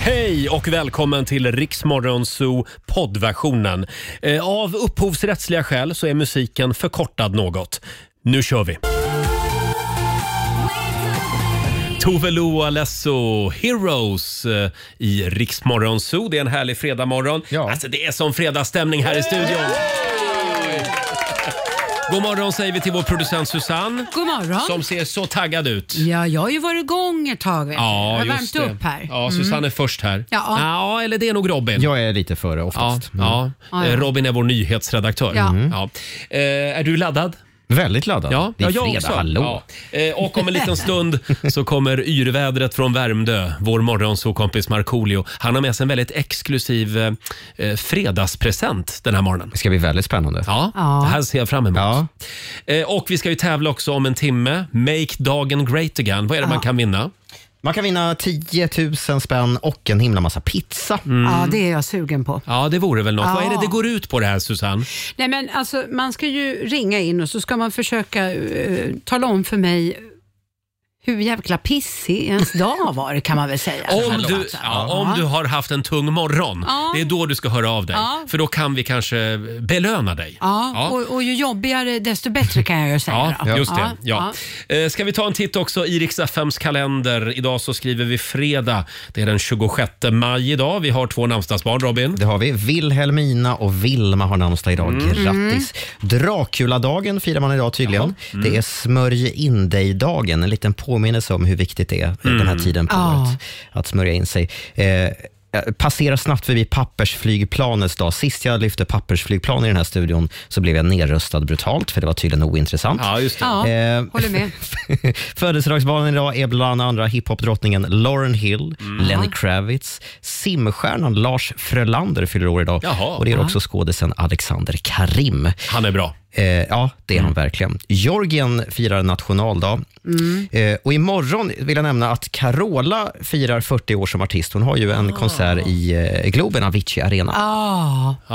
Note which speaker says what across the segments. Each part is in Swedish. Speaker 1: Hej och välkommen till Riksmorgonzoo poddversionen. Eh, Av upphovsrättsliga skäl så är musiken förkortad något. Nu kör vi! Tove Lo och Alesso, Heroes eh, i Riksmorgonzoo. Det är en härlig fredagmorgon.
Speaker 2: Ja.
Speaker 1: Alltså det är som fredagsstämning här i studion. God morgon säger vi till vår producent Susanne
Speaker 3: God morgon.
Speaker 1: som ser så taggad ut.
Speaker 3: Ja, jag har ju varit igång ett tag. Vet du. jag
Speaker 1: Ja,
Speaker 3: har
Speaker 1: just
Speaker 3: värmt
Speaker 1: det.
Speaker 3: upp här. Mm.
Speaker 1: Ja, Susanne är först här.
Speaker 3: Ja.
Speaker 1: ja, eller det är nog Robin.
Speaker 2: Jag är lite före
Speaker 1: Ja,
Speaker 2: oftast. Mm.
Speaker 1: ja.
Speaker 3: Ja, ja.
Speaker 1: Eh, Robin är vår nyhetsredaktör.
Speaker 3: Ja. Mm.
Speaker 1: Ja. Eh, är du laddad?
Speaker 2: Väldigt laddad.
Speaker 1: Ja,
Speaker 2: det är
Speaker 1: ja, jag
Speaker 2: fredag,
Speaker 1: också.
Speaker 2: hallå.
Speaker 1: Ja. Eh, Och om en liten stund så kommer yrvädret från Värmdö. Vår morgonsåkompis Markoolio. Han har med sig en väldigt exklusiv eh, eh, fredagspresent den här morgonen.
Speaker 2: Det ska bli väldigt spännande.
Speaker 1: Ja,
Speaker 3: Ja.
Speaker 1: det här ser jag fram emot.
Speaker 2: Ja.
Speaker 1: Eh, Och vi ska ju tävla också om en timme. Make dagen great again. Vad är det man kan vinna?
Speaker 2: Man kan vinna 10 000 spänn och en himla massa pizza.
Speaker 3: Ja, det är jag sugen på.
Speaker 1: Mm. Ja, det vore väl något.
Speaker 3: Ja.
Speaker 1: Vad är det det går ut på det här Susanne?
Speaker 3: Nej, men alltså, man ska ju ringa in och så ska man försöka eh, tala om för mig hur jävla pissig ens dag var, kan man väl säga.
Speaker 1: Om du, ja,
Speaker 3: Ja.
Speaker 1: om du har haft en tung morgon,
Speaker 3: Ja.
Speaker 1: det är då du ska höra av dig.
Speaker 3: Ja.
Speaker 1: För då kan vi kanske belöna dig.
Speaker 3: Ja,
Speaker 1: Ja.
Speaker 3: Och, och ju jobbigare desto bättre kan jag ju säga.
Speaker 1: Ja,
Speaker 3: då.
Speaker 1: just det.
Speaker 3: Ja,
Speaker 1: Ja. Eh, Ska vi ta en titt också i Riks-FMs kalender? Idag så skriver vi fredag. Det är den 26 maj idag. Vi har två namnsdagsbarn, Robin.
Speaker 2: Det har vi. Vilhelmina och Vilma har namnsdag idag.
Speaker 1: Mm.
Speaker 2: Grattis!
Speaker 3: Mm.
Speaker 2: Draculadagen firar man idag tydligen.
Speaker 1: Mm.
Speaker 2: Det är smörj in dig-dagen. En liten påminnelse om hur viktigt det är den
Speaker 1: Mm.
Speaker 2: här tiden på
Speaker 3: Ja.
Speaker 2: året att smörja in sig. Eh, eh, Passera snabbt förbi pappersflygplanets dag. Sist jag lyfte pappersflygplan i den här studion så blev jag nerröstad brutalt, för det var tydligen ointressant.
Speaker 1: Ja, just det.
Speaker 3: Ja,
Speaker 2: Eh,
Speaker 3: håller med.
Speaker 2: Födelsedagsbarnen idag är bland andra hiphopdrottningen Lauren Hill,
Speaker 1: Mm.
Speaker 2: Lenny Kravitz, simstjärnan Lars Frölander fyller år idag
Speaker 1: Jaha.
Speaker 2: och det är också skådisen Alexander Karim.
Speaker 1: Han är bra. Mm.
Speaker 2: Eh, ja, det är han verkligen. Georgien firar nationaldag. Eh, och imorgon vill jag nämna att Carola firar 40 år som artist. Hon har ju en konsert i eh, Globen, Avicii Arena.
Speaker 3: Ja.
Speaker 1: Ah.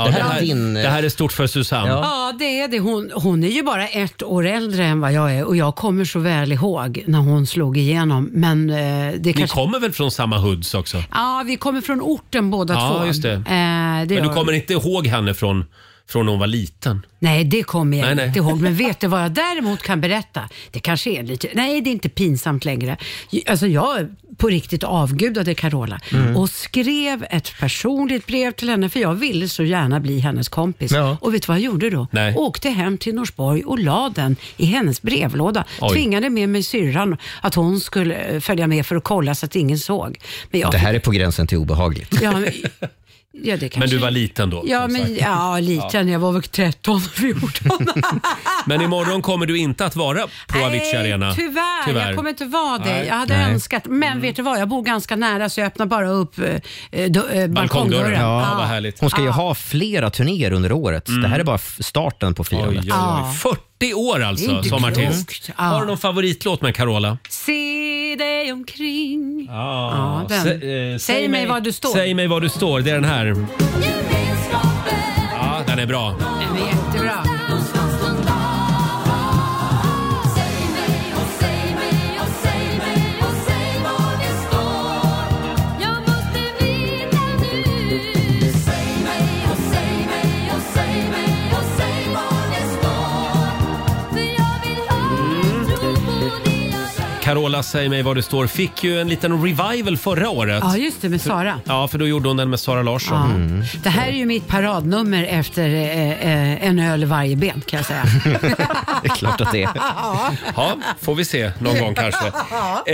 Speaker 3: Ah.
Speaker 1: Ja,
Speaker 2: Det
Speaker 1: det,
Speaker 2: här är
Speaker 1: här,
Speaker 2: din, eh,
Speaker 1: det här är stort för Susanne.
Speaker 2: Ja.
Speaker 3: Ja, det är det. Hon, hon är ju bara ett år äldre än vad jag är och jag kommer så väl ihåg när hon slog igenom. Men eh, det
Speaker 1: Ni
Speaker 3: kanske...
Speaker 1: kommer väl från samma hoods också?
Speaker 3: Ja, vi kommer från orten båda
Speaker 1: Ja,
Speaker 3: två.
Speaker 1: just det.
Speaker 3: Eh, det gör
Speaker 1: Men du
Speaker 3: vi.
Speaker 1: kommer inte ihåg henne från, från när hon var liten?
Speaker 3: Nej, det kommer jag
Speaker 1: Nej, nej.
Speaker 3: inte ihåg. Men vet du vad jag däremot kan berätta? Det kanske är lite... Nej, det är inte pinsamt längre. Alltså jag på riktigt avgudade Carola
Speaker 1: Mm.
Speaker 3: och skrev ett personligt brev till henne för jag ville så gärna bli hennes kompis.
Speaker 2: Ja.
Speaker 3: Och vet du vad jag gjorde då?
Speaker 1: Nej.
Speaker 3: Åkte hem till Norsborg och la den i hennes brevlåda.
Speaker 1: Oj.
Speaker 3: Tvingade med mig syrran att hon skulle eh, följa med för att kolla så att ingen såg. Men jag
Speaker 2: Det här är på gränsen till obehagligt.
Speaker 3: Ja, men, ja, det kanske...
Speaker 1: Men du var liten då?
Speaker 3: Ja,
Speaker 1: som
Speaker 3: men,
Speaker 1: sagt.
Speaker 3: ja, liten. Jag var väl 13, 14. Ah,
Speaker 1: men imorgon kommer du inte att vara på Avicii Arena?
Speaker 3: Tyvärr, jag kommer inte vara det.
Speaker 1: Nej. Mm.
Speaker 3: Jag hade
Speaker 2: Nej.
Speaker 3: önskat, men vet du vad, jag bor ganska nära så jag öppnar bara upp eh, eh, do, eh,
Speaker 1: Balkongdörren.
Speaker 3: balkongdörren.
Speaker 1: Ja,
Speaker 3: Ja.
Speaker 1: vad härligt. Ah.
Speaker 2: Hon ska ju ha flera turnéer under året. Det här är bara f- starten på
Speaker 1: Oj, oj,
Speaker 2: firandet.
Speaker 1: oj.
Speaker 3: Ja.
Speaker 1: 40 år
Speaker 3: Ah. Det är
Speaker 1: alltså
Speaker 3: inte
Speaker 1: som
Speaker 3: klokt. Ah.
Speaker 1: artist.
Speaker 3: Ja.
Speaker 1: Har du någon favoritlåt med Carola?
Speaker 3: Se dig omkring.
Speaker 1: Ja, eh,
Speaker 3: den. Säg mig var du står.
Speaker 1: Säg mig var du står. Det är den här. Ja, den är bra.
Speaker 3: Den är jättebra.
Speaker 1: Carola Säg mig var du står fick ju en liten revival förra året.
Speaker 3: Ja, just det, med Sara.
Speaker 1: Ja, för då gjorde hon den med Sara Larsson.
Speaker 3: Ja.
Speaker 2: Mm.
Speaker 3: Det här är ju mitt paradnummer efter eh, eh, en öl i varje ben kan jag säga.
Speaker 2: Det är klart att det är.
Speaker 1: Ja, får vi se någon gång kanske.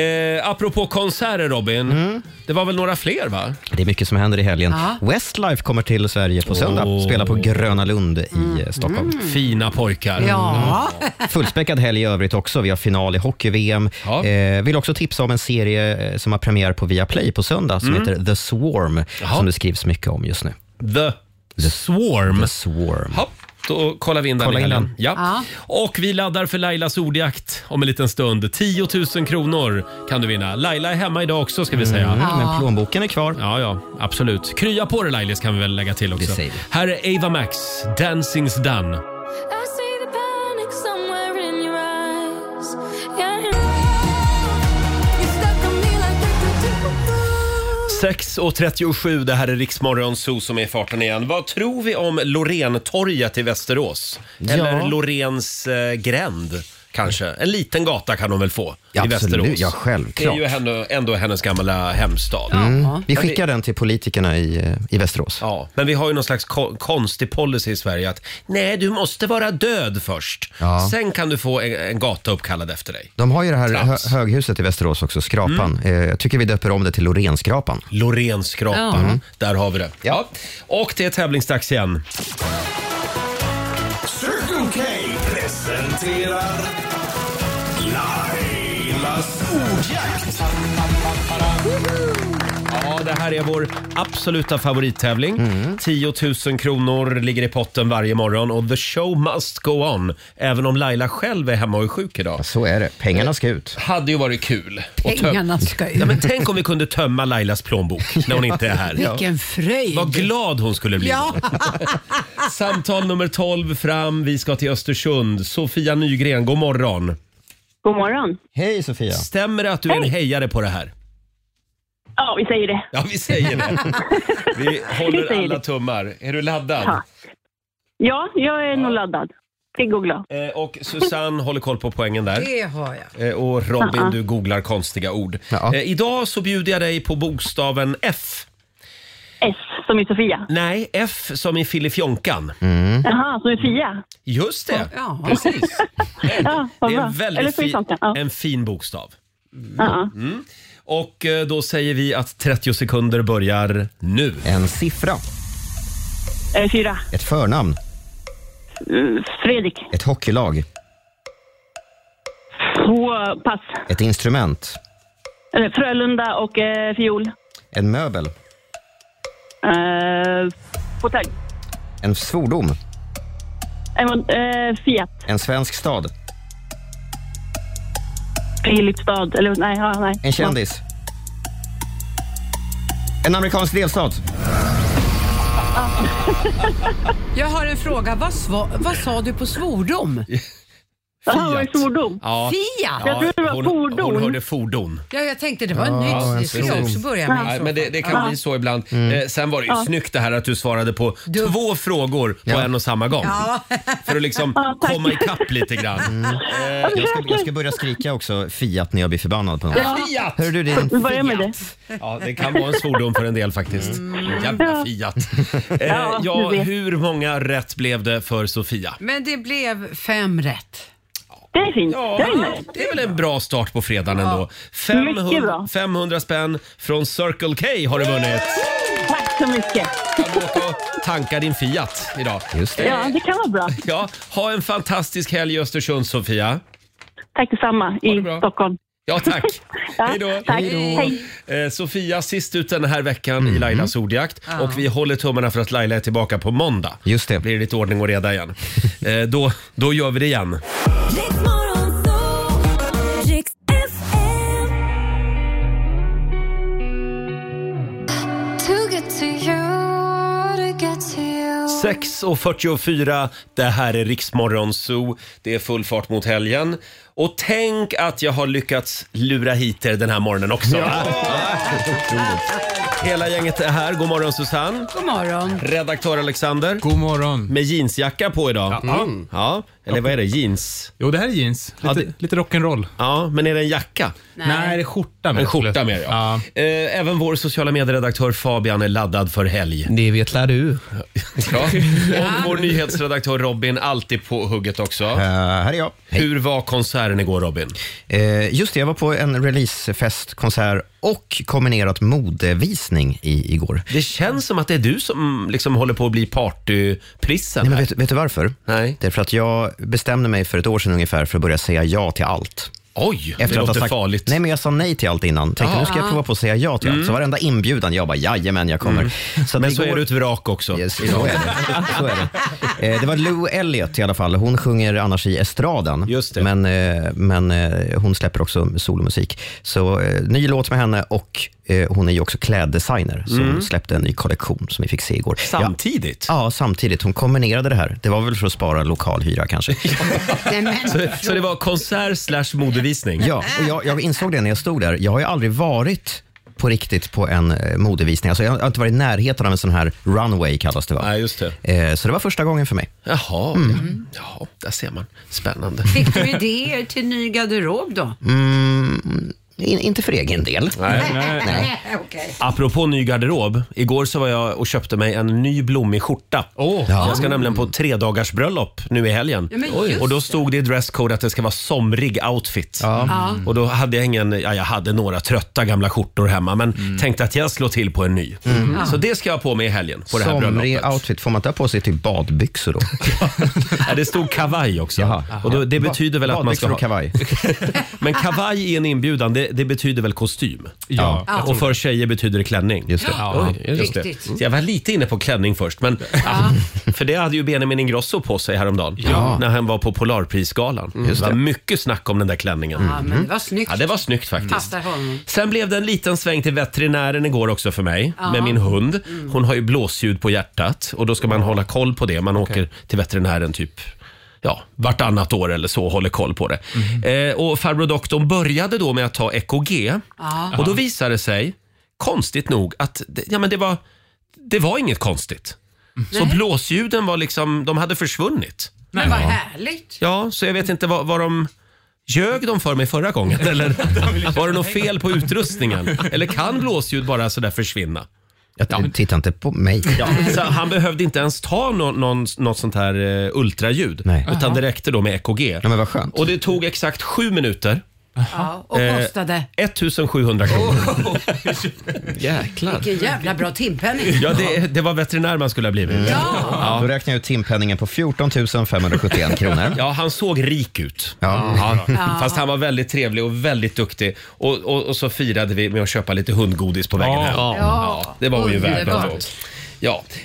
Speaker 1: Eh, apropå konserter Robin,
Speaker 2: Mm.
Speaker 1: det var väl några fler va?
Speaker 2: Det är mycket som händer i helgen.
Speaker 3: Ja.
Speaker 2: Westlife kommer till Sverige på söndag.
Speaker 1: Åh.
Speaker 2: Spelar på Gröna Lund i eh, Stockholm. Mm.
Speaker 1: Fina pojkar.
Speaker 3: Mm. Ja,
Speaker 2: Fullspäckad helg i övrigt också. Vi har final i hockey-VM.
Speaker 1: Ja.
Speaker 2: Eh, vill också tipsa om en serie eh, som har premiär på Viaplay på söndag som heter The Swarm,
Speaker 1: Mm. Jaha.
Speaker 2: som det skrivs mycket om just nu.
Speaker 1: The Swarm.
Speaker 2: The Swarm.
Speaker 1: Ja, då kollar vi in den
Speaker 2: Kolla
Speaker 1: i
Speaker 2: in
Speaker 1: helgen.
Speaker 2: den.
Speaker 1: Ja.
Speaker 3: Ja.
Speaker 1: Och vi laddar för Lailas ordjakt om en liten stund. 10 000 kronor kan du vinna. Laila är hemma idag också ska vi säga.
Speaker 2: Mm, men plånboken är kvar.
Speaker 1: Ja, ja, absolut. Krya på dig Lailis kan vi väl lägga till också.
Speaker 2: Det säger vi.
Speaker 1: Här är Ava Max, Dancing's done. 6.37, det här är Riksmorgon Zoo som är i farten igen. Vad tror vi om Lorentorget i Västerås? Eller
Speaker 2: Ja.
Speaker 1: Lorens eh, gränd, kanske? En liten gata kan hon väl få
Speaker 2: Ja,
Speaker 1: i
Speaker 2: absolut.
Speaker 1: Västerås?
Speaker 2: Ja, självklart. Mm.
Speaker 1: Det är ju ändå, ändå hennes gamla hemstad.
Speaker 3: Ja.
Speaker 2: Vi skickar den till politikerna i, eh, i Västerås.
Speaker 1: Ja, men vi har ju någon slags ko- konstig policy i Sverige att nej, du måste vara död först.
Speaker 2: Ja.
Speaker 1: Sen kan du få en, en gata uppkallad efter dig.
Speaker 2: De har ju det här hö
Speaker 1: Trams.
Speaker 2: höghuset i Västerås också, Skrapan.
Speaker 1: Mm.
Speaker 2: Eh, jag tycker vi döper om det till Lorenskrapan. Mm.
Speaker 1: Lorenskrapan,
Speaker 3: Ja.
Speaker 1: där har vi det. Ja. Och det är tävlingsdags igen.
Speaker 4: Circle K presenterar Lailas ordjakt.
Speaker 1: Ja, det här är vår absoluta favorittävling.
Speaker 2: Mm.
Speaker 1: 10 000 kronor ligger i potten varje morgon och the show must go on. Även om Laila själv är hemma och är sjuk idag.
Speaker 2: Så är det. Pengarna ska ut.
Speaker 1: Hade ju varit kul. att töm-
Speaker 3: Pengarna ska ut.
Speaker 1: Ja, men tänk om vi kunde tömma Lailas plånbok när hon inte är här.
Speaker 3: Vilken fröjd.
Speaker 1: Vad glad hon skulle bli.
Speaker 3: Ja.
Speaker 1: Samtal nummer 12 fram. Vi ska till Östersund. Sofia Nygren, god morgon.
Speaker 5: God morgon.
Speaker 2: Hej Sofia!
Speaker 1: Stämmer det att du är en hejare på det här?
Speaker 5: Ja, vi säger det.
Speaker 1: Ja, vi säger det. Vi
Speaker 5: Vi
Speaker 1: håller
Speaker 5: säger
Speaker 1: alla
Speaker 5: det.
Speaker 1: tummar. Är du laddad?
Speaker 5: Tack. Ja, jag är nog laddad. Pigg och glad.
Speaker 1: Eh, Och Susanne håller koll på poängen där.
Speaker 3: Det har jag.
Speaker 1: Eh, Och Robin, du googlar konstiga ord.
Speaker 2: Ja.
Speaker 1: Eh, Idag så bjuder jag dig på bokstaven F.
Speaker 5: S som i Sofia.
Speaker 1: Nej, F som i Filifjonkan.
Speaker 2: Mm.
Speaker 5: Jaha, som i Fia.
Speaker 1: Mm. Just det!
Speaker 3: Ja.
Speaker 1: Precis.
Speaker 5: Ja, vad
Speaker 1: Det är
Speaker 5: bra.
Speaker 1: en
Speaker 5: Eller
Speaker 1: väldigt
Speaker 5: så i
Speaker 1: fin,
Speaker 5: Sankan. Ja. Mm.
Speaker 1: en fin bokstav. Mm.
Speaker 5: Ja, ja.
Speaker 1: Och eh, då säger vi att 30 sekunder börjar nu.
Speaker 2: En siffra,
Speaker 5: Eh, Fyra.
Speaker 2: ett förnamn,
Speaker 5: Mm, Fredrik.
Speaker 2: ett hockeylag,
Speaker 5: Två pass.
Speaker 2: ett instrument,
Speaker 5: Eller Frölunda och eh, fiol.
Speaker 2: en möbel,
Speaker 5: Eh, hotell.
Speaker 2: en svordom,
Speaker 5: En, eh, Fiat.
Speaker 2: en svensk stad,
Speaker 5: Filipstad. Eller nej, ja, nej.
Speaker 2: en kändis. En amerikansk delstat.
Speaker 3: Jag har en fråga. Vad, sva- vad sa du på svordom?
Speaker 5: Jaha, var det svordom?
Speaker 1: Ja,
Speaker 3: Fiat?
Speaker 5: Jag trodde det var
Speaker 1: hon,
Speaker 5: fordon.
Speaker 1: hon hörde fordon.
Speaker 3: Ja, jag tänkte det var nytt. Det skulle jag också börja med. i
Speaker 1: Nej,
Speaker 3: så
Speaker 1: men det,
Speaker 3: fall.
Speaker 1: det kan bli så ibland.
Speaker 2: Mm.
Speaker 1: Eh, sen var det ju snyggt det här att du svarade på
Speaker 3: Du-
Speaker 1: två frågor på en och samma gång.
Speaker 3: Ja.
Speaker 1: För att liksom
Speaker 5: Ja, tack.
Speaker 1: komma ikapp lite grann.
Speaker 2: Mm.
Speaker 1: Eh,
Speaker 2: Jag ska, jag ska börja skrika också Fiat när jag blir förbannad på någon.
Speaker 1: Fiat!
Speaker 2: Hör du din...
Speaker 5: Vi börjar med det.
Speaker 1: Ja, det kan vara en svordom för en del faktiskt.
Speaker 3: Mm.
Speaker 1: Jävla Fiat. Eh,
Speaker 5: Ja,
Speaker 1: ja,
Speaker 5: du vet.
Speaker 1: hur många rätt blev det för Sofia?
Speaker 3: Men det blev fem rätt.
Speaker 5: Det är fint.
Speaker 1: Ja,
Speaker 5: Jag är nöjd.
Speaker 1: det är väl en bra start på fredagen ändå.
Speaker 5: Mycket
Speaker 1: 500,
Speaker 5: bra.
Speaker 1: 500 spänn från Circle K har du vunnit.
Speaker 5: Tack så mycket.
Speaker 1: Kan du åka och tanka din Fiat idag.
Speaker 2: Just det.
Speaker 5: Ja, det kan vara bra.
Speaker 1: Ja, ha en fantastisk helg i Östersund Sofia.
Speaker 5: Tack detsamma
Speaker 1: det
Speaker 5: i
Speaker 1: bra.
Speaker 5: Stockholm.
Speaker 1: Ja, tack.
Speaker 5: Ja,
Speaker 1: Hej då.
Speaker 5: tack. Hej.
Speaker 1: Eh, Sofia, sist ut den här veckan
Speaker 2: Mhm.
Speaker 1: i Lailas ordjakt. Och vi håller tummarna för att Laila är tillbaka på måndag.
Speaker 2: Just det.
Speaker 1: Blir det lite ordning och reda igen. eh, då, då gör vi det igen.
Speaker 6: Riksmorgon Zoo, Riks FM. To get to you, to get to you.
Speaker 1: 6.44, det här är Riksmorgon Zoo. Det är full fart mot helgen. Och tänk att jag har lyckats lura hit er den här morgonen också. Hela gänget är här. God morgon Susanne.
Speaker 3: God morgon.
Speaker 1: Redaktör Alexander.
Speaker 7: God morgon.
Speaker 1: Med jeansjacka på idag. Ja. ja. Eller vad är det? Jeans?
Speaker 7: Jo, det här är jeans. Lite,
Speaker 1: Ja, det-
Speaker 7: lite rock'n'roll.
Speaker 1: Ja, men är det en jacka?
Speaker 7: Nej. det är skjorta med.
Speaker 1: En skjorta mer ja.
Speaker 7: ja.
Speaker 1: Eh, Även vår sociala medieredaktör Fabian är laddad för helg.
Speaker 8: Det vet lär du.
Speaker 1: Ja. Och vår nyhetsredaktör Robin, alltid på hugget också.
Speaker 2: Eh, här är jag.
Speaker 1: Hur var konserten igår Robin?
Speaker 2: Eh, just det, jag var på en releasefest, konsert och kombinerat modevisning i, igår.
Speaker 1: Det känns som att det är du som liksom håller på att bli partyprissen.
Speaker 2: Nej, men
Speaker 1: här.
Speaker 2: vet, vet du varför?
Speaker 1: Nej.
Speaker 2: Det är för att jag bestämde mig för ett år sedan ungefär för att börja säga ja till allt.
Speaker 1: Oj, det låter
Speaker 2: sagt,
Speaker 1: farligt. Ah. Mm.
Speaker 2: Nej, men jag sa nej till allt innan. Tänkte nu ska jag prova på att säga ja till allt. Så varenda inbjudan, jag bara jajamän, jag kommer. Så att
Speaker 1: men så
Speaker 2: igår-
Speaker 1: är du ett vrak också.
Speaker 2: Yes, så är det. Så är det. Eh, det var Lou Elliot i alla fall. Hon sjunger annars i estraden,
Speaker 1: Just det.
Speaker 2: Men, eh, men eh, hon släpper också solomusik. Så eh, ny låt med henne och eh, hon är ju också kläddesigner, så hon släppte en ny kollektion som vi fick se igår. Ja.
Speaker 1: Mm. Samtidigt.
Speaker 2: Ja, samtidigt. Hon kombinerade det här. Det var väl för att spara lokalhyra kanske.
Speaker 3: Nej, men,
Speaker 1: Så, så det var konsert slash modevisning.
Speaker 2: Ja, och jag, jag insåg det när jag stod där. Jag har ju aldrig varit på riktigt på en eh, modevisning. Alltså, jag har inte varit i närheten av en sån här runway kallas det va?
Speaker 1: Nej, just det.
Speaker 2: Eh, Så det var första gången för mig. Mm.
Speaker 1: Jaha, ja. ja, där ser man. Spännande.
Speaker 3: Mm. Fick du idéer till ny garderob då?
Speaker 2: Mm, in, inte för egen del.
Speaker 1: Nej.
Speaker 2: Nej.
Speaker 3: Okej.
Speaker 1: Apropå ny garderob. Igår så var jag och köpte mig en ny blommig skjorta. Jag ska nämligen på tre dagars bröllop nu i helgen.
Speaker 3: Ja, men just
Speaker 1: och då stod det i dresscode att det ska vara somrig outfit.
Speaker 3: Mm.
Speaker 1: Mm. Och då hade jag ingen, ja, jag hade några trötta gamla skjortor hemma men tänkte att jag slår till på en ny. Så det ska jag ha på mig i helgen på det här
Speaker 2: Somrig
Speaker 1: bröllopet.
Speaker 2: outfit, får man ta på sig till badbyxor då?
Speaker 1: Ja, det stod kavaj också.
Speaker 2: Jaha.
Speaker 1: Och då, det betyder väl att man ska
Speaker 2: Badbyxor
Speaker 1: ha...
Speaker 2: och kavaj.
Speaker 1: Men kavaj i en inbjudan, det, det betyder väl kostym?
Speaker 7: Ja.
Speaker 3: Ja.
Speaker 1: Och för tjejer betyder det klänning.
Speaker 2: Just det.
Speaker 7: Ja.
Speaker 1: Oj, just det.
Speaker 3: Riktigt.
Speaker 1: Så jag var lite inne på klänning först, men, för det hade ju Benjamin Ingrosso på sig häromdagen när han var på Polarprisgalan. det var mycket snack om den där klänningen. Mm.
Speaker 3: Ja, men det var snyggt.
Speaker 1: Ja, det var snyggt faktiskt.
Speaker 3: Passar honom.
Speaker 1: Sen blev det en liten sväng till veterinären igår också för mig med min hund.
Speaker 3: Mm.
Speaker 1: Hon har ju blåsljud på hjärtat och då ska man hålla koll på det. Man åker till veterinären typ Ja, vartannat år eller så och håller koll på det.
Speaker 3: Mhm.
Speaker 1: Eh, och farbror doktorn började då med att ta EKG. Och då visade det sig, konstigt nog, att det, ja, men det, var, det var inget konstigt. Så blåsljuden var liksom, de hade försvunnit.
Speaker 3: Men vad härligt.
Speaker 1: Ja, så jag vet inte vad, vad de... Ljög de för mig förra gången? Eller var det något fel på utrustningen? Eller kan blåsljud bara sådär försvinna?
Speaker 2: Jag, titta inte på mig.
Speaker 1: Ja, så han behövde inte ens ta nå- någon, något sånt här eh, ultraljud.
Speaker 2: Nej.
Speaker 1: Utan det räckte då med EKG.
Speaker 2: Ja, men vad skönt.
Speaker 1: Och det tog exakt sju minuter.
Speaker 3: Ja, och
Speaker 1: Eh,
Speaker 3: kostade.
Speaker 1: 1700 kronor.
Speaker 2: Oh.
Speaker 1: Jäklar.
Speaker 3: Vilken jävla bra timpenning.
Speaker 1: Ja, det, det var veterinär man skulle ha blivit.
Speaker 3: Ja.
Speaker 2: Mm. Då räknar jag ut timpenningen på 14 571 kronor.
Speaker 1: Ja, han såg rik ut.
Speaker 2: Ja.
Speaker 1: Ja. Fast han var väldigt trevlig och väldigt duktig. Och, och, och så firade vi med att köpa lite hundgodis på vägen hem.
Speaker 8: Ja.
Speaker 1: Ja, det var hon ju värd
Speaker 3: Underbart.
Speaker 1: ändå.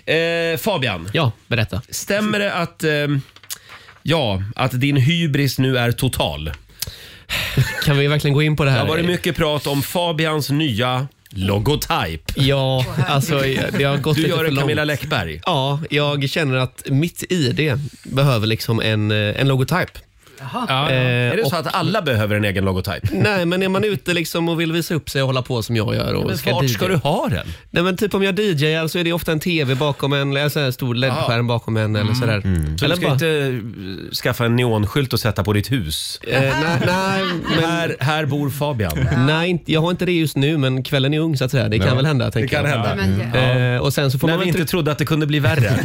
Speaker 1: Ja, eh, Fabian.
Speaker 8: Ja, berätta.
Speaker 1: Stämmer det att, eh, ja, att din hybris nu är total?
Speaker 8: Kan vi verkligen gå in på det
Speaker 1: Det
Speaker 8: här?
Speaker 1: har varit mycket prat om Fabians nya logotyp.
Speaker 8: Ja, alltså det har gått
Speaker 1: Du
Speaker 8: lite
Speaker 1: gör
Speaker 8: för
Speaker 1: en
Speaker 8: långt.
Speaker 1: Camilla Läckberg.
Speaker 8: Ja, jag känner att mitt ID behöver liksom en, eh, en logotyp.
Speaker 7: Ja.
Speaker 8: Eh,
Speaker 1: Är det
Speaker 8: och,
Speaker 1: så att alla behöver en egen logotyp?
Speaker 8: nej, men är man ute liksom och vill visa upp sig och hålla på som jag gör och
Speaker 1: Men
Speaker 8: ska
Speaker 1: vart
Speaker 8: DJ.
Speaker 1: ska du ha den?
Speaker 8: Nej, men typ om jag DJar så är det ofta en TV bakom en, eller en sån här stor LED-skärm bakom en eller sådär.
Speaker 1: Ah. Mm. Så du
Speaker 8: Eller
Speaker 1: ska inte eh, skaffa en neonskylt och sätta på ditt hus?
Speaker 8: eh, nej, nej,
Speaker 1: Här, här bor Fabian.
Speaker 8: nej, inte- jag har inte det just nu, men kvällen är ung så att säga. Det kan väl hända,
Speaker 1: Det
Speaker 8: tänker
Speaker 1: kan
Speaker 8: jag.
Speaker 1: hända.
Speaker 3: Men,
Speaker 8: Eh, och sen så får
Speaker 1: När
Speaker 8: man
Speaker 1: vi
Speaker 8: väl
Speaker 1: inte trodde att det kunde bli värre.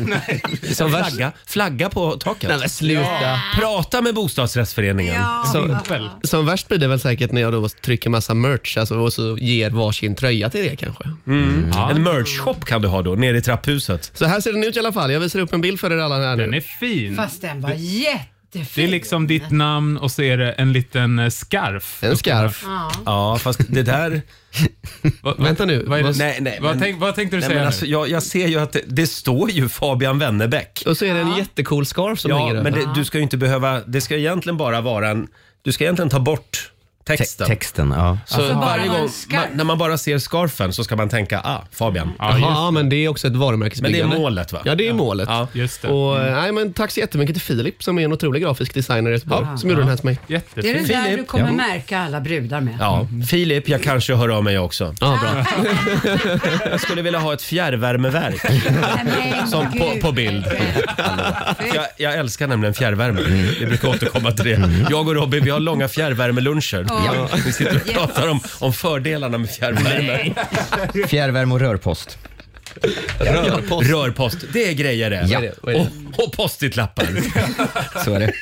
Speaker 8: Som värst-
Speaker 1: flagga, flagga på taket.
Speaker 8: Nej, men sluta.
Speaker 1: Prata med bostadsrättsföreningen.
Speaker 8: Som, som värst blir det väl säkert när jag då trycker massa merch alltså, och så ger varsin tröja till det kanske.
Speaker 1: Mm.
Speaker 7: Mm.
Speaker 1: En merch-shop kan du ha då, nere i trapphuset.
Speaker 8: Så här ser den ut i alla fall. Jag visar upp en bild för er alla här
Speaker 7: Den
Speaker 8: nu.
Speaker 7: är fin.
Speaker 3: Fast den var jättefin.
Speaker 7: Det är liksom ditt namn och så är det en liten eh, scarf.
Speaker 8: En scarf.
Speaker 1: Ja, fast det där...
Speaker 7: Vad- vad-
Speaker 8: Vänta nu.
Speaker 7: Vad, är det?
Speaker 1: Nej, nej,
Speaker 7: vad,
Speaker 1: men-
Speaker 7: tänk, vad tänkte du
Speaker 1: Nej,
Speaker 7: säga
Speaker 1: men
Speaker 7: nu?
Speaker 1: alltså, jag, jag ser ju att det, det står ju Fabian Wennerbäck.
Speaker 8: Och så är det en jättecool scarf som
Speaker 1: Ja,
Speaker 8: hänger
Speaker 1: men
Speaker 8: över.
Speaker 1: det, du ska ju inte behöva... Det ska egentligen bara vara en... Du ska egentligen ta bort texten.
Speaker 2: Texten, ja.
Speaker 1: Så
Speaker 7: Alltså,
Speaker 3: bara
Speaker 1: varje
Speaker 3: vara en
Speaker 1: gång,
Speaker 3: scarf.
Speaker 1: man, när man bara ser scarfen så ska man tänka, ah, Fabian.
Speaker 7: Ja, just-
Speaker 8: Ja, men det är också ett
Speaker 1: Men det
Speaker 8: varumärkesbyggande.
Speaker 1: är målet va?
Speaker 8: Ja, det är målet.
Speaker 1: Ja.
Speaker 7: Just det.
Speaker 8: Och, eh, nej, men tack så jättemycket till Filip som är en otrolig grafisk designer i Göteborg
Speaker 7: Ah.
Speaker 8: som gjorde den här till mig.
Speaker 3: Det är
Speaker 7: Jättefin.
Speaker 3: det där
Speaker 1: Filip,
Speaker 3: du kommer märka alla brudar med.
Speaker 1: Ja, Filip, jag kanske hör av mig också.
Speaker 8: Mm. Ja, bra.
Speaker 1: Jag skulle vilja ha ett fjärrvärmeverk
Speaker 3: Men
Speaker 1: som på,
Speaker 3: gud.
Speaker 1: på bild. Jag, jag älskar nämligen fjärrvärme.
Speaker 8: Mm.
Speaker 1: Vi brukar återkomma till det. Jag och Robin, vi har långa fjärrvärmeluncher.
Speaker 3: Ja.
Speaker 1: Vi sitter och pratar om, om fördelarna med fjärrvärme.
Speaker 2: Fjärrvärme och rörpost.
Speaker 8: Rörpost.
Speaker 1: Rörpost, det är grejer det.
Speaker 2: Ja.
Speaker 8: Vad är det?
Speaker 1: Och, och postitlappar.
Speaker 2: Så är det.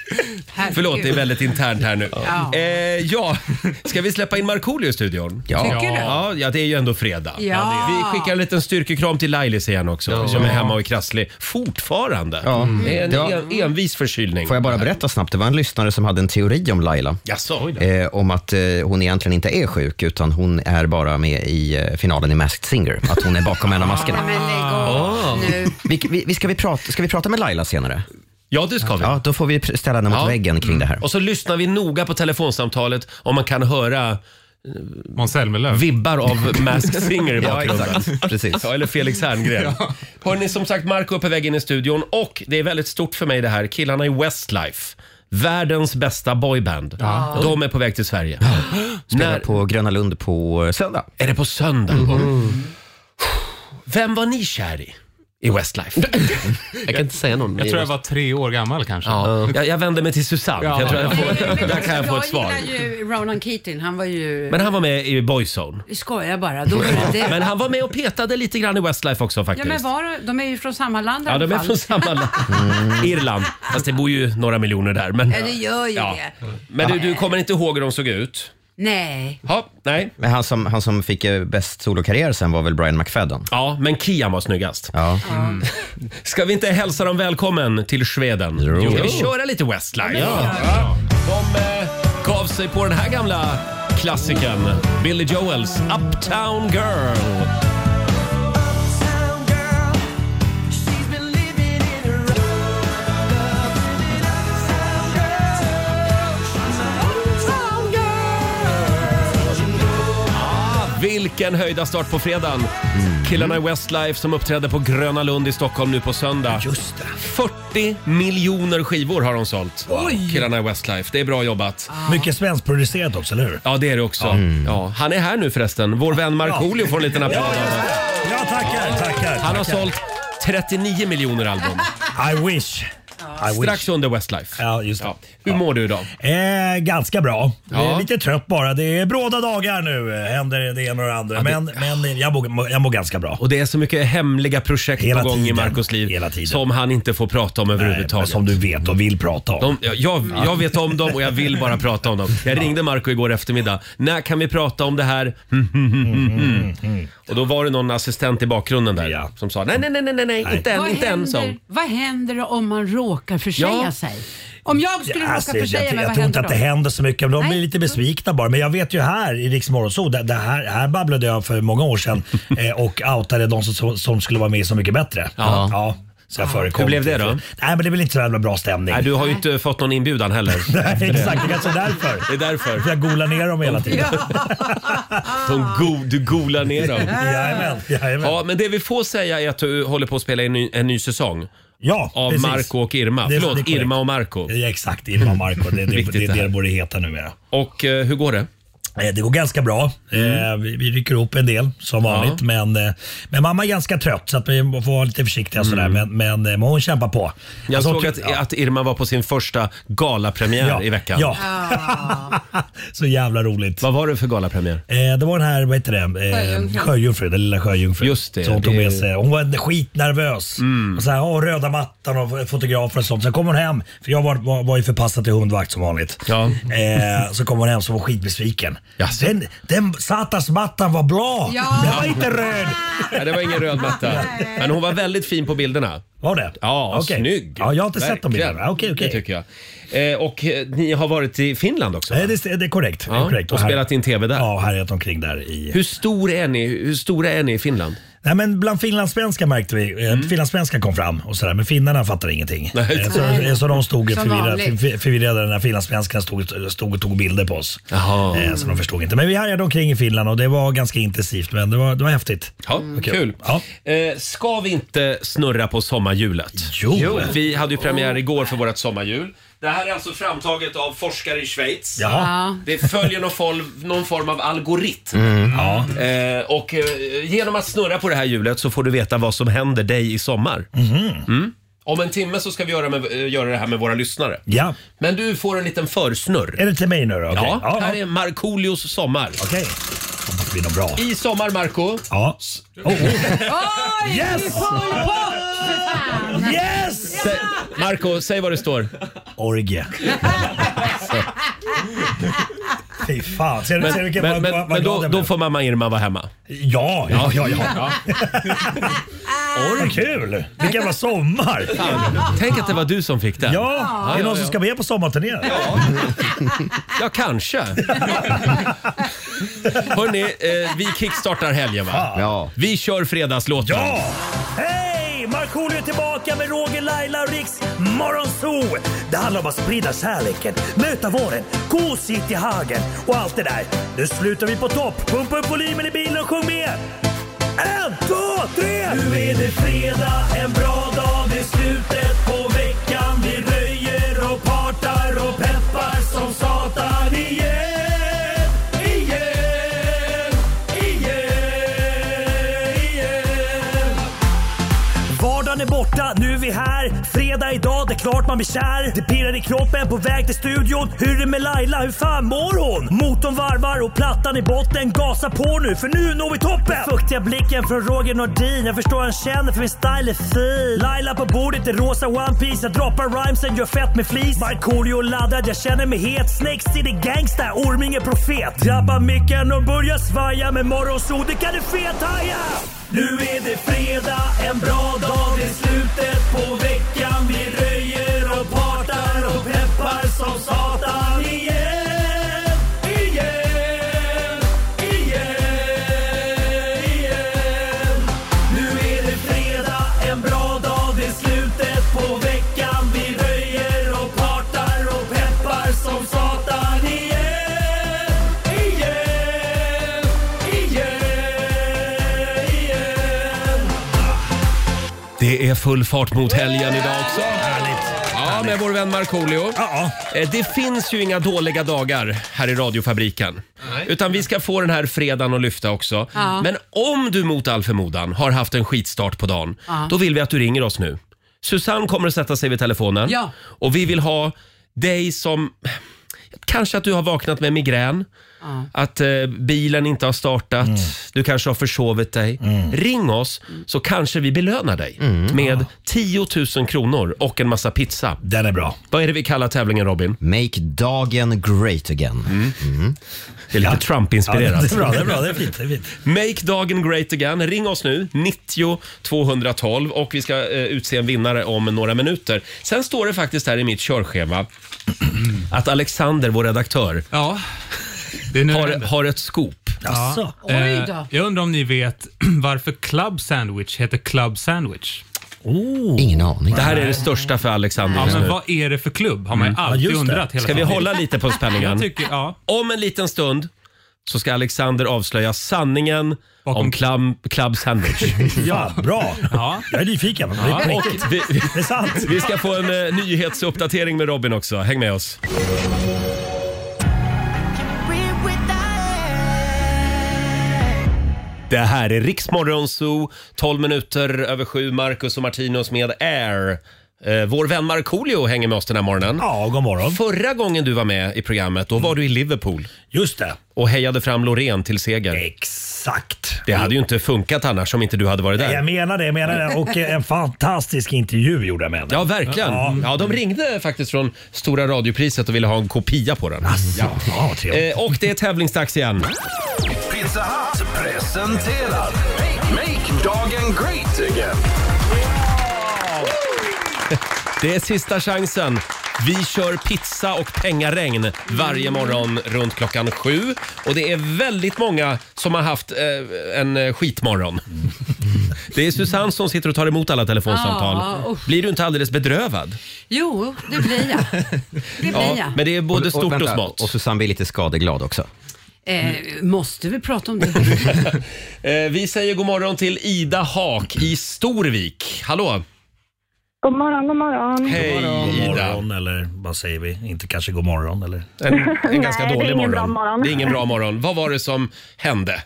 Speaker 3: Herregud.
Speaker 1: Förlåt, det är väldigt internt här nu.
Speaker 3: Ja.
Speaker 1: Eh, ja, ska vi släppa in Markoolio i studion?
Speaker 2: Ja.
Speaker 3: Tycker du?
Speaker 1: Ja, ja, det är ju ändå fredag.
Speaker 3: Ja.
Speaker 1: Vi skickar en liten styrkekram till Lailis igen också, som är hemma och är krasslig fortfarande.
Speaker 2: Ja.
Speaker 1: Det är en
Speaker 2: Det var-
Speaker 1: en, envis förkylning.
Speaker 2: Får jag bara berätta snabbt, det var en lyssnare som hade en teori om Laila.
Speaker 1: Jaså?
Speaker 2: Eh, om att eh, hon egentligen inte är sjuk, utan hon är bara med i eh, finalen i Masked Singer. Att hon är bakom en av
Speaker 3: Nej,
Speaker 2: maskerna.
Speaker 3: Men lägg
Speaker 1: Ah.
Speaker 3: av nu.
Speaker 2: Vi, vi, vi- ska, vi prata, ska vi prata med Laila senare?
Speaker 1: Ja, det ska vi.
Speaker 2: Ja, då får vi pr- ställa henne mot
Speaker 1: Ja. Mm.
Speaker 2: väggen kring det här.
Speaker 1: Och så lyssnar vi noga på telefonsamtalet om man kan höra eh,
Speaker 7: Måns Zelmerlöw.
Speaker 1: vibbar av Masked Singer i
Speaker 2: Ja,
Speaker 1: bakgrunden.
Speaker 2: exakt. Precis.
Speaker 1: Ja, eller Felix Herngren. Hörni, som sagt, Marco är på väg in i studion och det är väldigt stort för mig det här. Killarna i Westlife Världens bästa boyband. De är på väg till Sverige.
Speaker 2: Spelar
Speaker 1: När,
Speaker 2: på Gröna Lund på eh, söndag.
Speaker 1: är det på söndag?
Speaker 7: Mhm.
Speaker 1: Vem var ni kär i? I Westlife.
Speaker 8: Jag kan inte säga någon.
Speaker 7: Jag tror jag var tre år gammal kanske.
Speaker 1: Ja. Jag, jag vänder mig till Susanne.
Speaker 7: Ja.
Speaker 1: Jag tror jag får,
Speaker 3: Men
Speaker 1: där kan jag få ett svar.
Speaker 3: Jag gillar ju Ronan Keating. Han var ju...
Speaker 1: Men han var med i Boyzone.
Speaker 3: Vi skojar bara. Då var det...
Speaker 1: Men han var med och petade lite grann i Westlife också
Speaker 3: ja,
Speaker 1: faktiskt.
Speaker 3: men var, de är ju från samma land i
Speaker 1: Ja,
Speaker 3: alla
Speaker 1: de är
Speaker 3: fall.
Speaker 1: från samma land. Irland. Fast det bor ju några miljoner där. Men,
Speaker 3: Ja, det gör ju
Speaker 1: Ja.
Speaker 3: det.
Speaker 1: men du, du kommer inte ihåg hur de såg ut?
Speaker 3: Nej.
Speaker 1: Ja, nej.
Speaker 2: Men han som, han som fick eh, bäst solokarriär sen var väl Brian McFadden?
Speaker 1: Ja, men Kian var snyggast.
Speaker 2: Ja.
Speaker 1: Ska vi inte hälsa dem välkommen till Sweden? Jo. Ska vi köra lite Westlife? Ja. De eh, gav sig på den här gamla klassikern. Billy Joels Uptown Girl. Vilken höjda start på fredagen! Killarna
Speaker 9: Mm.
Speaker 1: i Westlife som uppträdde på Gröna Lund i Stockholm nu på söndag. Just 40 miljoner skivor har de sålt. Killarna i Westlife. Det är bra jobbat.
Speaker 9: Mycket svenskproducerat också, eller hur?
Speaker 1: Ja, det är det också.
Speaker 9: Mm.
Speaker 1: Ja, han är här nu förresten. Vår vän Markoolio får en liten applåd av oss.
Speaker 9: Ja, tackar, tackar.
Speaker 1: Han har
Speaker 9: tackar.
Speaker 1: sålt 39 miljoner album.
Speaker 9: I wish. I
Speaker 1: Strax
Speaker 9: wish.
Speaker 1: under Westlife.
Speaker 9: Ja, just det.
Speaker 1: Ja. Hur mår du idag?
Speaker 9: Eh, ganska bra.
Speaker 1: Ja.
Speaker 9: Eh, lite trött bara. Det är bråda dagar nu. Eh, Händer det ena och det andra. Men, men jag, mår, jag mår ganska bra.
Speaker 1: Och det är så mycket hemliga projekt
Speaker 9: Hela
Speaker 1: på gång i
Speaker 9: tiden.
Speaker 1: Marcos liv
Speaker 9: Hela tiden.
Speaker 1: som han inte får prata om
Speaker 9: Nej, men
Speaker 1: överhuvudtaget.
Speaker 9: som du vet och vill prata om.
Speaker 1: De, jag- jag, jag vet om dem och jag vill bara prata om dem. Jag ringde Marco igår eftermiddag. När kan vi prata om det här? Och då var det någon assistent i bakgrunden där
Speaker 9: Ja.
Speaker 1: som sa nej, nej, nej, nej, nej, inte än,
Speaker 3: Vad
Speaker 1: inte än. sa
Speaker 3: händer,
Speaker 1: hon.
Speaker 3: vad händer om man råkar försäga
Speaker 1: Ja.
Speaker 3: sig? Om jag skulle
Speaker 9: Ja, alltså,
Speaker 3: råka
Speaker 9: jag,
Speaker 3: försäga
Speaker 9: jag,
Speaker 3: mig, vad
Speaker 9: tror inte
Speaker 3: händer
Speaker 9: att det
Speaker 3: då?
Speaker 9: händer så mycket. De blir
Speaker 3: Nej.
Speaker 9: lite besvikna bara. Men jag vet ju här i Rix Morgonzoo, det, det här, här babblade jag för många år sedan eh, och outade de som- som, som skulle vara med i Så mycket bättre.
Speaker 1: Ja.
Speaker 9: så jag förekom.
Speaker 1: Hur blev det då?
Speaker 9: Nej, men det blev inte så jävla bra stämning.
Speaker 1: Nej, du har ju inte fått någon inbjudan heller.
Speaker 9: Nej, Exakt, det är kanske är därför.
Speaker 1: Det är därför.
Speaker 9: För jag golar ner dem hela tiden.
Speaker 1: De go, du golar ner dem.
Speaker 9: Jajamän, jajamän.
Speaker 1: Ja, men det vi får säga är att du håller på att spela en ny, en ny säsong
Speaker 9: Ja,
Speaker 1: av
Speaker 9: precis.
Speaker 1: Marco och Irma.
Speaker 9: Det är- det är
Speaker 1: Förlåt,
Speaker 9: korrekt.
Speaker 1: Irma och Marco.
Speaker 9: Ja, exakt, Irma och Marco. Det, det,
Speaker 1: Viktigt
Speaker 9: det, det,
Speaker 1: det här.
Speaker 9: det borde heta numera.
Speaker 1: Och eh, hur Mm. går det?
Speaker 9: Eh, Det går ganska bra. Eh, Vi, vi rycker upp en del som vanligt. Men, eh, men mamma är ganska trött så att vi får vara lite försiktiga. och Sådär. Men, men, eh, men hon kämpar på.
Speaker 1: Mm. Jag
Speaker 9: Alltså,
Speaker 1: såg
Speaker 9: ty-
Speaker 1: att,
Speaker 9: ja.
Speaker 1: att Irma var på sin första galapremiär
Speaker 9: Ja,
Speaker 1: i veckan.
Speaker 9: Ja. så jävla roligt.
Speaker 1: Vad var det för galapremiär?
Speaker 9: Eh, det var den här, vad heter det, eh, Sjöjungfrun, den lilla Sjöjungfrun.
Speaker 1: Just det,
Speaker 9: som hon tog
Speaker 1: det- Mm.
Speaker 9: med sig. Hon var skitnervös. Och så här, åh, röda mattan och fotografer och sånt. Sen kom hon hem, för jag var, var, var ju förpassad till hundvakt som vanligt.
Speaker 1: Ja.
Speaker 9: Eh, så kom hon hem så var hon skitbesviken.
Speaker 1: Jaså.
Speaker 9: Den, den satans mattan var blå!
Speaker 3: Ja.
Speaker 9: Den var inte röd!
Speaker 1: Nej, det var ingen röd matta. Men hon var väldigt fin på bilderna.
Speaker 9: Var det?
Speaker 1: Ja,
Speaker 9: Okej.
Speaker 1: snygg.
Speaker 9: Ja, jag har inte sett dem
Speaker 1: Verkligen.
Speaker 9: innan. Okej, okej.
Speaker 1: Det tycker jag. Eh, och eh, ni har varit i Finland också? va?
Speaker 9: Nej, det, är- det är korrekt. det
Speaker 1: Ja,
Speaker 9: är korrekt.
Speaker 1: och spelat in TV där.
Speaker 9: Ja, härjat omkring där i...
Speaker 1: Hur, stor är ni? Hur stora är ni i Finland?
Speaker 9: Nej, men bland finlandssvenskar märkte vi. Mm. Finlandssvenskar kom fram och sådär, men finnarna fattade ingenting.
Speaker 1: Nej.
Speaker 9: Eh, Så, så de stod
Speaker 3: Som
Speaker 9: förvirrade,
Speaker 3: vanligt.
Speaker 9: förvi- förvirrade när finlandssvenskarna stod, stod och tog bilder på oss.
Speaker 1: Jaha.
Speaker 9: Eh, Så de förstod inte. Men vi härjade omkring i Finland och det var ganska intensivt, men det var, det var häftigt.
Speaker 1: Ja, kul.
Speaker 9: Mm. Ja.
Speaker 1: Eh, ska vi inte snurra på sommarhjulet?
Speaker 9: Jo.
Speaker 1: Vi hade ju premiär igår för vårt sommarhjul. Det här är alltså framtaget av forskare i Schweiz.
Speaker 9: Jaha.
Speaker 3: Ja.
Speaker 1: Det följer någon form, någon form av algoritm.
Speaker 9: Ja.
Speaker 1: Eh, och eh, genom att snurra på det här hjulet så får du veta vad som händer dig i sommar.
Speaker 9: Mhm.
Speaker 1: Mm. Om en timme så ska vi göra, med, eh, göra det här med våra lyssnare.
Speaker 9: ja.
Speaker 1: Men du får en liten försnurr.
Speaker 9: Är det till mig nu då? Okej.
Speaker 1: Ja,
Speaker 9: ja.
Speaker 1: här är Markoolios sommar.
Speaker 9: Okej. Hoppas det blir något bra.
Speaker 1: I sommar, Marco
Speaker 9: Ja. Oh, oh.
Speaker 3: Oj!
Speaker 9: Yes!
Speaker 3: Pol Pot!
Speaker 9: Yes!
Speaker 1: Sä, Marco, säg vad det står.
Speaker 9: Orgie. Fy fan. Ser du, ser du
Speaker 1: Men,
Speaker 9: vilken
Speaker 1: men,
Speaker 9: vad-
Speaker 1: men,
Speaker 9: vad
Speaker 1: men
Speaker 9: glad jag
Speaker 1: då, då
Speaker 9: blev?
Speaker 1: får mamma Irma vara hemma.
Speaker 9: Ja, ja, ja. ja.
Speaker 1: Org.
Speaker 9: Vad kul! Vilken jävla sommar!
Speaker 1: Tänk att det var du som fick den.
Speaker 9: Ja, är det
Speaker 1: ja,
Speaker 9: någon
Speaker 1: ja.
Speaker 9: som ska med på sommarturné?
Speaker 1: Ja, kanske. Hörni, eh, vi kickstartar helgen va?
Speaker 2: Ja.
Speaker 1: Vi kör fredagslåten.
Speaker 9: Ja! Hej! Markoolio är tillbaka med Roger, Laila och Riks Morgonzoo! Det handlar om att sprida kärleken, möta våren, gosigt i hagen och allt det där. Nu slutar vi på topp! Pumpa upp volymen i bilen och sjung med! En, två, tre! Nu är det fredag, en bra dag, det är slutet på veckan. Vi röjer och partar och Han är borta, nu är vi här. Fredag idag, det är klart man blir kär. Det pirrar i kroppen, på väg till studion. Hur är det med Laila, hur fan mår hon? Motorn varvar och plattan i botten. Gasa på nu, för nu når vi toppen! Den fuktiga blicken från Roger Nordin. Jag förstår han känner, för min style är fin. Laila på bordet i rosa One Piece Jag droppar rhymesen, gör fett med flis. Markoolio laddad, jag känner mig het. Snake City gangsta, Orming är profet. Drabbar micken och börjar svaja. Med morgonsol, det kan du fethaja! Nu är det fredag, en bra dag. Det är slutet på veckan. Vi röjer och partar och peppar som satan. Igen, igen, igen, igen. Nu är det fredag, en bra dag. Det är slutet på veckan. Vi röjer och partar och peppar som satan. Igen, igen, igen, igen.
Speaker 1: Det är full fart mot helgen idag också. Ja, med vår vän Markoolio.
Speaker 9: Ja,
Speaker 1: Eh, Det finns ju inga dåliga dagar här i radiofabriken. Utan vi ska få den här fredagen att lyfta också.
Speaker 3: Ja.
Speaker 1: Men om du mot all förmodan har haft en skitstart på dagen,
Speaker 3: Ja.
Speaker 1: då vill vi att du ringer oss nu. Susanne kommer att sätta sig vid telefonen.
Speaker 3: Ja.
Speaker 1: Och vi vill ha dig som... Kanske att du har vaknat med migrän. Att eh, bilen inte har startat.
Speaker 9: Mm.
Speaker 1: Du kanske har försovit dig. Ring oss så kanske vi belönar dig
Speaker 9: Mm.
Speaker 1: med 10 000 kronor och en massa pizza.
Speaker 9: den är bra.
Speaker 1: Vad är det vi kallar tävlingen Robin?
Speaker 2: Make dagen great again.
Speaker 1: Mm.
Speaker 2: Mm.
Speaker 1: Det är lite
Speaker 9: Ja, det
Speaker 1: Trump-inspirerat. Mm.
Speaker 9: är bra, det är bra, det är fint. Det är fint.
Speaker 1: Make dagen great again. Ring oss nu, 90 212 och vi ska eh, utse en vinnare om några minuter. Sen står det faktiskt här i mitt körschema att Alexander, vår redaktör,
Speaker 7: Ja, det är nu
Speaker 1: har,
Speaker 7: det händer.
Speaker 1: har ett scoop.
Speaker 9: Jaså?
Speaker 3: Oj
Speaker 7: Eh,
Speaker 3: då.
Speaker 7: Jag undrar om ni vet varför Club Sandwich heter Club Sandwich?
Speaker 1: Oh.
Speaker 2: Oh. Ingen aning.
Speaker 1: Det här är det största för Alexander
Speaker 7: Ja,
Speaker 1: just
Speaker 7: men
Speaker 1: nu. Mm.
Speaker 7: vad är det för klubb? Har man ju alltid
Speaker 9: just det.
Speaker 7: undrat hela
Speaker 1: Ska vi
Speaker 7: tiden.
Speaker 1: hålla lite på
Speaker 7: Jag
Speaker 1: spänningen?
Speaker 7: tycker, ja.
Speaker 1: Om en liten stund så ska Alexander avslöja sanningen
Speaker 7: Bakom-
Speaker 1: om club, club Sandwich.
Speaker 9: Ja, bra.
Speaker 7: Ja.
Speaker 9: Jag är nyfiken. Det är
Speaker 1: Och
Speaker 9: präktigt.
Speaker 1: vi, vi,
Speaker 9: Det är sant.
Speaker 1: vi ska få en eh, nyhetsuppdatering med Robin också. Häng med oss. Det här är Riksmorgon Zoo, 12 minuter över sju. Marcus och Martinus med Air. Eh, Vår vän Markoolio hänger med oss den här morgonen.
Speaker 9: Ja, god morgon.
Speaker 1: Förra gången du var med i programmet, då var du i Liverpool
Speaker 9: Just det.
Speaker 1: och hejade fram Loreen till seger.
Speaker 9: Exakt.
Speaker 1: Det hade ju inte funkat annars om inte du hade varit
Speaker 9: Jag
Speaker 1: där.
Speaker 9: menar det, jag menar det. Och eh, en fantastisk intervju gjorde jag med henne.
Speaker 1: Ja, verkligen.
Speaker 9: Ja.
Speaker 1: Ja, de ringde faktiskt från Stora radiopriset och ville ha en kopia på den.
Speaker 9: Ja, ja trevligt.
Speaker 1: Eh, Och det är tävlingsdags igen.
Speaker 4: Pizza Hut presenterar Make dagen great again.
Speaker 1: Det är sista chansen. Vi kör pizza och pengaregn
Speaker 3: Mm.
Speaker 1: varje morgon runt klockan sju. Och det är väldigt många som har haft eh, en eh, skitmorgon.
Speaker 3: Mm.
Speaker 1: Det är Susanne som sitter och tar emot alla telefonsamtal.
Speaker 3: Ja, usch.
Speaker 1: Blir du inte alldeles bedrövad?
Speaker 3: Jo, det blir jag. Det blir jag.
Speaker 1: men det är både
Speaker 2: och,
Speaker 1: stort och,
Speaker 2: vänta,
Speaker 1: smått.
Speaker 2: Och Susanne blir lite skadeglad också.
Speaker 3: Eh, måste vi prata om det?
Speaker 1: Eh, vi säger god morgon till Ida Haak i Storvik. Hallå!
Speaker 5: God morgon, god morgon.
Speaker 1: Hej
Speaker 9: God
Speaker 1: Ida!
Speaker 9: morgon, eller vad säger vi? Inte kanske god morgon, eller?
Speaker 1: En, en ganska
Speaker 5: Nej, det är
Speaker 1: dålig
Speaker 5: ingen bra
Speaker 1: morgon.
Speaker 5: morgon.
Speaker 1: Det är ingen bra morgon. Vad var det som hände?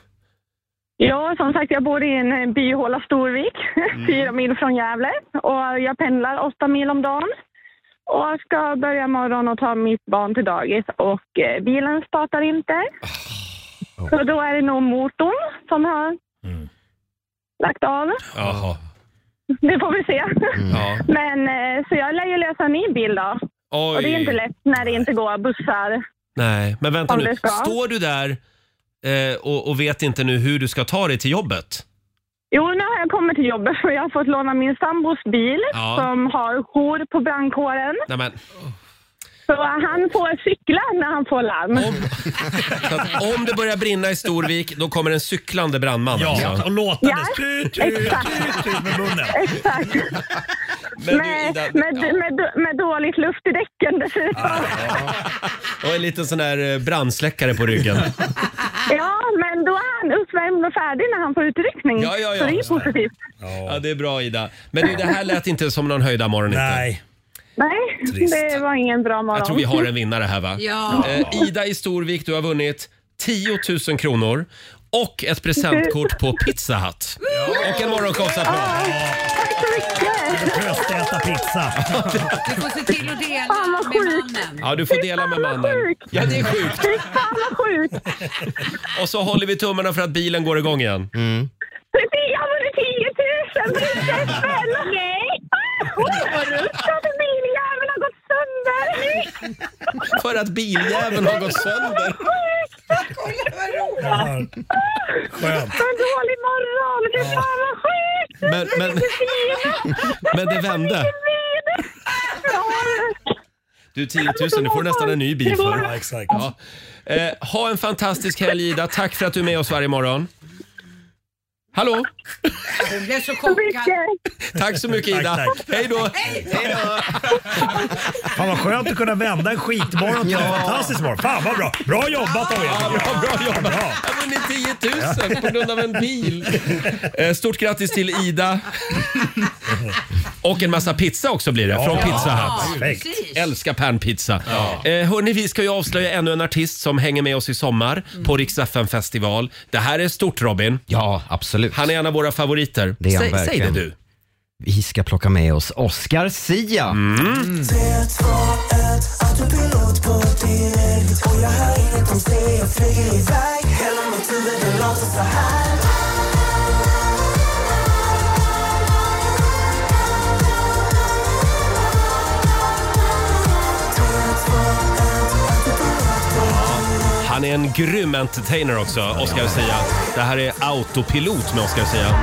Speaker 5: Ja, som sagt, jag bor i en eh, byhåla Storvik,
Speaker 1: Mm.
Speaker 5: fyra mil från Gävle. Och jag pendlar åtta mil om dagen. Och jag ska börja morgon och ta mitt barn till dagis och eh, bilen startar inte.
Speaker 1: Ah.
Speaker 5: Så då är det nog motorn som har
Speaker 1: Mm.
Speaker 5: lagt av.
Speaker 1: Jaha.
Speaker 5: Det får vi se.
Speaker 1: Ja.
Speaker 5: Men eh, så jag lär ju lösa en ny bil då.
Speaker 1: Oj.
Speaker 5: Och det är inte lätt när det inte går bussar.
Speaker 1: Nej, men vänta
Speaker 5: Om
Speaker 1: nu.
Speaker 5: det ska.
Speaker 1: Står du där eh, och, och vet inte nu hur du ska ta dig till jobbet?
Speaker 5: Jo, nu har jag kommit till jobbet för jag har fått låna min sambos bil
Speaker 1: Ja.
Speaker 5: som har jour på brandkåren.
Speaker 1: Nej, men,
Speaker 5: Så han får cykla när han får larm.
Speaker 1: så att om det börjar brinna i Storvik, då kommer en cyklande brandman.
Speaker 9: Ja,
Speaker 1: alltså.
Speaker 9: och låtandes.
Speaker 5: Ja,
Speaker 9: Tut, tut,
Speaker 5: exakt.
Speaker 9: tut, tut med munnen.
Speaker 5: Exakt.
Speaker 1: Men du,
Speaker 5: med,
Speaker 1: Ida,
Speaker 5: med,
Speaker 1: ja. Ah.
Speaker 5: med, med dåligt luft i däcken dessutom.
Speaker 1: Och en liten sån där eh, brandsläckare på ryggen.
Speaker 5: Ja, men då är han uppvärmd och färdig när han får utryckning.
Speaker 1: Ja, ja, ja.
Speaker 5: Så det är ju positivt.
Speaker 1: Ja, det är bra Ida. Men du, det här lät inte som någon höjda morgon inte.
Speaker 9: Nej.
Speaker 5: Nej, det var ingen bra morgon.
Speaker 1: Jag tror vi har en vinnare här va?
Speaker 3: Ja.
Speaker 1: Eh, Ida i Storvik, du har vunnit 10 000 kronor. och ett presentkort på Pizza Hut. Och en morgonshowsapplåd.
Speaker 5: Tack så mycket!
Speaker 9: Röstäta pizza.
Speaker 3: Du får se till att dela
Speaker 5: Fan, vad
Speaker 3: med
Speaker 5: sjukt.
Speaker 3: mannen.
Speaker 1: Ja, du får dela med mannen. Ja, det är sjukt.
Speaker 5: Fy fan vad sjukt!
Speaker 1: Och så håller vi tummarna för att bilen går igång igen.
Speaker 5: Precis, jag vunnit 10 000 prinsessan! Nej! Vad rusk att biljäveln har gått sönder!
Speaker 1: För att biljäveln har gått sönder.
Speaker 9: Skönt.
Speaker 5: Vad dålig morgon! Fy fan vad sjukt!
Speaker 1: Men, men, men det vände. Du, 10 000, det får du nästan en ny bil
Speaker 9: Ja,
Speaker 1: för.
Speaker 9: exakt.
Speaker 1: Ja. Eh, ha en fantastisk helg Ida. Tack för att du är med oss varje morgon. Hallå?
Speaker 3: Hon blev så chockad.
Speaker 1: Tack så mycket Ida.
Speaker 9: Tack, tack.
Speaker 1: Hej då!
Speaker 9: Fan vad skönt att kunna vända en skitmorgon till en fantastisk morgon. Fan vad bra. Bra jobbat av er.
Speaker 1: Ja, bra, bra jobbat!
Speaker 9: Bra.
Speaker 1: Jag har vunnit 10 000 på grund av en bil. Eh, Stort grattis till Ida. Och en massa pizza också blir det, från Pizza Hut.
Speaker 9: Perfekt.
Speaker 3: Precis.
Speaker 1: Älskar pannpizza. Eh, hörni, vi ska ju avslöja ännu en artist som hänger med oss i sommar på Rix FM festival. Det här är stort Robin.
Speaker 2: Mm. Ja, absolut.
Speaker 1: Han är en av våra favoriter.
Speaker 2: Det är han
Speaker 1: säg, säg det
Speaker 2: verkligen.
Speaker 1: du.
Speaker 2: Vi ska plocka med oss Oscar Sia.
Speaker 1: Mm. Han är en grym entertainer också, Oscar Sia. Det här är Autopilot med Oscar Sia.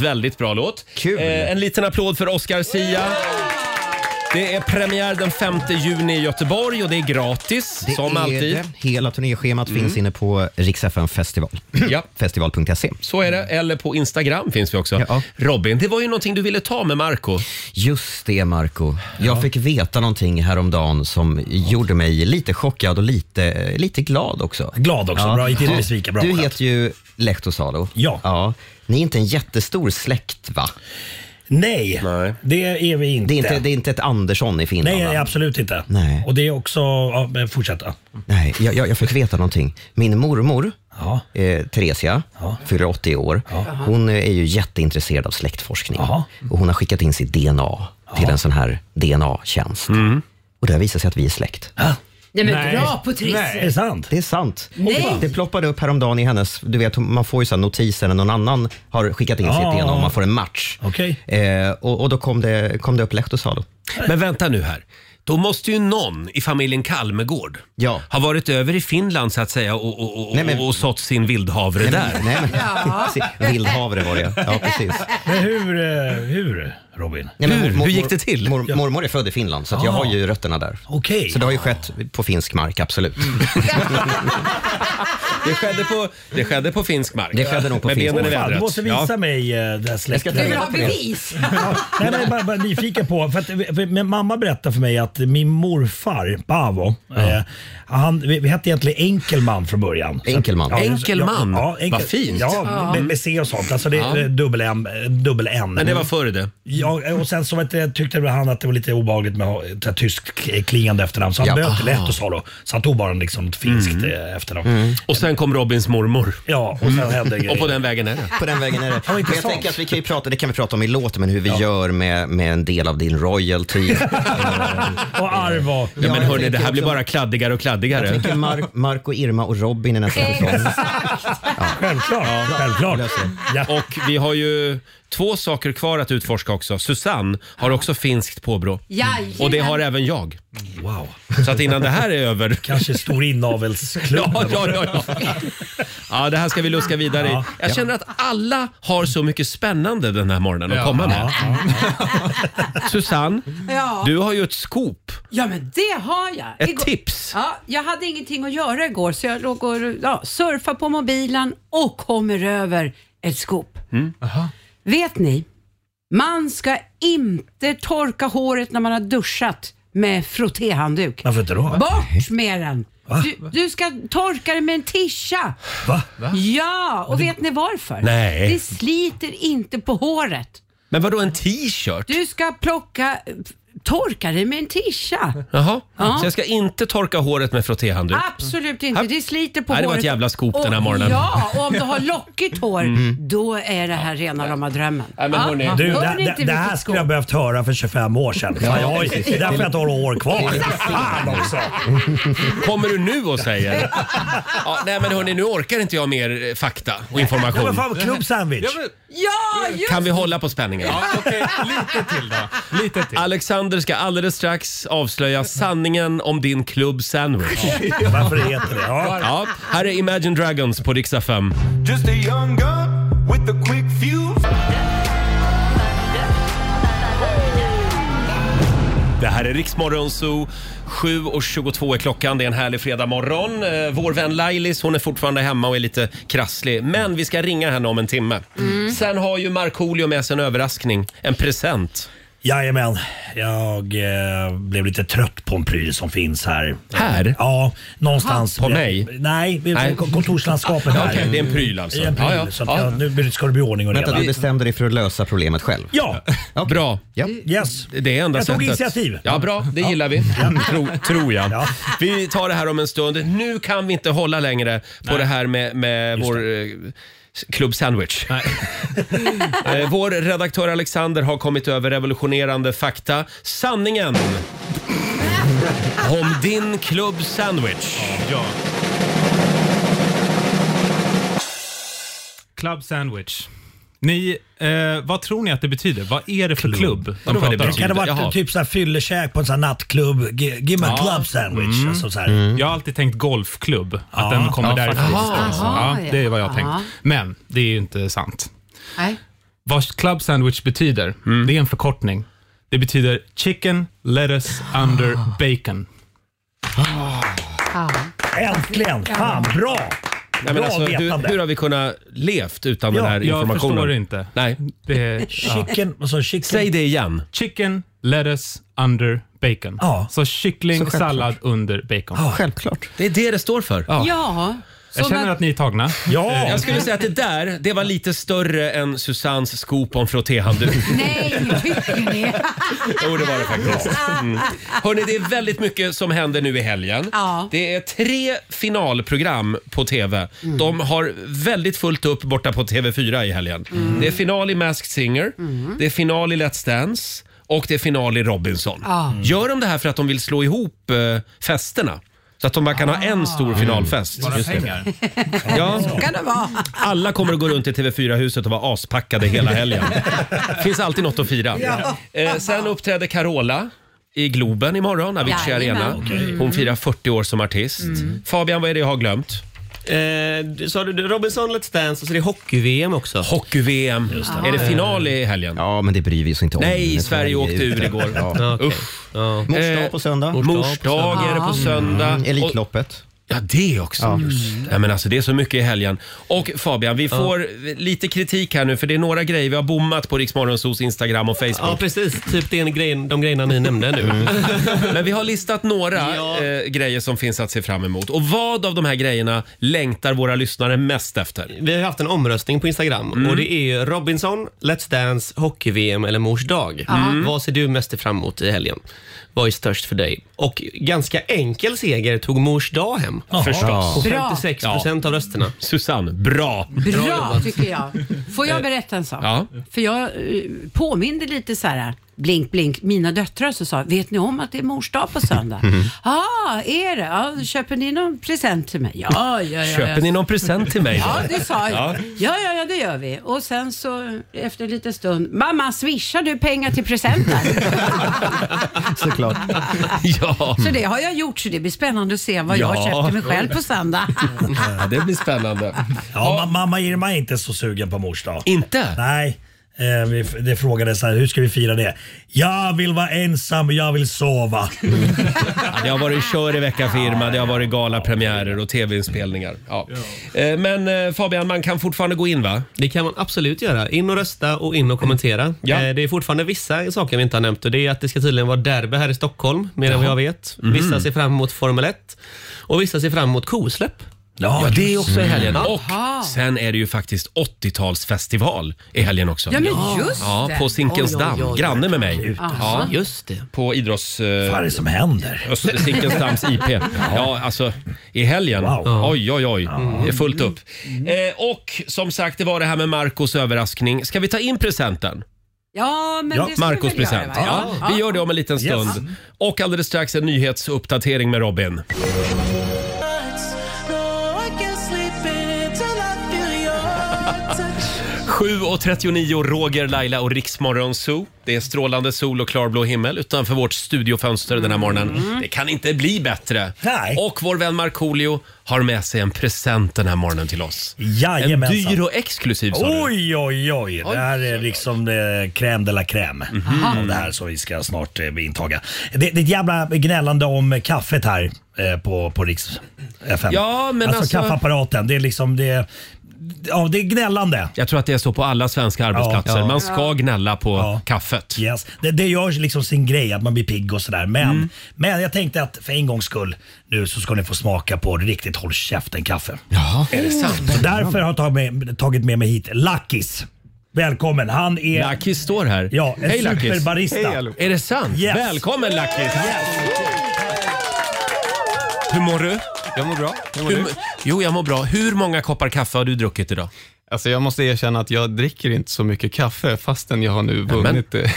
Speaker 1: Väldigt bra låt.
Speaker 2: Kul.
Speaker 1: Eh, en liten applåd för Oscar Sia. Det är premiär den 5 juni i Göteborg och det är gratis
Speaker 2: Det
Speaker 1: som
Speaker 2: är
Speaker 1: alltid. Mm.
Speaker 2: Det. Hela turnéschemat finns inne på riksfn festival.
Speaker 1: Ja.
Speaker 2: festival.se.
Speaker 1: Så är det. Eller på Instagram finns vi också.
Speaker 2: Ja.
Speaker 1: Robin, det var ju någonting du ville ta med Marco
Speaker 2: Just det, Marco. Jag fick veta någonting häromdagen som gjorde mig lite chockad och lite, lite glad också.
Speaker 9: Glad också. Bra. Inte
Speaker 2: Du-
Speaker 9: besviken. Bra.
Speaker 2: Du
Speaker 9: skönt.
Speaker 2: heter ju Lehtosalo.
Speaker 9: Ja.
Speaker 2: ja. Ni är inte en jättestor släkt, va?
Speaker 9: Nej,
Speaker 1: Nej.
Speaker 9: det är vi inte.
Speaker 2: Det är inte, det är inte ett Andersson i Finland?
Speaker 9: Nej,
Speaker 2: va?
Speaker 9: nej, absolut inte.
Speaker 2: Nej.
Speaker 9: Och det är också... Ja, men fortsätt. ja.
Speaker 2: Nej, jag, jag, jag fick veta någonting. Min mormor,
Speaker 9: Ja.
Speaker 2: eh, Theresia, fyller 80 år. Hon eh, är ju jätteintresserad av släktforskning.
Speaker 9: Jaha.
Speaker 2: Och hon har skickat in sitt DNA till en sån här DNA-tjänst.
Speaker 9: Mm.
Speaker 2: Och det har visat sig att vi är släkt.
Speaker 3: Nej men
Speaker 9: Nej.
Speaker 3: dra på
Speaker 9: Nej, är
Speaker 3: trissen.
Speaker 9: det sant?
Speaker 2: Det är sant.
Speaker 3: Nej.
Speaker 2: Det ploppade upp häromdagen i hennes, du vet man får ju sån notiser när någon annan har skickat in
Speaker 9: Ja.
Speaker 2: sitt DNA och man får en match.
Speaker 9: Okej.
Speaker 2: Eh, och, och då kom det, kom det upp Lehtosalo.
Speaker 1: Men vänta nu här. Då måste ju någon i familjen Kalmegård
Speaker 2: Ja.
Speaker 1: ha varit över i Finland så att säga och, och, och,
Speaker 2: Nej, men-
Speaker 1: och sått sin vildhavre där.
Speaker 2: Nej, men, Vildhavre var det ja, precis.
Speaker 9: Men hur, eh, hur Robin?
Speaker 2: Nej, men
Speaker 1: Hur?
Speaker 2: mor- mor-
Speaker 1: Hur gick det till?
Speaker 2: Mor, mormor är född i Finland så att jag
Speaker 9: Ah.
Speaker 2: har ju rötterna där.
Speaker 9: Okej.
Speaker 2: Så det har ju skett på finsk mark, absolut.
Speaker 1: Det skedde på, det skedde på finsk mark.
Speaker 2: Det skedde nog på
Speaker 1: Med
Speaker 2: finsk
Speaker 1: benen i
Speaker 2: mark.
Speaker 9: Fan,
Speaker 1: vädret.
Speaker 9: du måste visa
Speaker 1: Ja.
Speaker 9: mig eh, det här släktet.
Speaker 3: Du vill ha bevis?
Speaker 9: Nej, men jag är bara, bara nyfiken på. För att, för, men mamma berättade för mig att min morfar, Paavo, eh, han, vi, vi hette egentligen Enkelman från början. Så-
Speaker 2: Enkelman.
Speaker 9: just-
Speaker 1: Enkelman? Vad fint.
Speaker 9: Ja, med, med C och sånt. Alltså det är eh, dubbel M. eh, Dubbel N.
Speaker 1: Men det var före det.
Speaker 9: Ja, och sen så vet jag, tyckte väl han att det var lite obehagligt med ha- ett tyskt eh, klingande efternamn. Så han
Speaker 2: Ja.
Speaker 9: böt till lätt och sa då. Så han tog bara liksom ett finskt
Speaker 1: Mm.
Speaker 9: eh, efternamn.
Speaker 2: Mm.
Speaker 1: Och sen kom Robins mormor. Mm.
Speaker 9: Ja, och sen hände grejer.
Speaker 1: Och på den vägen är det.
Speaker 2: På den vägen är det. Men jag
Speaker 9: intressant.
Speaker 2: tänker att vi kan ju prata, det kan vi prata om i låten, men hur vi gör med, med en del av din royalty.
Speaker 9: Och arv och...
Speaker 1: Ja, men
Speaker 2: jag
Speaker 1: hörni, det
Speaker 2: tänker
Speaker 1: här blir
Speaker 2: också-
Speaker 1: bara kladdigare och
Speaker 2: Jag
Speaker 1: kladdigare.
Speaker 2: tänker Mar- Marco, Irma och Robin i nästa säsong.
Speaker 9: Självklart. Självklart. Ja.
Speaker 1: Och vi har ju två saker kvar att utforska också. Susanne har också finskt påbrå.
Speaker 3: Jajamän.
Speaker 1: Och det har även jag.
Speaker 9: Wow.
Speaker 1: Så att innan det här är över
Speaker 9: Kanske stor inavelsklubb.
Speaker 1: Ja, ja, ja, ja. ja, det här ska vi luska vidare i. Jag känner att alla har så mycket spännande den här morgonen att komma med. Susanne,
Speaker 3: Ja.
Speaker 1: du har ju ett scoop,
Speaker 3: ja men det har jag.
Speaker 1: ett
Speaker 3: Igår-
Speaker 1: tips.
Speaker 3: Ja, jag hade ingenting att göra igår så jag låg och ja, surfade på mobilen och kommer över ett skop.
Speaker 1: Mm.
Speaker 3: Vet ni, man ska inte torka håret när man har duschat med frottéhandduk.
Speaker 9: Varför inte då?
Speaker 3: Bort med den! Du, du ska torka det med en tischa.
Speaker 9: Va?
Speaker 3: Ja, och vet ni varför?
Speaker 1: Nej.
Speaker 3: Det sliter inte på håret.
Speaker 1: Men vadå en t-shirt?
Speaker 3: Du ska plocka torka dig med en tischa.
Speaker 1: Jaha.
Speaker 3: Ja.
Speaker 1: Så jag ska inte torka håret med frottéhandduk?
Speaker 3: Absolut inte,
Speaker 1: Här-
Speaker 3: det sliter på
Speaker 1: Nej, det var
Speaker 3: håret.
Speaker 1: ett jävla scoop den här
Speaker 3: Och-
Speaker 1: morgonen. Mm.
Speaker 3: Ja, och om du har lockigt
Speaker 9: Ah.
Speaker 3: hår, då är det här rena rama drömmen.
Speaker 1: Nej, men hörni.
Speaker 3: Ja,
Speaker 9: Du,
Speaker 3: hör
Speaker 9: det,
Speaker 3: ni inte
Speaker 9: det, det här
Speaker 3: vilket
Speaker 9: skulle jag
Speaker 3: skåp?
Speaker 9: behövt höra för 25 år sedan. Fan, jag har ju, det är därför jag inte har några år kvar. Fan också!
Speaker 1: Kommer du nu och säger? Ja, nej men hörni, nu orkar inte jag mer eh, fakta och
Speaker 9: Ja, men
Speaker 1: information.
Speaker 9: fan, klubb sandwich.
Speaker 3: Ja, just
Speaker 1: Kan vi hålla på spänningen?
Speaker 7: Lite till då. Lite till.
Speaker 1: Alexander ska alldeles strax avslöja sanningen om din klubb sandwich.
Speaker 9: Varför det heter det? Ja.
Speaker 1: Ja, här är Imagine Dragons på riksdag 5.
Speaker 4: Just a young gun with a quick fuse.
Speaker 1: Det här är Riksmorgon Zoo. 7.22 är klockan. Det är en härlig fredagmorgon. Eh, Vår vän Lailis hon är fortfarande hemma och är lite krasslig. Men vi ska ringa henne om en timme. Sen har ju Markoolio med sig en överraskning. En present.
Speaker 9: Jajamän, jag eh, blev lite trött på en pryl som finns här.
Speaker 1: Här?
Speaker 9: Ja, någonstans.
Speaker 1: På mig?
Speaker 9: Nej,
Speaker 1: Nej.
Speaker 9: Nej. kontorslandskapet
Speaker 1: Ja,
Speaker 9: här.
Speaker 1: okej, det är en pryl alltså.
Speaker 9: Det är en pryl,
Speaker 1: Ja, ja.
Speaker 9: Så att
Speaker 1: Ja.
Speaker 9: jag, nu ska det bli ordning och
Speaker 2: Vänta, du
Speaker 9: reda.
Speaker 2: bestämde dig för att lösa problemet själv?
Speaker 9: Ja,
Speaker 2: Okej.
Speaker 1: Bra.
Speaker 2: Ja.
Speaker 9: yes.
Speaker 1: Det är enda
Speaker 9: Jag tog
Speaker 1: sättet.
Speaker 9: initiativ.
Speaker 1: Ja, bra. Det gillar vi. Mm. Tro, tror jag.
Speaker 9: Ja.
Speaker 1: Vi tar det här om en stund. Nu kan vi inte hålla längre på det här med, med vår eh, klubb sandwich. Eh, vår redaktör Alexander har kommit över revolutionerande fakta. Sanningen om din klubb sandwich.
Speaker 7: Club sandwich. Ni, eh, vad tror ni att det betyder? Vad är det för klubb? de
Speaker 1: Vadå, vad det
Speaker 7: pratar om?
Speaker 1: betyder?
Speaker 9: Kan det ha
Speaker 1: Jaha.
Speaker 9: varit typ såhär fyllekäk på en sån här nattklubb? Ge, ge mig en club sandwich.
Speaker 1: Mm.
Speaker 9: Alltså, så här.
Speaker 7: Mm. Jag har alltid tänkt golfklubb, att den kommer
Speaker 2: Ja,
Speaker 7: därifrån.
Speaker 2: faktiskt.
Speaker 7: Ja, det är vad jag har tänkt.
Speaker 3: Aha.
Speaker 7: Men det är ju inte sant.
Speaker 3: Nej.
Speaker 7: Vad club sandwich betyder,
Speaker 1: Mm.
Speaker 7: det är en förkortning. Det betyder chicken, lettuce, under
Speaker 1: Ah.
Speaker 7: bacon.
Speaker 3: Ja.
Speaker 9: Äntligen! Fan, bra!
Speaker 1: Nej, men
Speaker 9: bra
Speaker 1: alltså, hur,
Speaker 9: vetande.
Speaker 1: hur har vi kunnat levt utan
Speaker 9: Ja,
Speaker 1: den här
Speaker 7: Jag
Speaker 1: informationen?
Speaker 7: förstår inte.
Speaker 1: Nej.
Speaker 7: Det är, ja.
Speaker 9: Chicken, alltså chicken.
Speaker 1: Säg det igen.
Speaker 7: Chicken, lettuce, under bacon.
Speaker 9: Ja.
Speaker 7: Så kyckling,
Speaker 2: Så självklart.
Speaker 7: sallad, under bacon.
Speaker 2: Självklart.
Speaker 1: Det är det det står för.
Speaker 3: ja.
Speaker 7: Jag
Speaker 3: Så
Speaker 7: känner
Speaker 3: man-
Speaker 7: att ni är tagna.
Speaker 9: Ja!
Speaker 1: Jag skulle säga att det där, det var lite större än Susannes sko på en frottéhandduk.
Speaker 3: Nej, tycker ni?
Speaker 1: Jo, det var det faktiskt. Mm. Hörrni, det är väldigt mycket som händer nu i helgen.
Speaker 3: Ja.
Speaker 1: Det är tre finalprogram på TV.
Speaker 3: Mm.
Speaker 1: De har väldigt fullt upp borta på TV4 i helgen.
Speaker 3: Mm.
Speaker 1: Det är final i Masked Singer, det är final i Let's Dance och det är final i Robinson. Mm.
Speaker 3: Ja.
Speaker 1: Gör de det här för att de vill slå ihop eh, festerna? Så att de bara kan ha
Speaker 3: Ah.
Speaker 1: en stor finalfest.
Speaker 7: Bara
Speaker 1: Just det.
Speaker 7: pengar.
Speaker 1: Ja.
Speaker 3: kan det vara.
Speaker 1: Alla kommer att gå runt i TV4-huset och vara aspackade hela helgen. finns alltid något att fira. Eh, sen uppträder Carola i Globen imorgon, Avicii
Speaker 3: Jajamän.
Speaker 1: Arena. Hon firar 40 år som artist. Fabian, vad är det jag har glömt?
Speaker 8: Eh, sa du Robinson, Let's Dance och så är det hockey-VM också.
Speaker 1: Hockey-VM. Är det final i helgen?
Speaker 2: Ja, men det bryr vi oss inte om.
Speaker 1: Nej,
Speaker 2: Nu
Speaker 1: Sverige
Speaker 2: tror jag vi
Speaker 1: åkte
Speaker 2: är ute.
Speaker 1: ur igår.
Speaker 2: Ja.
Speaker 1: Usch.
Speaker 8: Ja.
Speaker 2: Morsdag
Speaker 1: Eh,
Speaker 2: på söndag.
Speaker 1: Morsdag är det
Speaker 8: Ah.
Speaker 1: på söndag.
Speaker 8: Mm.
Speaker 1: Och-
Speaker 2: Elitloppet.
Speaker 1: Ja, det också. Ja, men alltså, det är så mycket i helgen. Och Fabian, vi får lite kritik här nu för det är några grejer vi har bommat på Riksmorgonsos Instagram och Facebook. Mm.
Speaker 8: Ja, precis. Typ den grejen, de grejerna ni nämnde nu.
Speaker 1: Men vi har listat några
Speaker 8: Ja.
Speaker 1: eh, grejer som finns att se fram emot. Och vad av de här grejerna längtar våra lyssnare mest efter? Mm.
Speaker 8: Vi har ju haft en omröstning på Instagram och det är Robinson, Let's Dance, Hockey-VM eller Mors dag.
Speaker 1: Mm.
Speaker 8: Vad ser du mest fram emot i helgen? Vad är störst för dig? Och ganska enkel seger tog Mors dag hem.
Speaker 1: Förstås.
Speaker 8: På
Speaker 3: Bra.
Speaker 8: 56 procent av rösterna.
Speaker 1: Susanne, bra!
Speaker 3: Bra tycker jag. Får jag berätta en sak?
Speaker 1: Eh, Ja.
Speaker 3: För jag eh, påminde lite så här, blink blink, mina döttrar så sa, vet ni om att det är mors dag på söndag?
Speaker 1: Mm.
Speaker 3: Ja, ah, är det? Ja, köper ni någon present till mig? Ja, ja, ja. ja.
Speaker 1: Köper ni någon present till mig då?
Speaker 3: Ja, det sa jag. Ja, ja, ja, det gör vi. Och sen så efter en liten stund, mamma swishar du pengar till presenten?
Speaker 2: Såklart.
Speaker 1: Ja,
Speaker 3: så det har jag gjort, så det blir spännande att se vad
Speaker 1: Ja.
Speaker 3: jag köpte mig själv på söndag.
Speaker 1: Ja, det blir spännande.
Speaker 9: Ja, ma- mamma Irma är inte så sugen på mors dag.
Speaker 1: Inte?
Speaker 9: Nej. Eh, vi, det frågades så här, hur ska vi fira det? Jag vill vara ensam och jag vill sova.
Speaker 1: Det har varit kör i veckan för Irma, det har varit galapremiärer och tv-inspelningar. Ja. Eh, Men eh, Fabian, man kan fortfarande gå in va?
Speaker 8: Det kan man absolut göra. In och rösta och in och kommentera.
Speaker 1: Ja.
Speaker 8: Eh, Det är fortfarande vissa saker vi inte har nämnt och det är att det ska tydligen vara derby här i
Speaker 1: Mhm.
Speaker 8: Stockholm, mer än vad jag vet. Vissa ser fram emot Formel 1 och vissa ser fram emot kosläpp.
Speaker 1: Ja, det är också i helgen. Och
Speaker 3: Jaha.
Speaker 1: sen är det ju faktiskt 80-talsfestival i helgen också.
Speaker 3: Ja, men just
Speaker 1: Ja,
Speaker 3: det.
Speaker 1: på Zinkensdamm,
Speaker 8: Oj, oj, oj.
Speaker 1: granne med mig.
Speaker 3: alltså.
Speaker 1: Ja,
Speaker 8: Just det.
Speaker 1: på idrotts... eh,
Speaker 9: Vad är det som händer?
Speaker 1: Öster Zinkensdamms IP. Ja, alltså i helgen.
Speaker 9: Wow.
Speaker 1: Oj, oj, oj. Det är fullt upp. Eh, och som sagt, det var det här med Marcos överraskning. Ska vi ta in presenten?
Speaker 3: Ja, men
Speaker 9: Ja,
Speaker 3: det ska vi
Speaker 1: Marcos
Speaker 3: väl göra,
Speaker 1: present.
Speaker 3: va?
Speaker 1: Ja, vi gör det om en liten
Speaker 9: Yes.
Speaker 1: stund. Och alldeles strax en nyhetsuppdatering med Robin. Sju och 39, Roger, Laila och Riksmorgon Zoo. Det är strålande sol och klarblå himmel utanför vårt studiofönster den här morgonen. Det kan inte bli bättre.
Speaker 9: Mm. Nej.
Speaker 1: Och vår vän Markoolio har med sig en present den här morgonen till oss. En
Speaker 9: Jajamensan. Oh!
Speaker 1: dyr och exklusiv sa du.
Speaker 9: Oj, oj, oj. Det här är liksom eh, crème de la crème.
Speaker 1: Mhm.
Speaker 9: av Det här som vi ska snart eh, intaga. Det, det är ett jävla gnällande om eh, kaffet här eh, på, på Riks FM.
Speaker 1: Ja, men alltså-
Speaker 9: kaffeapparaten. Det är liksom det... Ja, det är gnällande.
Speaker 1: Jag tror att det är så på alla svenska arbetsplatser.
Speaker 9: Ja.
Speaker 1: Man ska gnälla på
Speaker 9: Ja.
Speaker 1: kaffet.
Speaker 9: Yes. Det, det gör liksom sin grej att man blir pigg och sådär. Men,
Speaker 1: Mm.
Speaker 9: men jag tänkte att för en gångs skull nu så ska ni få smaka på riktigt håll käften-kaffe.
Speaker 1: Ja. Är det sant?
Speaker 9: Så därför har jag tagit med, tagit med mig hit Lackis. Välkommen. Han är
Speaker 1: Lackis står här.
Speaker 9: ja, en
Speaker 1: Hej Lackis!
Speaker 9: superbarista.
Speaker 1: Är det sant?
Speaker 9: Yes.
Speaker 1: Välkommen Lackis!
Speaker 9: Yes.
Speaker 1: Hur mår du?
Speaker 7: Jag mår bra. Hur mår
Speaker 1: Hur,
Speaker 7: du?
Speaker 1: jo, jag mår bra. Hur många koppar kaffe har du druckit idag?
Speaker 7: Alltså jag måste erkänna att jag dricker inte så mycket kaffe fastän jag har nu vunnit. eh,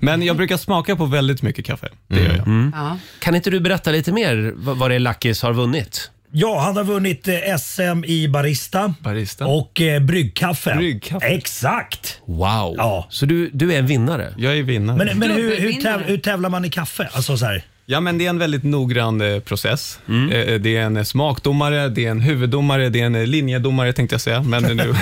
Speaker 7: Men jag brukar smaka på väldigt mycket kaffe. Det
Speaker 1: Mm.
Speaker 7: gör jag.
Speaker 3: Ja.
Speaker 1: Kan inte du berätta lite mer vad vad det är Lackis har vunnit?
Speaker 9: Ja, han har vunnit eh, SM i barista,
Speaker 7: Barista.
Speaker 9: och eh, bryggkaffe.
Speaker 7: Bryggkaffe.
Speaker 9: Exakt!
Speaker 1: Wow!
Speaker 9: Ja.
Speaker 1: Så du, du är en vinnare?
Speaker 7: Jag är vinnare.
Speaker 9: Men, men hur, hur,
Speaker 3: Dubbelvinnare.
Speaker 9: täv, hur tävlar man i kaffe? Alltså så här.
Speaker 7: Ja, men det är en väldigt noggrann eh, process. Eh, eh, Det är en eh, smakdomare, det är en huvuddomare, det är en eh, linjedomare tänkte jag säga. Men, nu.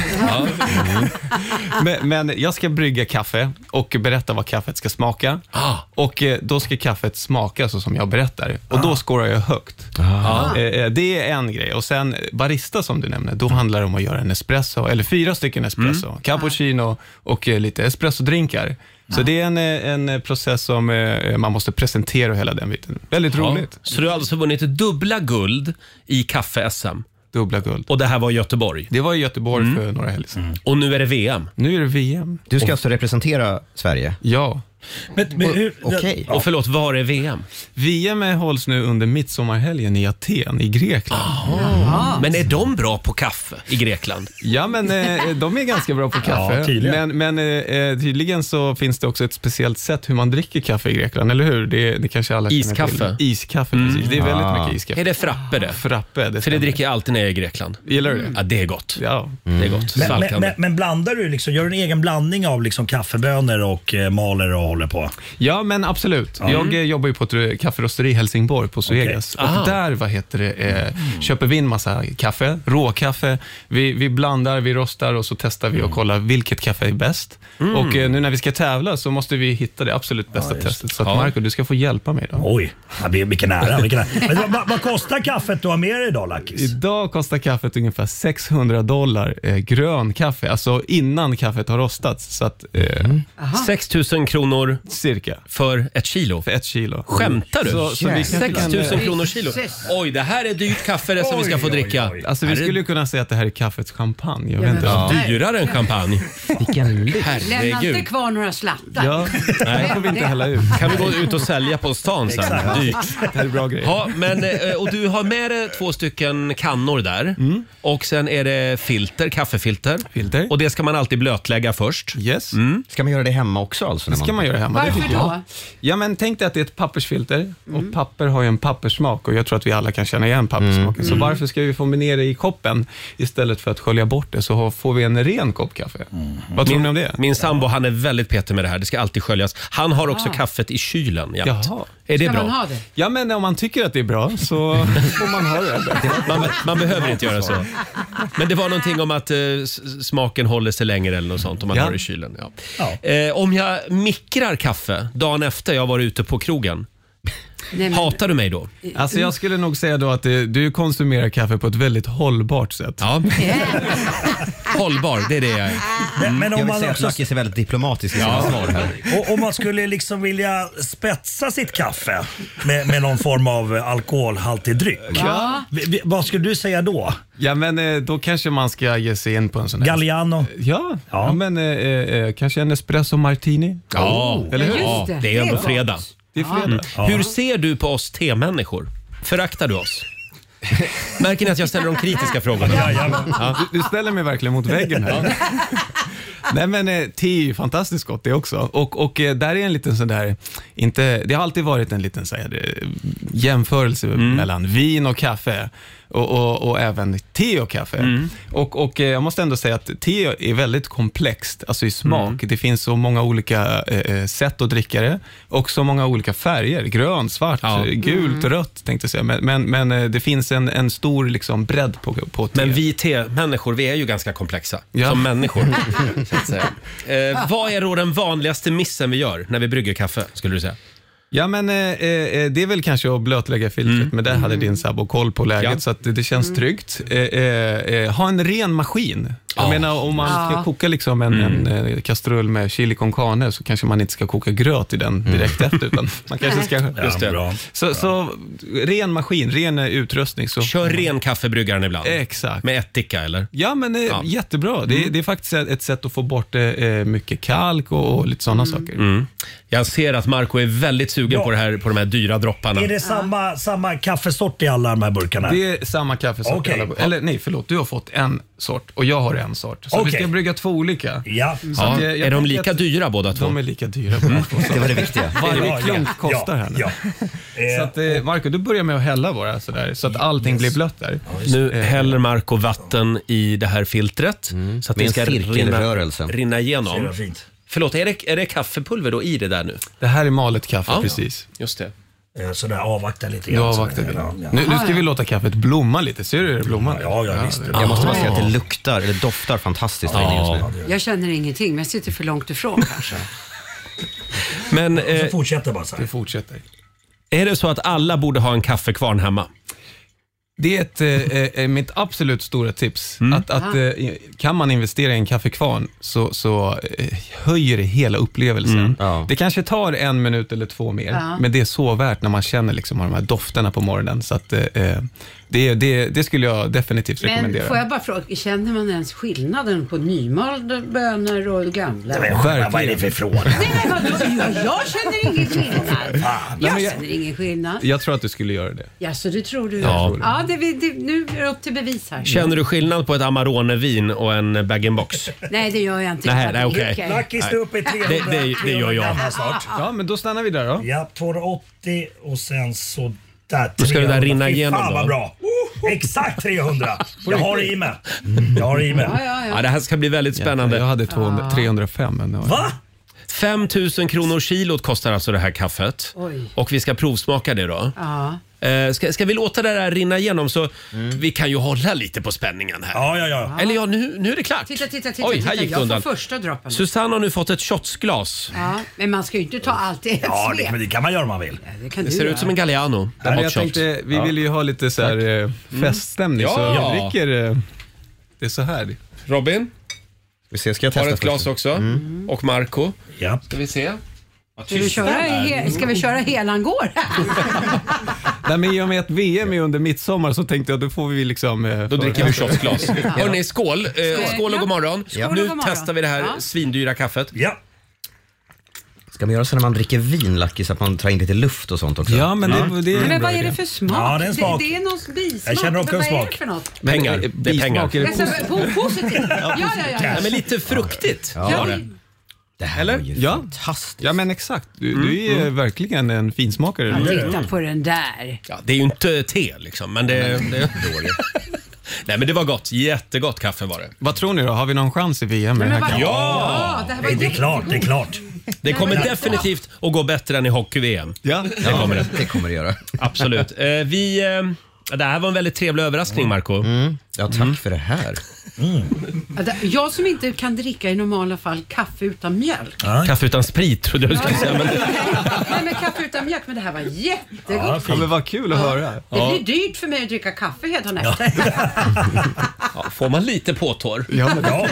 Speaker 7: men, men jag ska brygga kaffe och berätta vad kaffet ska smaka.
Speaker 1: Ah.
Speaker 7: Och eh, då ska kaffet smaka så som jag berättar. Och då scorar jag högt. Eh, eh, Det är en grej. Och sen eh, barista som du nämnde, då handlar det om att göra en espresso, eller fyra stycken espresso.
Speaker 1: Mm.
Speaker 7: Cappuccino och eh, lite espressodrinkar. Så det är en, eh, en eh, process som eh, man måste presentera och hela den biten. Väldigt roligt.
Speaker 1: Så du har alltså vunnit dubbla guld i kaffe-SM.
Speaker 7: Dubbla guld.
Speaker 1: Och det här var i Göteborg. Mm.
Speaker 7: Det var i Göteborg för några helger sedan.
Speaker 1: Och nu är det VM.
Speaker 7: Nu är det VM.
Speaker 2: Du ska alltså representera Sverige?
Speaker 7: Ja.
Speaker 9: Men, men hur,
Speaker 2: Okej.
Speaker 1: Och förlåt, var är VM?
Speaker 7: VM hålls nu under midsommarhelgen i Aten i Grekland.
Speaker 1: Ah. Men är de bra på kaffe i Grekland?
Speaker 7: Ja, men eh, de är ganska bra på kaffe.
Speaker 9: Ja, tydligen.
Speaker 7: Men, men eh, eh, tydligen så finns det också ett speciellt sätt hur man dricker kaffe i Grekland, eller hur? Det, det kanske alla känner till.
Speaker 1: Iskaffe. Mm.
Speaker 7: Iskaffe, precis. Det är väldigt
Speaker 9: Ah.
Speaker 7: mycket iskaffe.
Speaker 1: Är det frappe det?
Speaker 7: Frappe, det
Speaker 1: För det
Speaker 7: stämmer.
Speaker 1: dricker jag alltid när jag är i Grekland.
Speaker 7: Gillar du det?
Speaker 1: Ja, det är gott.
Speaker 7: Ja.
Speaker 1: Det är
Speaker 9: Mm.
Speaker 1: gott.
Speaker 9: men, men,
Speaker 1: Saltande.
Speaker 9: men, men blandar du liksom, gör du en egen blandning av liksom kaffebönor och eh, maler och håller på?
Speaker 7: ja, men absolut. Jag eh, jobbar ju på ett eh, kafferosteri i Helsingborg på Suegas.
Speaker 1: Aha.
Speaker 7: Och där vad heter det, eh,
Speaker 9: Mm.
Speaker 7: köper vi in massa kaffe, råkaffe. Vi, vi blandar, vi rostar och så testar vi
Speaker 9: Mm.
Speaker 7: och kollar vilket kaffe är bäst. Och eh, nu när vi ska tävla så måste vi hitta det absolut bästa testet. Så att, Marco, du ska få hjälpa mig idag.
Speaker 9: Oj, ja, vi- vilken ära. Vilken ära. Men, vad- vad, vad kostar kaffet du har med dig idag Lackis?
Speaker 7: Idag kostar kaffet ungefär 600 dollar eh, grön kaffe, alltså innan kaffet har rostats. Så att, eh,
Speaker 1: 6 000 Mm. kronor
Speaker 7: Cirka,
Speaker 1: för ett kilo.
Speaker 7: för ett kilo.
Speaker 1: Skämtar du?
Speaker 7: Så, så vi kanske
Speaker 1: 6 000
Speaker 7: kan, eh,
Speaker 1: kronor kilo.
Speaker 3: Jesus.
Speaker 1: Oj, det här är dyrt kaffe det som vi ska få dricka.
Speaker 7: Alltså
Speaker 1: Är
Speaker 7: vi
Speaker 1: det
Speaker 7: skulle ju kunna säga att det här är kaffets champagne. Jag vet inte.
Speaker 3: Ja.
Speaker 1: Dyrare än champagne.
Speaker 2: Vilken lyx.
Speaker 3: Lämna inte
Speaker 1: Herregud.
Speaker 3: kvar några slattar.
Speaker 7: Ja, det får vi inte hälla ut.
Speaker 1: Kan vi gå ut och sälja på stan sen? Dyrt.
Speaker 7: Det här är bra grejer.
Speaker 1: Ja, men, eh, och du har med dig två stycken kannor där. Och sen är det filter, kaffefilter.
Speaker 7: Mm. Filter.
Speaker 1: Och det ska man alltid blötlägga först. Mm.
Speaker 7: Yes.
Speaker 2: Ska man göra det hemma också? Alltså, när
Speaker 7: Det ska man göra hemma. det
Speaker 3: Varför
Speaker 7: tycker jag.
Speaker 3: då?
Speaker 7: Ja, men tänk dig att det är ett pappersfilter
Speaker 3: Mm.
Speaker 7: och papper har ju en papperssmak och jag tror att vi alla kan känna igen papperssmaken.
Speaker 3: Mm.
Speaker 7: Så varför ska vi få med ner det i koppen istället för att skölja bort det så har- får vi en ren kopp kaffe? Vad tror ni om det?
Speaker 1: Mm. Min sambo han är väldigt petig med det här. Det ska alltid sköljas. Han har också kaffet i kylen jämt.
Speaker 7: Ah. Jaha.
Speaker 1: Är det
Speaker 3: Ska man
Speaker 1: bra?
Speaker 3: ha det?
Speaker 7: Ja, men om man tycker att det är bra så får man ha det.
Speaker 1: Man, man behöver inte göra så. Men det var någonting om att eh, s- smaken håller sig längre eller något sånt om man
Speaker 7: Ja.
Speaker 1: har det i kylen. Ja.
Speaker 9: Ja.
Speaker 1: Eh, om jag mikrar kaffe dagen efter jag har varit ute på krogen.
Speaker 3: Nej, men-
Speaker 1: Hatar du mig då?
Speaker 7: Alltså jag skulle nog säga då att eh, du konsumerar kaffe på ett väldigt hållbart sätt.
Speaker 1: Ja. Hållbar, det är det jag är.
Speaker 9: Men, men
Speaker 2: Jag
Speaker 9: om
Speaker 2: vill
Speaker 9: man
Speaker 2: säga att
Speaker 9: också
Speaker 2: Lackis är väldigt diplomatisk i sina svar här.
Speaker 9: Och om man skulle liksom vilja spetsa sitt kaffe med, med någon form av alkoholhaltig dryck. Vi- vi- Vad skulle du säga då?
Speaker 7: Ja, men eh, då kanske man ska ge sig in på en sån där...
Speaker 9: Galliano?
Speaker 7: Ja, ja. men eh, eh, kanske en espresso martini.
Speaker 1: Ja,
Speaker 7: Eller hur?
Speaker 1: Oh. ja
Speaker 3: Just det.
Speaker 1: det är ändå fredag. Mm.
Speaker 7: Det är fredag.
Speaker 1: Hur ser du på oss T-människor? Föraktar du oss? Märker ni att jag ställer de kritiska frågorna?
Speaker 9: Jajamän.
Speaker 7: Du, du ställer mig verkligen mot väggen här. Nej men eh, te är ju fantastiskt gott det också. Och, och eh, där är en liten sån där, inte, det har alltid varit en liten så här, eh, jämförelse mellan vin och kaffe och, och, och även te och kaffe. Och, och eh, jag måste ändå säga att te är väldigt komplext, alltså i smak. Det finns så många olika eh, eh, sätt att dricka det och så många olika färger. Grön, svart,
Speaker 1: Ja.
Speaker 7: eh, gult, rött tänkte jag säga. Men, men, men eh, det finns en, en stor liksom, bredd på, på te.
Speaker 1: Men vi T-människor, vi är ju ganska komplexa
Speaker 7: Ja.
Speaker 1: som människor. Så att säga. Eh, vad är då den vanligaste missen vi gör när vi brygger kaffe, skulle du säga?
Speaker 7: Ja, men eh, eh, det är väl kanske att blötlägga filtret, men där hade din sabo koll på läget,
Speaker 1: Mm. Ja.
Speaker 7: så att det, det känns tryggt. Eh, eh, eh, ha en ren maskin. Jag
Speaker 1: Ja. Mm.
Speaker 7: menar, om man ska koka liksom en, en eh, kastrull med chili con carne, så kanske man inte ska koka gröt i den direkt
Speaker 1: Mm.
Speaker 7: efter, utan man kanske ska...
Speaker 1: Just det.
Speaker 9: Bra.
Speaker 7: Så, så ren maskin, ren eh, utrustning. Så.
Speaker 1: Kör ren kaffebryggaren ibland.
Speaker 7: Exakt.
Speaker 1: Med ättika eller?
Speaker 7: Ja, men eh,
Speaker 1: Ja. Mm.
Speaker 7: jättebra. Det, det är faktiskt ett ett sätt att få bort eh, eh, mycket kalk och, och lite sådana saker.
Speaker 1: Mm. Jag ser att Marco är väldigt sugen
Speaker 9: Ja.
Speaker 1: på, det här, på de här dyra dropparna.
Speaker 9: Är det samma, samma kaffesort i alla de här burkarna?
Speaker 7: Det är samma kaffesort.
Speaker 9: Okej.
Speaker 7: alla- Eller nej, förlåt. Du har fått en sort och jag har en sort. Så
Speaker 9: Okej.
Speaker 7: vi ska brygga två olika.
Speaker 9: Ja.
Speaker 7: Så
Speaker 1: Ja.
Speaker 7: att jag- jag
Speaker 1: är de
Speaker 7: tänker
Speaker 1: lika
Speaker 7: att
Speaker 1: dyra båda två?
Speaker 7: De är lika dyra båda två.
Speaker 2: Mm. Det var det viktiga.
Speaker 9: Ja,
Speaker 7: Varje
Speaker 9: ja,
Speaker 7: klunk
Speaker 9: ja,
Speaker 7: kostar här nu.
Speaker 9: Ja. Eh,
Speaker 7: Så att, eh, Marco, du börjar med att hälla bara sådär, så att allting blir blött där. Eh,
Speaker 1: Nu häller Marco vatten i det här filtret
Speaker 7: Mm.
Speaker 1: så att
Speaker 2: Med
Speaker 1: det
Speaker 2: en
Speaker 1: ska rinna,
Speaker 2: cirkelrörelse.
Speaker 1: rinna
Speaker 9: det var
Speaker 1: igenom.
Speaker 9: fint.
Speaker 1: Förlåt, är det, är det kaffepulver då i det där nu?
Speaker 7: Det här är malet kaffe,
Speaker 1: Ja.
Speaker 7: precis.
Speaker 1: Just det.
Speaker 9: Eh, Sådär avvakta lite
Speaker 7: Du
Speaker 9: grann.
Speaker 7: avvaktar vi.
Speaker 9: Ja, ja.
Speaker 7: Nu, nu ska vi låta kaffet blomma lite. Ser du hur det blommar?
Speaker 9: Ja, ja, visst.
Speaker 2: Jag måste bara säga att det luktar, eller doftar fantastiskt här inne just nu.
Speaker 3: Jag känner ingenting, men jag sitter för långt ifrån kanske.
Speaker 1: Men eh,
Speaker 9: Så Alltså, fortsätter bara så här.
Speaker 7: Det fortsätter.
Speaker 1: är det så att alla borde ha en kaffekvarn hemma?
Speaker 7: Det är ett, eh, eh, mitt absolut stora tips.
Speaker 1: Mm.
Speaker 7: Att,
Speaker 3: Ah.
Speaker 7: att, eh, kan man investera i en kaffekvarn så, så eh, höjer det hela upplevelsen.
Speaker 1: Mm.
Speaker 2: Ja.
Speaker 7: Det kanske tar en minut eller två mer, men det är så värt när man känner liksom de här dofterna på morgonen. Så att, eh, eh, det, det, det skulle jag definitivt
Speaker 3: Men
Speaker 7: rekommendera.
Speaker 3: får jag bara fråga, känner man ens skillnaden på nymalda bönor och gamla?
Speaker 9: Men
Speaker 7: Verkligen.
Speaker 9: vad är det för fråga?
Speaker 3: Nej men vadå, jag, jag känner ingen skillnad. Jag
Speaker 7: men jag-
Speaker 3: känner ingen skillnad.
Speaker 7: Jag tror att du skulle göra det.
Speaker 3: Ja, så det tror du?
Speaker 1: Ja.
Speaker 3: ja det, vi- det, nu är det upp till bevis här.
Speaker 1: Känner du skillnad på ett Amarone-vin och en bag-in-box?
Speaker 3: Nej, det gör jag inte.
Speaker 1: Nej,
Speaker 3: Jag
Speaker 1: nej, okej.
Speaker 3: dricker.
Speaker 9: Lackis, du är uppe i 300.
Speaker 1: Det- det- det gör jag.
Speaker 9: 300 snart.
Speaker 7: Ja, men då stannar vi där då.
Speaker 9: Ja, 280 och sen så där.
Speaker 1: Då ska det
Speaker 9: 300.
Speaker 1: där rinna
Speaker 9: Fy
Speaker 1: igenom
Speaker 9: Fan
Speaker 1: då.
Speaker 9: vad bra. Exakt 300. Jag har det i mig. Jag har det i mig.
Speaker 3: Ja, ja, ja.
Speaker 1: Ja, det här ska bli väldigt
Speaker 7: Jag
Speaker 1: spännande.
Speaker 7: hade 200, 305. Men,
Speaker 9: Va?
Speaker 1: 5 000 kronor kilot kostar alltså det här kaffet.
Speaker 3: Oj.
Speaker 1: Och vi ska provsmaka det då.
Speaker 3: Ja.
Speaker 1: Eh, ska, ska vi låta det där rinna igenom så
Speaker 7: Mm.
Speaker 1: vi kan ju hålla lite på spänningen här.
Speaker 9: Ja, ja, ja.
Speaker 1: Eller ja, nu, nu är det klart.
Speaker 3: Titta, titta, titta.
Speaker 1: Oj,
Speaker 3: titta.
Speaker 1: här gick det
Speaker 3: jag
Speaker 1: undan.
Speaker 3: får första droppen.
Speaker 1: Susanne har nu fått ett shotsglas.
Speaker 3: Ja, men man ska ju inte ta allt i ett
Speaker 9: Ja, det,
Speaker 3: svep.
Speaker 9: men det kan man göra om man vill.
Speaker 3: Det kan
Speaker 1: Det
Speaker 3: du
Speaker 1: ser
Speaker 3: göra.
Speaker 1: ut som en Galliano.
Speaker 7: Nej,
Speaker 1: En hot
Speaker 7: jag
Speaker 1: shot.
Speaker 7: tänkte, vi vill ju ha lite så här, eh, feststämning, så
Speaker 1: Mm. Ja.
Speaker 7: jag dricker eh, det är så här.
Speaker 1: Robin
Speaker 2: Vi ser, ska jag
Speaker 1: har
Speaker 2: testa
Speaker 1: ett glas
Speaker 2: först?
Speaker 1: också.
Speaker 7: Mm.
Speaker 1: Och Marco
Speaker 9: Ja.
Speaker 1: Ska vi se?
Speaker 3: Ska vi köra, he- ska vi köra helan går?
Speaker 7: Nej, men i och med att VM är under midsommar så tänkte jag då får vi liksom... eh,
Speaker 1: Då
Speaker 7: för-
Speaker 1: dricker vi shotsglas. Hörni, skål! Eh, skål och
Speaker 3: Ja.
Speaker 1: god morgon.
Speaker 3: Skål och
Speaker 1: Nu
Speaker 3: god morgon.
Speaker 1: testar vi det här
Speaker 3: Ja.
Speaker 1: svindyra kaffet.
Speaker 9: Ja.
Speaker 2: Ska man göra så när man dricker vin, Lackis, att man tar in lite luft och sånt också?
Speaker 7: Ja, men det, det är en
Speaker 3: Men
Speaker 7: bra
Speaker 3: vad är
Speaker 7: idé.
Speaker 3: det för smak?
Speaker 9: Ja, det är en smak.
Speaker 3: Det, är någon bismak.
Speaker 9: Jag känner också
Speaker 3: Men
Speaker 9: en
Speaker 3: Vad är
Speaker 9: smak.
Speaker 3: det för något?
Speaker 1: Pengar.
Speaker 7: eh,
Speaker 1: Det är pengar.
Speaker 7: bismak är det
Speaker 3: Alltså,
Speaker 7: positivt.
Speaker 3: po- positivt? Ja, ja, ja. ja.
Speaker 1: Nej, men lite fruktigt
Speaker 3: Ja,
Speaker 1: var det.
Speaker 3: vi-
Speaker 2: Det här
Speaker 1: Eller?
Speaker 2: var ju
Speaker 7: Ja.
Speaker 2: fantastiskt.
Speaker 7: Ja, men exakt. Du, du är verkligen en finsmakare. Mm.
Speaker 3: Titta på den där.
Speaker 1: Ja, det är ju inte te liksom, men det... det... Nej, men det var gott. Jättegott kaffe var det.
Speaker 7: Vad tror ni då? Har vi någon chans i VM med
Speaker 3: Men
Speaker 7: den här
Speaker 3: vad-
Speaker 7: kampen?
Speaker 3: ja! Det här var
Speaker 9: Nej, det är klart, det är klart.
Speaker 1: Det kommer definitivt att gå bättre än i hockey-VM.
Speaker 7: Ja.
Speaker 1: Det kommer det.
Speaker 2: Det kommer det göra.
Speaker 7: Mm.
Speaker 1: Absolut. Eh, vi... Eh... Det här var en väldigt trevlig överraskning, Marco
Speaker 2: Ja, tack för det här.
Speaker 3: Att äh, Jag som inte kan dricka i normala fall kaffe utan mjölk.
Speaker 1: Kaffe utan sprit trodde jag du skulle säga. Men...
Speaker 3: Nej men kaffe utan mjölk, men det här var
Speaker 7: Ja,
Speaker 3: jättegott.
Speaker 7: men vad kul att höra.
Speaker 3: Det blir dyrt för mig att dricka kaffe hela nätterna.
Speaker 1: Ja, får man lite påtår.
Speaker 7: Ja, men,
Speaker 9: Ja,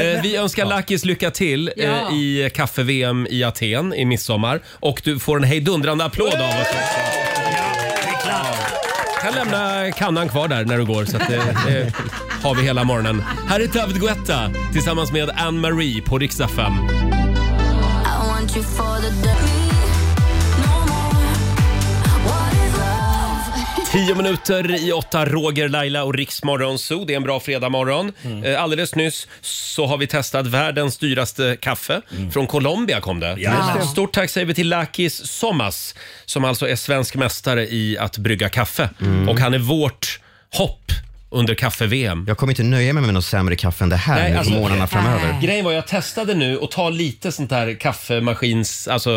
Speaker 1: Eh, vi önskar Lakis lycka till eh,
Speaker 3: Ja.
Speaker 1: i kaffe-VM i Aten i midsommar. Och du får en hejdundrande applåd av oss också. kan lämna kannan kvar där när du går så att det, det har vi hela morgonen. Här är David Guetta tillsammans med Anne-Marie på riksdag 5.
Speaker 6: I want you for the dirty. No more. What is love?
Speaker 1: Tio minuter i åtta, Roger, Laila och Riksmorgon Zoo. Det är en bra fredagmorgon.
Speaker 2: Mm.
Speaker 1: Eh, Alldeles nyss så har vi testat världens dyraste kaffe.
Speaker 2: Mm.
Speaker 1: Från Colombia kom det.
Speaker 9: Jajamän.
Speaker 1: Stort tack säger vi till Lakis Somas som alltså är svensk mästare i att brygga kaffe.
Speaker 2: Mm.
Speaker 1: Och han är vårt hopp under kaffe-VM.
Speaker 2: Jag kommer inte nöja mig med något sämre kaffe än det här
Speaker 1: Nej,
Speaker 2: nu
Speaker 1: alltså-
Speaker 2: på månaderna framöver.
Speaker 1: Grejen var jag testade nu att ta lite sånt här kaffemaskins, alltså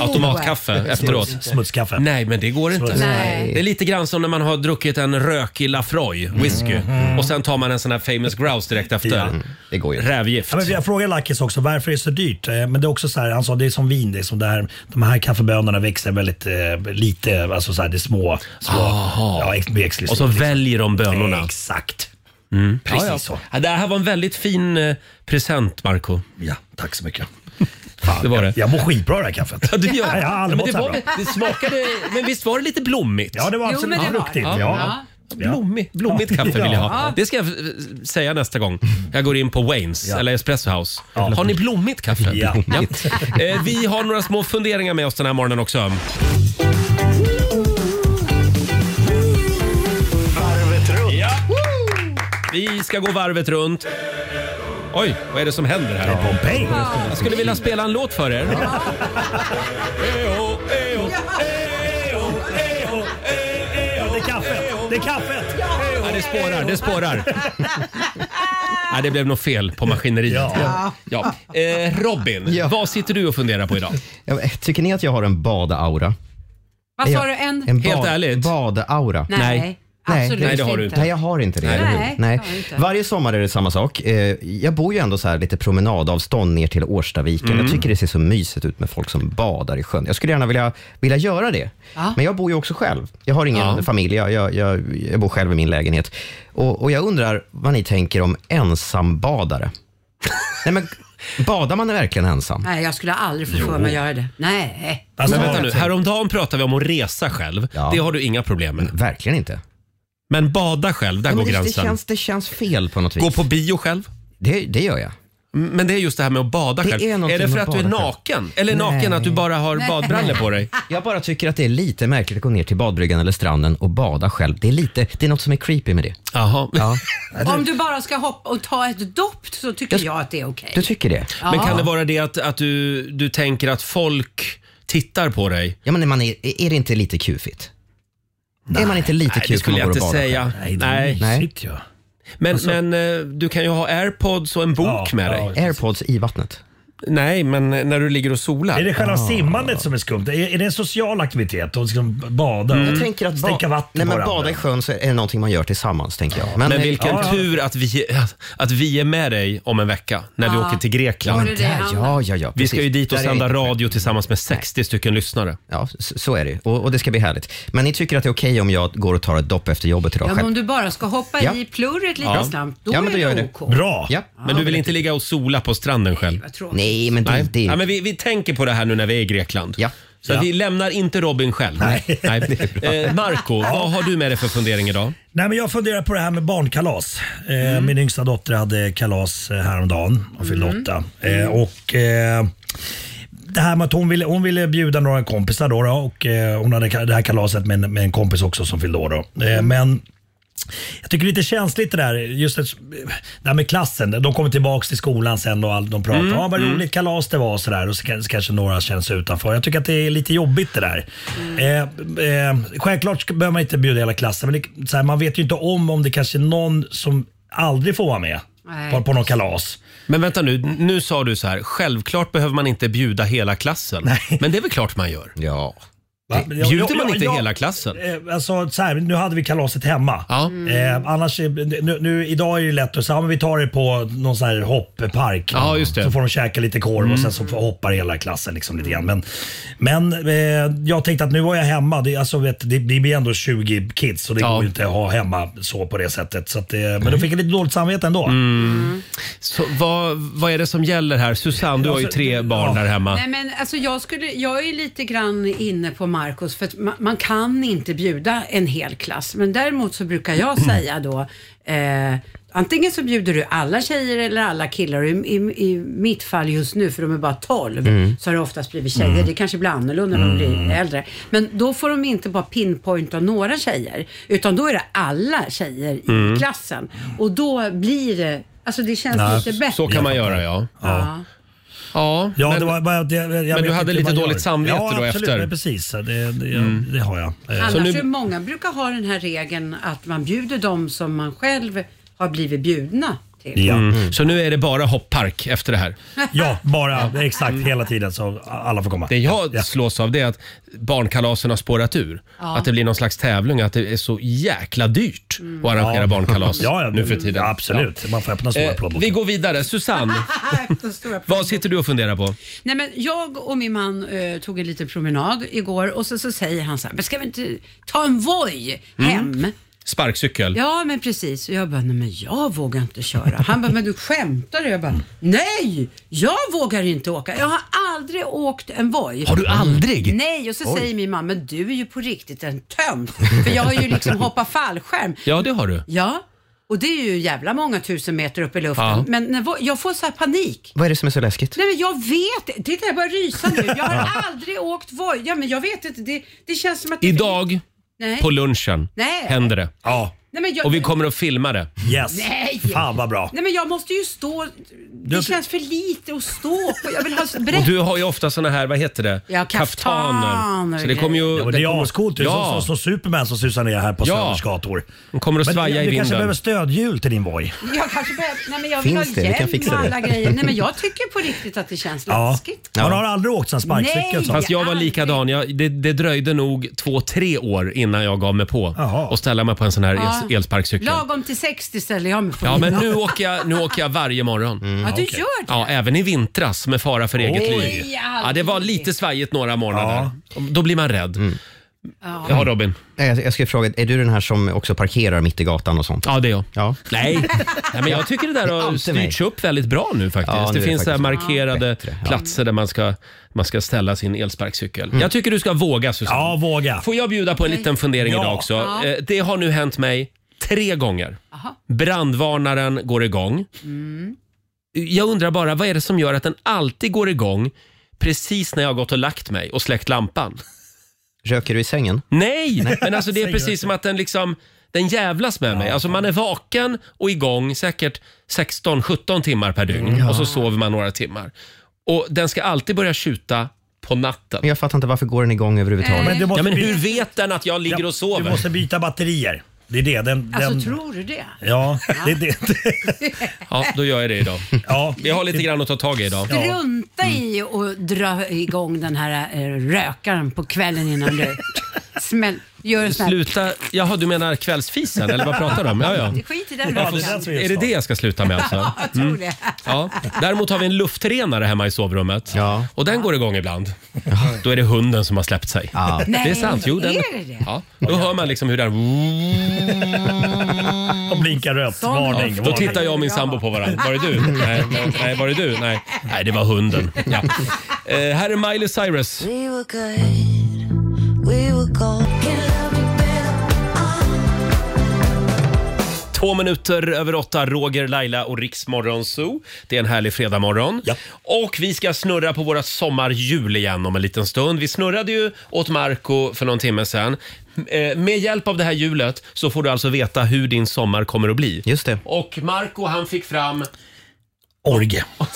Speaker 1: automatkaffe
Speaker 2: Oh,
Speaker 1: efteråt.
Speaker 9: smutskaffe.
Speaker 1: Nej, men det går inte.
Speaker 3: Nej.
Speaker 1: Det är lite grann som när man har druckit en rökig Lafroy whisky och sen tar man en sån här famous grouse direkt efter.
Speaker 9: Mm, Ja.
Speaker 2: Det går ju inte.
Speaker 1: Rävgift.
Speaker 9: Ja, men jag frågade Lakis också varför det är så dyrt. Eh, Men det är också så här, han sa det är som vin. Det är som det här, de här kaffebönorna växer väldigt eh, lite. Alltså så här, det är små. små ja, ex, exklusivt.
Speaker 1: Och så väljer de bönorna. Mm.
Speaker 9: Exakt. Precis så.
Speaker 1: Ja, det här var en väldigt fin eh, present, Marco.
Speaker 9: Ja, tack så mycket. Fan,
Speaker 1: Det var det.
Speaker 9: Jag, jag mår skitbra av det här kaffet.
Speaker 1: Ja, du gör.
Speaker 9: Ja, jag har aldrig
Speaker 1: men det,
Speaker 9: mått så
Speaker 1: var,
Speaker 9: här bra.
Speaker 1: det smakade, men visst var det lite blommigt?
Speaker 9: Ja, det var
Speaker 3: Jo,
Speaker 9: absolut
Speaker 3: men det var
Speaker 9: fruktigt.
Speaker 3: det.
Speaker 9: Ja. Ja.
Speaker 1: Blommig, blommigt kaffe vill jag ha.
Speaker 3: Ja.
Speaker 1: Det ska jag eh, säga nästa gång jag går in på Waynes
Speaker 9: Ja.
Speaker 1: eller Espresso House. Har ni blommigt kaffe?
Speaker 9: Ja.
Speaker 1: Eh, Vi har några små funderingar med oss den här morgonen också. Vi ska gå varvet runt. Oj, vad är det som händer här?
Speaker 9: Pompeji.
Speaker 1: Jag skulle vilja spela en låt för er.
Speaker 9: Ja, det är kaffet. Det är kaffet.
Speaker 1: Ja, det spårar, det spårar. Nej, det blev nog fel på maskineriet.
Speaker 9: Ja.
Speaker 1: Ja. Eh, Robin,
Speaker 2: Ja.
Speaker 1: vad sitter du och funderar på idag?
Speaker 2: Jag- Tycker ni att jag har en badaura?
Speaker 3: Vad sa du?
Speaker 2: En
Speaker 3: En?
Speaker 1: Helt ärligt.
Speaker 2: Badaura?
Speaker 1: Nej.
Speaker 3: Nej. Absolut
Speaker 1: Nej, det har du
Speaker 3: inte.
Speaker 2: Nej, jag har inte det.
Speaker 1: Nej.
Speaker 2: eller hur?
Speaker 3: Nej, det har jag inte.
Speaker 2: Varje sommar är det samma sak. Eh, Jag bor ju ändå så här lite promenadavstånd ner till Årstaviken.
Speaker 1: Mm.
Speaker 2: Jag tycker det ser så mysigt ut med folk som badar i sjön. Jag skulle gärna vilja, vilja göra det.
Speaker 3: Ja.
Speaker 2: Men jag bor ju också själv. Jag har ingen familj. Jag, jag, jag, jag bor själv i min lägenhet. Och, och jag undrar vad ni tänker om ensambadare? Nej, men badar man verkligen ensam?
Speaker 3: Nej, jag skulle aldrig få för mig att göra det. Nej.
Speaker 9: Alltså,
Speaker 1: Men vänta nu, häromdagen pratade vi om att resa själv.
Speaker 2: Ja.
Speaker 1: Det har du inga problem med.
Speaker 2: Verkligen inte.
Speaker 1: Men bada själv, där
Speaker 2: Nej,
Speaker 1: går
Speaker 2: men det, det,
Speaker 1: gränsen.
Speaker 2: känns, det känns fel på något vis.
Speaker 1: Gå på bio själv.
Speaker 2: Det, det gör jag.
Speaker 1: M- Men det är just det här med att bada
Speaker 2: Det
Speaker 1: själv.
Speaker 2: är
Speaker 1: Är,
Speaker 2: någonting
Speaker 1: det för
Speaker 2: med
Speaker 1: att du är
Speaker 2: bada själv.
Speaker 1: naken? Eller naken
Speaker 2: Nej.
Speaker 1: att du bara har badbrallor på dig?
Speaker 2: Jag bara tycker att det är lite märkligt att gå ner till badbryggan eller stranden och bada själv. Det är, lite, det är något som är creepy med det.
Speaker 1: Jaha.
Speaker 3: Om du bara ska hoppa och ta ett dopp så tycker jag att det är okej.
Speaker 2: Du tycker det?
Speaker 1: Men
Speaker 3: Ja.
Speaker 1: kan det vara det att, att du, du tänker att folk tittar på dig?
Speaker 2: Ja, men man är, är det inte lite kufigt? är man inte lite
Speaker 1: Nej, det
Speaker 2: kufig om
Speaker 1: skulle
Speaker 2: man
Speaker 1: jag
Speaker 2: går och
Speaker 1: inte
Speaker 2: badar själv?
Speaker 1: säga.
Speaker 9: Nej, det
Speaker 1: Nej.
Speaker 9: är mysigt ju.
Speaker 1: Men, men eh, du kan ju ha airpods och en bok
Speaker 9: Ja,
Speaker 1: med
Speaker 9: ja.
Speaker 1: dig.
Speaker 2: Airpods i vattnet.
Speaker 1: Nej, men när du ligger och solar. Ah.
Speaker 9: Är det själva simmandet som är skumt? Är, är det en social aktivitet? Att liksom bada
Speaker 1: Mm.
Speaker 9: och
Speaker 2: Mm. Jag tänker att
Speaker 9: stänka
Speaker 2: ba-
Speaker 9: vatten
Speaker 2: nej,
Speaker 9: på
Speaker 2: men
Speaker 9: varandra?
Speaker 2: bada i sjön så är det någonting man gör tillsammans, tänker jag.
Speaker 1: Men vilken
Speaker 9: Ja, ja.
Speaker 1: tur att vi, att, att vi är med dig om en vecka när vi åker till
Speaker 2: Ja,
Speaker 1: Grekland.
Speaker 3: det är det det
Speaker 2: där,
Speaker 3: handlar
Speaker 2: ja,
Speaker 3: om.
Speaker 2: ja, ja,
Speaker 1: Vi ska
Speaker 2: precis.
Speaker 1: ju dit och
Speaker 2: Där är
Speaker 1: sända
Speaker 2: det.
Speaker 1: radio tillsammans med 60 stycken lyssnare.
Speaker 2: Ja, så, så är det ju. och, och det ska bli härligt. Men ni tycker att det är okej om jag går och tar ett dopp efter jobbet idag
Speaker 3: Ja, men
Speaker 2: själv?
Speaker 3: om du bara ska hoppa
Speaker 2: Ja.
Speaker 3: i plurret lite
Speaker 1: Ja.
Speaker 3: snabbt, då
Speaker 2: Ja, men då
Speaker 3: är
Speaker 2: gör
Speaker 3: det
Speaker 2: jag det.
Speaker 3: OK.
Speaker 9: Bra!
Speaker 2: Ja.
Speaker 1: Men du vill inte ligga och sola på stranden själv?
Speaker 3: Vad tråkigt.
Speaker 2: Nej, men
Speaker 1: Nej.
Speaker 2: det, det,
Speaker 1: Ja, men vi, vi tänker på det här nu när vi är i Grekland.
Speaker 2: Ja.
Speaker 1: Så vi lämnar inte Robin själv. Nej. Eh, Marco, vad har du med dig för fundering idag?
Speaker 9: Nej, men jag funderar på det här med barnkalas. Eh,
Speaker 2: Mm.
Speaker 9: Min yngsta dotter hade kalas eh, häromdagen. Hon fyllde åtta.
Speaker 2: Mm.
Speaker 9: Eh, och, eh, det här med att hon ville, hon ville bjuda några kompisar då, då och eh, hon hade ka- det här kalaset med, en- med en kompis också som fyllde år. Då. Eh, men jag tycker det är lite känsligt det där, just det, det här med klassen. De kommer tillbaka till skolan sen och all, de pratar om ah, vad roligt kalas det var och sådär. Och så kan- så kanske några känns utanför. Jag tycker att det är lite jobbigt det där. Eh, eh, självklart ska- behöver man inte bjuda hela klassen, men det, så här, man vet ju inte om om det kanske är någon som aldrig får vara med
Speaker 3: Nej.
Speaker 9: på, på någon kalas.
Speaker 1: Men vänta nu, nu sa du så här, självklart behöver man inte bjuda hela klassen. Men det är väl klart man gör?
Speaker 2: Ja.
Speaker 9: Va? Men jag-
Speaker 1: Bjuder
Speaker 9: jag-
Speaker 1: man
Speaker 9: jag-
Speaker 1: inte
Speaker 9: jag-
Speaker 1: hela klassen?
Speaker 9: Eh, Alltså, så här, nu hade vi kalaset hemma.
Speaker 1: Ja.
Speaker 9: Eh, annars, eh, nu, nu, idag är det ju lätt att säga, ja, men vi tar det på någon sån här hopppark.
Speaker 1: Ja, just det. Mm.
Speaker 9: Så får de käka lite korv och sen så får- hoppar hela klassen liksom lite grann. Men, men eh, jag tänkte att nu var jag hemma. Det, alltså, vet, det, det blir ändå 20 kids och det
Speaker 1: Ja.
Speaker 9: går ju inte att ha hemma så på det sättet. Så att, eh, men då fick jag lite dåligt samvete ändå. Mm.
Speaker 1: Så vad, vad är det som gäller här? Susanne, du har ju
Speaker 9: Alltså,
Speaker 1: tre
Speaker 9: ja.
Speaker 1: barn där hemma.
Speaker 3: Nej, men alltså jag, skulle, jag är lite grann inne på Marcos för att man, man kan inte bjuda en hel klass. Men däremot så brukar jag
Speaker 1: Mm.
Speaker 3: säga då eh, Antingen så bjuder du alla tjejer eller alla killar. I, i, I mitt fall just nu, för de är bara 12,
Speaker 1: Mm.
Speaker 3: så har det oftast blivit tjejer. Det kanske blir annorlunda när de blir äldre. Men då får de inte bara pinpointa några tjejer, utan då är det alla tjejer i
Speaker 1: Mm.
Speaker 3: klassen. Och då blir det, alltså det känns
Speaker 9: Nej,
Speaker 3: lite bättre.
Speaker 1: Så kan man göra ja.
Speaker 3: Ja.
Speaker 1: Ja,
Speaker 9: Ja,
Speaker 1: men-
Speaker 9: det var, bara att jag, jag vet
Speaker 1: du hade
Speaker 9: inte hur
Speaker 1: lite
Speaker 9: man gör.
Speaker 1: dåligt samvete
Speaker 9: ja,
Speaker 1: då
Speaker 9: absolut,
Speaker 1: efter. Mm.
Speaker 9: Men precis, det, det, det har jag. Eh,
Speaker 3: Annars
Speaker 1: nu-
Speaker 3: är många brukar ha den här regeln att man bjuder dem som man själv har blivit bjudna till.
Speaker 9: ja.
Speaker 1: Mm.
Speaker 9: Mm.
Speaker 1: Så nu är det bara hopppark efter det här.
Speaker 9: Ja, bara exakt hela tiden så alla får komma.
Speaker 1: Det jag
Speaker 9: Ja.
Speaker 1: slås av det är att barnkalasen har spårat ur. Att det blir någon slags tävling, att det är så jäkla dyrt
Speaker 3: Mm.
Speaker 1: att arrangera barnkalas
Speaker 9: Ja, ja,
Speaker 1: nu för tiden.
Speaker 9: Ja, absolut, man får öppna
Speaker 1: Ja.
Speaker 9: stora
Speaker 1: Eh, vi
Speaker 9: plånböcker.
Speaker 1: går vidare. Susanne,
Speaker 3: De stora problemen.
Speaker 1: vad sitter du och funderar på? Mm.
Speaker 3: Nej, men jag och min man eh, tog en liten promenad igår och så, så säger han så här, men ska vi inte ta en Voi
Speaker 1: Mm.
Speaker 3: hem?
Speaker 1: Sparkcykel?
Speaker 3: Ja, men precis. Och jag bara, nej men jag vågar inte köra. Han bara, men du skämtar du? Jag bara, nej, jag vågar inte åka. Jag har aldrig åkt en Voi.
Speaker 1: Har du aldrig?
Speaker 3: Nej, och så säger min mamma, men du är ju på riktigt en tönt. För jag har ju liksom hoppat fallskärm.
Speaker 1: Ja, det har du.
Speaker 3: Ja, och det är ju jävla många tusen meter upp i luften.
Speaker 1: Ja.
Speaker 3: Men när, vo- jag får så här panik.
Speaker 2: Vad är det som är så läskigt?
Speaker 3: Nej men jag vet Titta jag börjar rysa nu. Jag har aldrig åkt Voi. Ja men jag vet inte. Det, det känns som att... det-
Speaker 1: Idag
Speaker 3: Nej.
Speaker 1: på lunchen
Speaker 3: Nej.
Speaker 1: händer det.
Speaker 9: Ja,
Speaker 3: Nej, men jag,
Speaker 1: Och vi kommer att filma det.
Speaker 9: yes.
Speaker 3: Nej.
Speaker 9: Fan vad bra.
Speaker 3: Nej men jag måste ju stå. Det känns för lite att stå på. Jag vill ha
Speaker 1: Och
Speaker 3: brett.
Speaker 1: du har ju ofta såna här, vad heter det?
Speaker 3: Ja, kaftaner.
Speaker 1: Så det kommer ju...
Speaker 9: Ja, men det
Speaker 1: kommer-
Speaker 9: är ascoolt. Det är
Speaker 1: Ja.
Speaker 9: som, som, som Superman som susar ner här på
Speaker 1: Ja.
Speaker 9: Söders gator.
Speaker 1: Den kommer att
Speaker 9: Men
Speaker 1: svaja i
Speaker 9: du kanske behöver
Speaker 1: vinden.
Speaker 9: stödhjul till din Voi.
Speaker 3: Jag kanske behöver... Nej men jag vill
Speaker 2: Finns
Speaker 3: ha
Speaker 2: det? Vi kan
Speaker 3: hjälm
Speaker 2: fixa
Speaker 3: och
Speaker 2: det.
Speaker 3: alla grejer. Nej men jag tycker på riktigt att det känns
Speaker 9: Ja.
Speaker 3: läskigt.
Speaker 9: Man har aldrig åkt sån
Speaker 3: Nej.
Speaker 9: sparkcykel. så.
Speaker 1: Fast jag var
Speaker 3: Aldrig.
Speaker 1: likadan. Jag, det, det dröjde nog två, tre år innan jag gav mig på
Speaker 9: Jaha.
Speaker 1: och ställa mig på en sån här
Speaker 3: Ja.
Speaker 1: el, elsparkcykel.
Speaker 3: Lagom till 60 ställer jag mig på.
Speaker 1: Ja, men nu åker jag, nu åker jag varje morgon.
Speaker 3: Mm, ja du gör det.
Speaker 1: Ja, även i vintras med fara för eget
Speaker 9: Oj.
Speaker 1: liv. Ja, det var lite svajigt några morgnader. Då blir man rädd.
Speaker 3: Ja.
Speaker 1: Ja, Robin.
Speaker 2: Mm. Nej, Jag, jag skulle fråga, är du den här som också parkerar mitt i gatan och sånt?
Speaker 1: Ja, det är jag.
Speaker 2: Ja.
Speaker 1: Nej. Nej, men jag tycker det där
Speaker 2: Det är
Speaker 1: har
Speaker 2: alltid
Speaker 1: styrts upp väldigt bra nu faktiskt.
Speaker 2: Ja, nu
Speaker 1: det
Speaker 2: är det
Speaker 1: finns så här
Speaker 2: faktiskt
Speaker 1: markerade
Speaker 2: bättre, ja. Mm.
Speaker 1: platser där man ska, man ska ställa sin elsparkcykel. Jag tycker du ska våga Susanne.
Speaker 9: Ja, våga.
Speaker 1: Får jag bjuda på en liten fundering
Speaker 9: Ja.
Speaker 1: idag också? Eh, Det har nu hänt mig tre gånger. Brandvarnaren går igång.
Speaker 3: Mm.
Speaker 1: Jag undrar bara, vad är det som gör att den alltid går igång precis när jag har gått och lagt mig och släckt lampan?
Speaker 2: Röker du i sängen?
Speaker 1: Nej, men alltså det är
Speaker 9: Säger du.
Speaker 1: precis som att den liksom den jävlas med mig. Alltså man är vaken och igång säkert 16-17 timmar per dygn
Speaker 9: Mm.
Speaker 1: och så sover man några timmar. Och den ska alltid börja tjuta på natten.
Speaker 2: Men jag fattar inte, varför går den igång överhuvudtaget?
Speaker 3: Eh.
Speaker 9: Men du måste
Speaker 1: Ja, men
Speaker 9: byta-
Speaker 1: hur vet den att jag ligger och
Speaker 9: Du
Speaker 1: sover?
Speaker 9: måste byta batterier. Det är det. Den,
Speaker 3: Alltså
Speaker 9: den,
Speaker 3: tror du det?
Speaker 9: Ja, det, det,
Speaker 1: Ja, då gör jag det idag.
Speaker 9: ja.
Speaker 1: Vi har lite grann att ta tag i idag.
Speaker 3: Strunta i
Speaker 1: Mm.
Speaker 3: att dra igång den här eh, rökaren på kvällen innan du smäll, gör en sån här...
Speaker 1: Sluta, jaha du menar kvällsfisen eller vad pratar du om? Ja, ja.
Speaker 3: Skit i den
Speaker 9: Ja, det
Speaker 3: rökaren.
Speaker 9: där tror
Speaker 1: Är det det jag ska sluta med alltså?
Speaker 3: Jag tror det.
Speaker 1: Ja. Däremot har vi en luftrenare hemma i sovrummet.
Speaker 2: Ja.
Speaker 1: Och den går igång ibland. Då är det hunden som har släppt sig.
Speaker 2: Ja.
Speaker 3: Nej,
Speaker 1: Det är sant. Jo, den,
Speaker 3: Är det det?
Speaker 1: Ja, då hör man liksom hur den...
Speaker 9: Och blinkar rött. Varning.
Speaker 1: Då
Speaker 9: varning.
Speaker 1: tittar jag och min sambo på varandra. Var det du? Nej, nej, var det du? Nej, nej det var hunden. Ja. Eh, här är Miley Cyrus.
Speaker 6: We were good, we were gold. Can love me better.
Speaker 1: Två minuter över åtta, Roger, Laila och Riksmorgon Zoo. Det är en härlig fredagmorgon.
Speaker 9: Ja.
Speaker 1: Och vi ska snurra på våra sommarhjul igen om en liten stund. Vi snurrade ju åt Marco för någon timme sedan. Eh, Med hjälp av det här hjulet så får du alltså veta hur din sommar kommer att bli.
Speaker 2: Just det.
Speaker 1: Och Marco han fick fram...
Speaker 9: Orge.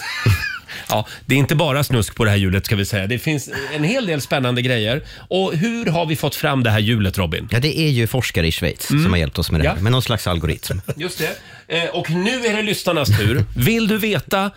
Speaker 1: Ja, det är inte bara snusk på det här hjulet ska vi säga. Det finns en hel del spännande grejer. Och hur har vi fått fram det här hjulet Robin?
Speaker 2: Ja, det är ju forskare i Schweiz som har hjälpt oss med det här,
Speaker 1: Mm. Ja.
Speaker 2: med någon slags algoritm.
Speaker 1: Just det. Eh, och nu är det lyssnarnas tur. Vill du veta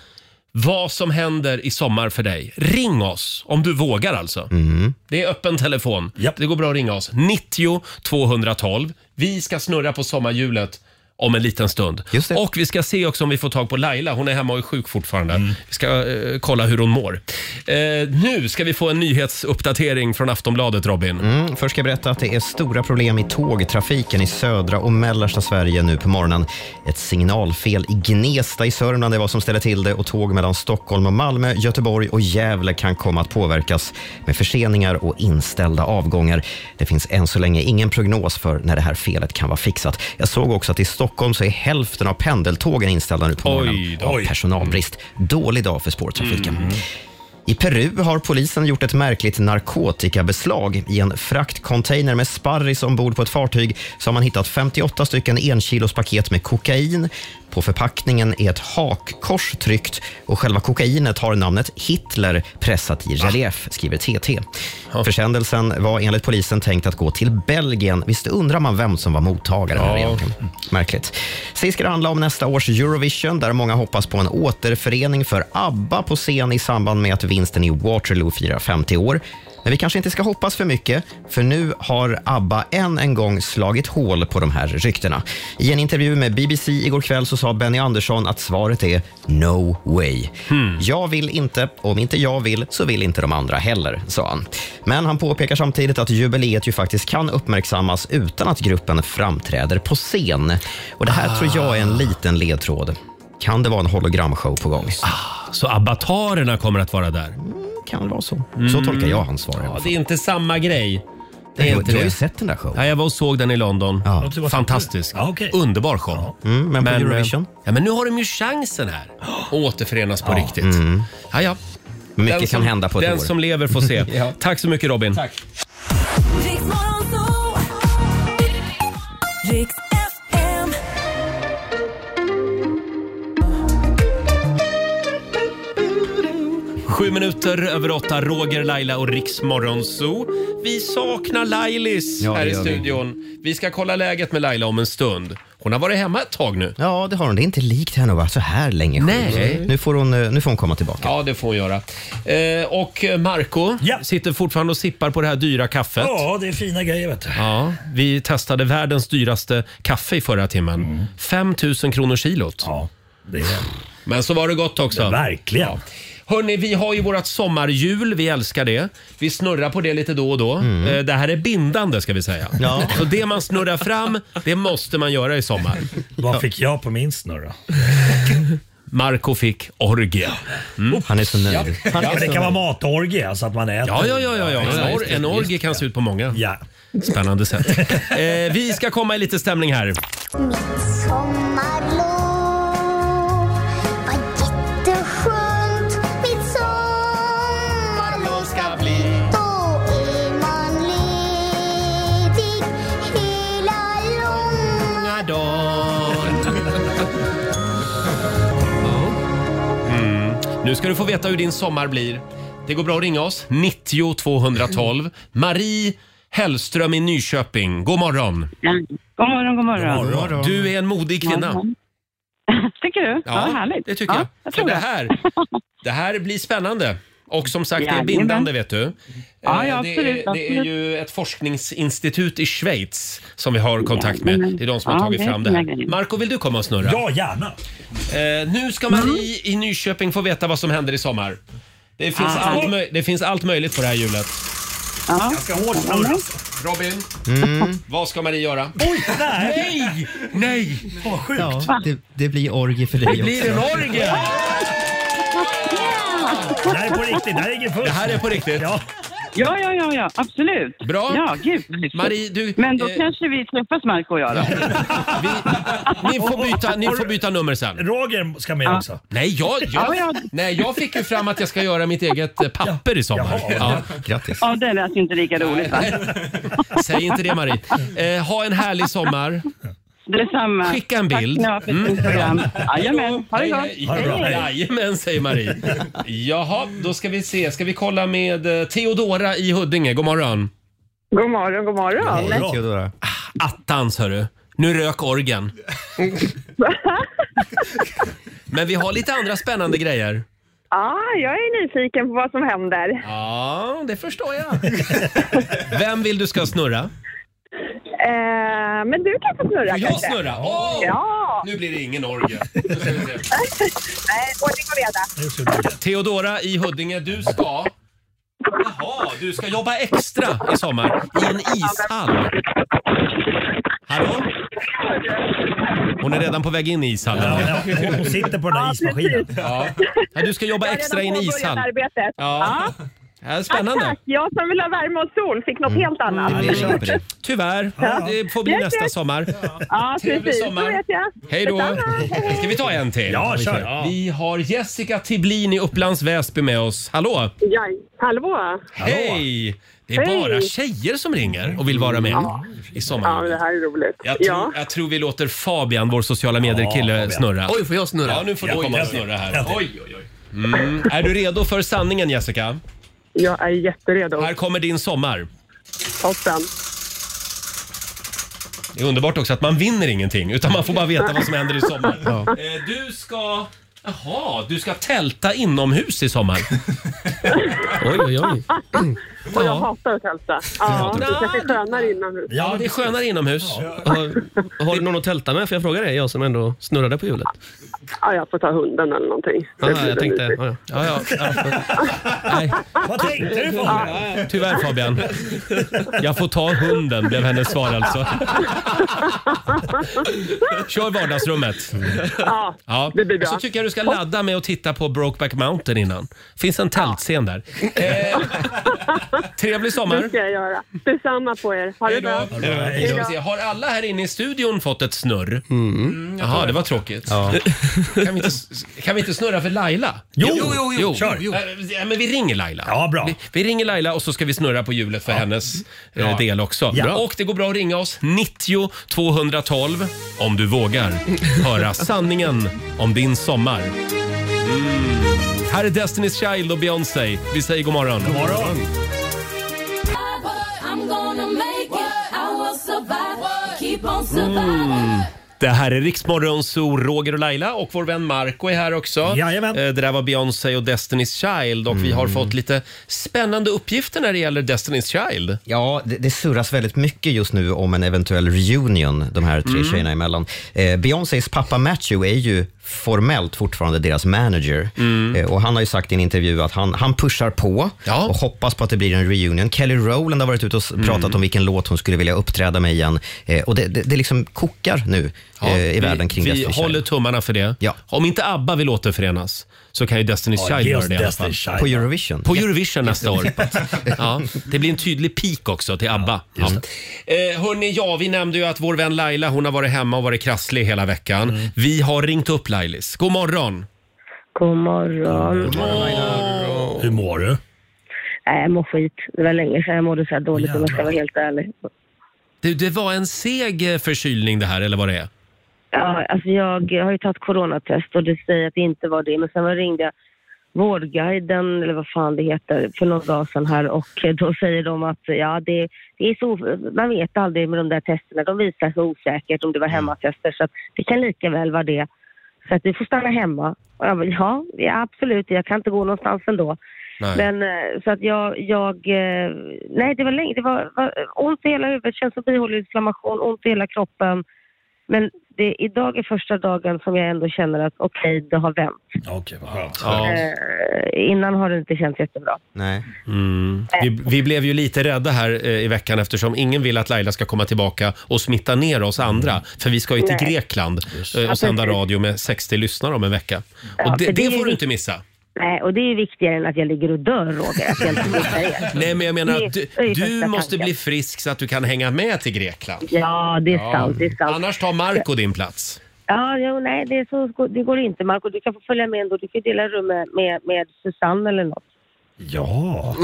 Speaker 1: vad som händer i sommar för dig. Ring oss, om du vågar alltså.
Speaker 2: Mm.
Speaker 1: Det är öppen telefon.
Speaker 9: Japp.
Speaker 1: Det går bra att ringa oss. 90 212. Vi ska snurra på sommarhjulet om en liten stund.
Speaker 2: Just det.
Speaker 1: Och vi ska se också om vi får tag på Laila. Hon är hemma och är sjuk fortfarande.
Speaker 2: Mm.
Speaker 1: Vi ska eh, kolla hur hon mår. Eh, nu ska vi få en nyhetsuppdatering från Aftonbladet, Robin.
Speaker 2: Mm, först ska jag berätta att det är stora problem i tågtrafiken i södra och mellersta Sverige nu på morgonen. Ett signalfel i Gnesta i Sörmland är vad som ställer till det och tåg mellan Stockholm och Malmö, Göteborg och Gävle kan komma att påverkas med förseningar och inställda avgångar. Det finns än så länge ingen prognos för när det här felet kan vara fixat. Jag såg också att i Stockholm så är hälften av pendeltågen inställda nu på
Speaker 1: Oj
Speaker 2: morgonen
Speaker 1: då. Mm,
Speaker 2: av personalbrist. Dålig dag för spårtrafiken. I Peru har polisen gjort ett märkligt narkotikabeslag. I en fraktcontainer med sparris ombord på ett fartyg så har man hittat 58 stycken enkilos paket med kokain. På förpackningen är ett hakkors tryckt och själva kokainet har namnet Hitler pressat i relief, skriver TT. Försändelsen var enligt polisen tänkt att gå till Belgien. Visst undrar man vem som var mottagare här egentligen. Märkligt. Sist ska det handla om nästa års Eurovision där många hoppas på en återförening för ABBA på scen i samband med att vinsten i Waterloo firar 50 år. Men vi kanske inte ska hoppas för mycket, för nu har ABBA än en gång slagit hål på de här ryktena. I en intervju med BBC igår kväll så sa Benny Andersson att svaret är “No way”.
Speaker 1: Hmm.
Speaker 2: Jag vill inte, om inte jag vill så vill inte de andra heller, sa han. Men han påpekar samtidigt att jubileet ju faktiskt kan uppmärksammas utan att gruppen framträder på scen. Och det här tror jag är en liten ledtråd. Kan det vara en hologramshow på gång?
Speaker 1: Ah, Så abbatarerna kommer att vara där.
Speaker 2: Mm,
Speaker 1: Mm.
Speaker 2: Kan det vara så? Så tolkar jag hans svar. i alla
Speaker 1: Ja,
Speaker 2: fall.
Speaker 1: det är inte samma grej. Det är
Speaker 2: Du,
Speaker 1: inte
Speaker 2: du har ju
Speaker 1: det.
Speaker 2: sett den där showen.
Speaker 1: Ja, jag var och såg den i London.
Speaker 2: Ja.
Speaker 1: Fantastisk.
Speaker 9: Ja, okej.
Speaker 1: Underbar show.
Speaker 2: Mm, men på Eurovision?
Speaker 1: eh, Ja, men nu har de ju chansen här att återförenas på riktigt. Ja, ja.
Speaker 2: Mm. Mycket
Speaker 1: Den
Speaker 2: kan
Speaker 1: som,
Speaker 2: hända på ett
Speaker 1: Den
Speaker 2: år.
Speaker 1: som lever får se.
Speaker 2: Ja.
Speaker 1: Tack så mycket Robin.
Speaker 6: Riks Morgonzoo. Riks FM.
Speaker 1: Sju minuter över åtta, Roger, Laila och Riksmorgon Zoo. Vi saknar Lailis
Speaker 2: Ja, det
Speaker 1: här i
Speaker 2: gör vi.
Speaker 1: studion. Vi. ska kolla läget med Laila om en stund. Hon har varit hemma ett tag nu.
Speaker 2: Ja, det har hon. Det är inte likt henne att vara så här länge
Speaker 1: Nej.
Speaker 2: sjuk. Nu får hon, eh, nu får hon komma tillbaka.
Speaker 1: Ja, det får hon göra. Eh, och Marco
Speaker 9: Ja.
Speaker 1: sitter fortfarande och sippar på det här dyra kaffet.
Speaker 9: Ja, det är fina grejer vet du.
Speaker 1: Ja, vi testade världens dyraste kaffe i förra timmen. 5 000 kronor kilot.
Speaker 9: Mm. Ja, det är
Speaker 1: Men så var det gott också.
Speaker 9: Verkligen.
Speaker 1: Hörni, vi har ju vårt sommarhjul. Vi älskar det. Vi snurrar på det lite då och då.
Speaker 9: Mm.
Speaker 1: Eh, Det här är bindande ska vi säga.
Speaker 2: Ja.
Speaker 1: Så det man snurrar fram, det måste man göra i sommar.
Speaker 9: Vad fick jag på min snurra?
Speaker 1: Marco fick orgie. Mm.
Speaker 2: Han är så nöjd. Han
Speaker 9: Ja,
Speaker 2: är
Speaker 9: det
Speaker 2: så
Speaker 9: kan vara
Speaker 2: nöjd.
Speaker 9: matorgie, alltså att man äter.
Speaker 1: Ja, ja, ja, ja, ja. En, or- en orgie kan se ut på många
Speaker 9: Ja.
Speaker 1: spännande sätt. Eh, vi ska komma i lite stämning här.
Speaker 6: Mitt sommarlov var jätteskönt Mitt sommarlov ska bli Då är man ledig hela långa
Speaker 1: Mm. Nu ska du få veta hur din sommar blir. Det går bra att ringa oss. 90 212. Marie Hellström i Nyköping. God morgon.
Speaker 5: God morgon, god morgon.
Speaker 1: Du är en modig kvinna.
Speaker 5: Tycker du? Ja, härligt.
Speaker 1: det tycker
Speaker 5: ja,
Speaker 1: jag.
Speaker 5: jag
Speaker 1: För
Speaker 5: tror
Speaker 1: det,
Speaker 5: det.
Speaker 1: här, det här blir spännande. Och som sagt, det är
Speaker 5: Jajamän.
Speaker 1: bindande vet du.
Speaker 5: Ja,
Speaker 1: Eh, det,
Speaker 5: ja, absolut,
Speaker 1: är, det är
Speaker 5: absolut.
Speaker 1: ju ett forskningsinstitut i Schweiz som vi har kontakt med.
Speaker 5: Jajamän.
Speaker 1: Det är de som har
Speaker 5: Ja,
Speaker 1: tagit
Speaker 5: det är
Speaker 1: fram det här.
Speaker 5: fina grejer.
Speaker 1: Marco, vill du komma och snurra?
Speaker 9: ja, gärna.
Speaker 1: Eh, nu ska
Speaker 5: Mm.
Speaker 1: Marie i Nyköping få veta vad som händer i sommar. Det finns, allt, möj- det finns allt möjligt på det här hjulet.
Speaker 5: Ja.
Speaker 9: Ganska hårt snurr. alltså.
Speaker 1: Robin,
Speaker 5: Mm.
Speaker 1: vad ska Marie göra?
Speaker 9: Oj, nej!
Speaker 1: Nej! Nej!
Speaker 9: Vad sjukt.
Speaker 2: Ja, det, det blir orgie för dig
Speaker 1: Det blir en
Speaker 2: också.
Speaker 1: orgie!
Speaker 9: Det här är på riktigt, det här är ingen fusk.
Speaker 1: Det här är på riktigt.
Speaker 9: Ja,
Speaker 5: ja, ja, ja, ja, absolut.
Speaker 1: Bra.
Speaker 5: Ja, gud. vad häftigt.
Speaker 1: Marie, du...
Speaker 5: Men då
Speaker 1: eh,
Speaker 5: kanske vi träffas, Marco och jag. Då.
Speaker 1: vi, ni, får byta, ni får byta nummer sen.
Speaker 9: Roger ska med också.
Speaker 1: Nej jag,
Speaker 5: Ja,
Speaker 1: jag,
Speaker 5: ja.
Speaker 1: nej, jag fick ju fram att jag ska göra mitt eget eh, papper i sommar. Ja.
Speaker 9: Jaha.
Speaker 2: Grattis.
Speaker 5: Ja, det lät inte lika roligt. Va?
Speaker 1: Säg inte det Marie. Eh, ha en härlig sommar.
Speaker 5: Detsamma.
Speaker 1: Skicka en bild. Mm.
Speaker 5: Tack ska ni ha för ett fint program. Jajamän, ha det gott.
Speaker 1: Hej,
Speaker 9: Ha det bra.
Speaker 1: hej. Jajamän, säger Marie. Jaha, då ska vi se. Ska vi kolla med eh, Theodora i Huddinge? God morgon.
Speaker 5: God morgon, god morgon.
Speaker 2: Hej, Theodora.
Speaker 1: Ah, Attans hörru. Nu rök orgen. Men vi har lite andra spännande grejer.
Speaker 10: Ja, jag är nyfiken på vad som händer.
Speaker 1: Ja, det förstår jag. Vem vill du ska snurra?
Speaker 10: Eh, men du kan få snurra
Speaker 1: Jag
Speaker 10: kanske?
Speaker 1: snurra? Åh!
Speaker 10: Ja,
Speaker 1: Nu blir det ingen Norge.
Speaker 10: nej, ordning och reda.
Speaker 1: Theodora i Huddinge, du ska... Jaha, du ska jobba extra i sommar i en ishall. Hallå? Hon är redan på väg in i ishallen.
Speaker 9: Ja, hon, hon sitter på den där ismaskinen.
Speaker 1: Ja. Ja, du ska jobba
Speaker 10: Jag har
Speaker 1: extra i
Speaker 10: redan
Speaker 1: en
Speaker 10: påbörjat
Speaker 1: ishall.
Speaker 10: Arbetet.
Speaker 1: Ja. ja
Speaker 10: Tack,
Speaker 1: spännande. Mm.
Speaker 10: tack. Jag som vill ha värme och sol fick något helt annat.
Speaker 2: Det blir inget på det.
Speaker 1: Tyvärr, det får bli
Speaker 10: Yes,
Speaker 1: nästa
Speaker 10: yes.
Speaker 1: sommar.
Speaker 10: Ja,
Speaker 1: Trevlig
Speaker 10: precis.
Speaker 1: sommar.
Speaker 10: Så vet jag.
Speaker 1: Hej då!
Speaker 10: Detsamma. Hej,
Speaker 1: Ska
Speaker 10: hej.
Speaker 1: vi ta en till?
Speaker 9: Ja, kör.
Speaker 1: Vi har Jessica Tiblin i Upplands Väsby med oss. Hallå!
Speaker 10: Ja, hallå!
Speaker 1: Hej! Det är
Speaker 10: Hej.
Speaker 1: bara tjejer som ringer och vill vara med i
Speaker 10: Ja, men
Speaker 1: sommar.
Speaker 10: det här är roligt.
Speaker 1: Jag,
Speaker 10: Ja.
Speaker 1: tror, jag tror vi låter Fabian, vår sociala medier-kille,
Speaker 9: Fabian.
Speaker 1: snurra.
Speaker 4: Oj, får jag snurra?
Speaker 1: Ja, nu får du komma och
Speaker 9: äntligen.
Speaker 1: snurra här.
Speaker 9: Äntligen.
Speaker 1: Oj, oj, oj. Mm. Är du redo för sanningen, Jessica?
Speaker 10: Jag är jätteredo.
Speaker 1: Här kommer din sommar.
Speaker 10: Toppen.
Speaker 1: Det är underbart också att man vinner ingenting, utan man får bara veta vad som händer i sommar. Eh, Du ska... Jaha, du ska tälta inomhus i sommar.
Speaker 4: Oj, oj, oj.
Speaker 10: Och jag hatar att hälsa. Ja, det kanske är skönare inomhus.
Speaker 1: Ja, det är skönare inomhus.
Speaker 4: Har, har du någon att tälta med? Får jag fråga det? Jag som ändå snurrade på hjulet.
Speaker 10: Ja, jag får ta hunden eller någonting. Det
Speaker 4: Ah,
Speaker 10: blir
Speaker 4: jag tänkte...
Speaker 10: mysigt.
Speaker 4: Ja, ja.
Speaker 1: Ja, ja. Nej,
Speaker 9: Vad tänkte du på?
Speaker 1: tyvärr Fabian. Jag får ta hunden, blev hennes svar alltså. Kör vardagsrummet.
Speaker 4: Mm.
Speaker 10: Ja,
Speaker 1: Ja.
Speaker 10: Det blir bra.
Speaker 1: Så tycker jag du ska ladda med att titta på Brokeback Mountain innan. finns en tältscen där. Eh, trevlig
Speaker 10: det
Speaker 1: sommar.
Speaker 10: ska jag göra. Detsamma på er. Ha det
Speaker 1: Hej då.
Speaker 10: bra.
Speaker 1: Hej då. Vi ser, Har alla här inne i studion fått ett snurr? Mm, Jaha, det var tråkigt. Kan, vi inte, kan vi inte snurra för Laila?
Speaker 9: Jo, jo, jo, kör.
Speaker 1: Äh, men vi ringer Laila.
Speaker 9: Ja, bra.
Speaker 1: Vi, vi ringer Laila och så ska vi snurra på hjulet för hennes eh, del också.
Speaker 9: Ja.
Speaker 1: Bra. Och det går bra att ringa oss, 90 212, om du vågar höra sanningen om din sommar. Mm. Här är Destiny's Child och Beyoncé. Vi säger god morgon.
Speaker 9: God morgon.
Speaker 1: Mm.
Speaker 5: I'm gonna make it. I will survive. Keep on surviving.
Speaker 1: Mm. Det här är Riksmorgon, så Roger och Laila och vår vän Marco är här också.
Speaker 9: Jajamän. Mm.
Speaker 1: Eh, Det där var Beyoncé och Destiny's Child och vi har fått lite spännande uppgifter när det gäller Destiny's Child.
Speaker 2: Ja, det, det surras väldigt mycket just nu om en eventuell reunion de här tre
Speaker 1: Mm.
Speaker 2: tjejerna emellan. Eh, Beyoncés pappa Matthew är ju formellt fortfarande deras manager eh, och han har ju sagt i en intervju att han, han pushar på
Speaker 1: Mm. Ja. Mm.
Speaker 2: och hoppas på att det blir en reunion. Kelly Rowland har varit ute och s- pratat om vilken låt hon skulle vilja uppträda med igen eh, och det, det, det liksom kokar nu eh, i
Speaker 1: vi,
Speaker 2: världen kring
Speaker 1: Vi
Speaker 2: Destiny's
Speaker 1: håller
Speaker 2: Child.
Speaker 1: tummarna för det.
Speaker 2: Ja.
Speaker 1: Om inte ABBA vill återförenas så kan ju Destiny's Child
Speaker 9: Ge oss
Speaker 1: göra det i alla fall.
Speaker 9: Destiny's Child.
Speaker 2: På Eurovision.
Speaker 1: På Eurovision nästa år. Ja, det blir en tydlig peak också till ABBA. Ja. Eh, hörni, ja, vi nämnde ju att vår vän Laila hon har varit hemma och varit krasslig hela veckan.
Speaker 9: Mm.
Speaker 1: Vi har ringt upp Lailis. God morgon!
Speaker 10: God morgon.
Speaker 9: Hur mår du?
Speaker 10: Nej, jag mår skit. Det var länge sedan jag mådde så här dåligt om jag ska vara helt ärlig.
Speaker 1: Du, det var en seg eh, förkylning det här, eller vad det är?
Speaker 10: Ja, alltså jag har ju tagit coronatest och det säger att det inte var det. Men sen var- ringde jag Vårdguiden, eller vad fan det heter, för någon dag sedan här och då säger de att ja, det, det är så, man vet aldrig med de där testerna. De visar sig osäkert om det var hemmatester så att det kan lika väl vara det. Så att du får stanna hemma. Och jag bara, ja, ja, absolut, jag kan inte gå någonstans ändå.
Speaker 1: Nej.
Speaker 10: Men eh, så att jag, jag eh, nej det var länge, det var, var ont i hela huvudet, känns som bihåleinflammation, ont i hela kroppen. Men det, idag är första dagen som jag ändå känner att okej, det har vänt.
Speaker 9: Okej, vad skönt.
Speaker 1: Ja.
Speaker 10: Eh, innan har det inte känts jättebra.
Speaker 2: Nej.
Speaker 1: Mm. Vi, vi blev ju lite rädda här eh, i veckan eftersom ingen vill att Laila ska komma tillbaka och smitta ner oss andra. För vi ska ju till
Speaker 10: Mm. Nej.
Speaker 1: Grekland eh, och
Speaker 10: Ja,
Speaker 1: sända
Speaker 10: precis.
Speaker 1: radio med 60 lyssnare om en vecka.
Speaker 10: Ja,
Speaker 1: Och det,
Speaker 10: för det
Speaker 1: det
Speaker 10: är
Speaker 1: får du
Speaker 10: ju-
Speaker 1: inte missa.
Speaker 10: Nej, och det är ju viktigare än att jag ligger och dör Roger, att jag inte missar er.
Speaker 1: Nej, men jag menar att du,
Speaker 10: Det är ju
Speaker 1: du
Speaker 10: första
Speaker 1: måste
Speaker 10: tanken.
Speaker 1: bli frisk så att du kan hänga med till Grekland.
Speaker 10: Ja, det är sant, det är sant.
Speaker 1: Annars tar Marco din plats.
Speaker 10: Ja, jo, nej, det, är så, det går inte Marco. Du kan få följa med ändå. Du kan ju dela rum med, med, med Susanne eller något.
Speaker 1: Ah.
Speaker 9: Ja.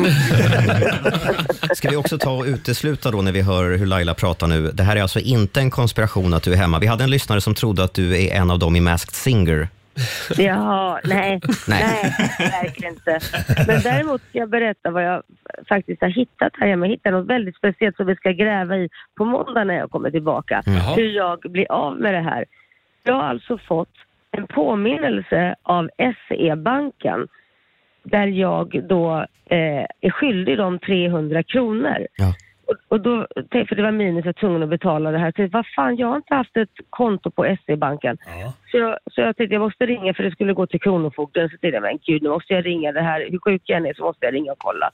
Speaker 2: Ska vi också ta och utesluta då när vi hör hur Laila pratar nu. Det här är alltså inte en konspiration att du är hemma. Vi hade en lyssnare som trodde att du är en av dem i Masked Singer.
Speaker 10: Jaha, nej,
Speaker 2: Nej.
Speaker 10: nej, verkligen inte. Men däremot ska jag berätta vad jag faktiskt har hittat här hemma. Jag hittade något väldigt speciellt som vi ska gräva i på måndag när jag kommer tillbaka.
Speaker 1: Jaha.
Speaker 10: Hur jag blir av med det här. Jag har alltså fått en påminnelse av SE-banken där jag då eh, är skyldig dem 300 kronor.
Speaker 2: Ja.
Speaker 10: Och, och då, för det var minus, jag var tvungen att betala det här. Så jag tänkte, vad fan, jag har inte haft ett konto på SE-banken. Så, jag, så jag tänkte, jag måste ringa för det skulle gå till Kronofogden. Så tänkte jag, men gud, nu måste jag ringa det här. Hur sjuk jag än är så måste jag ringa och kolla.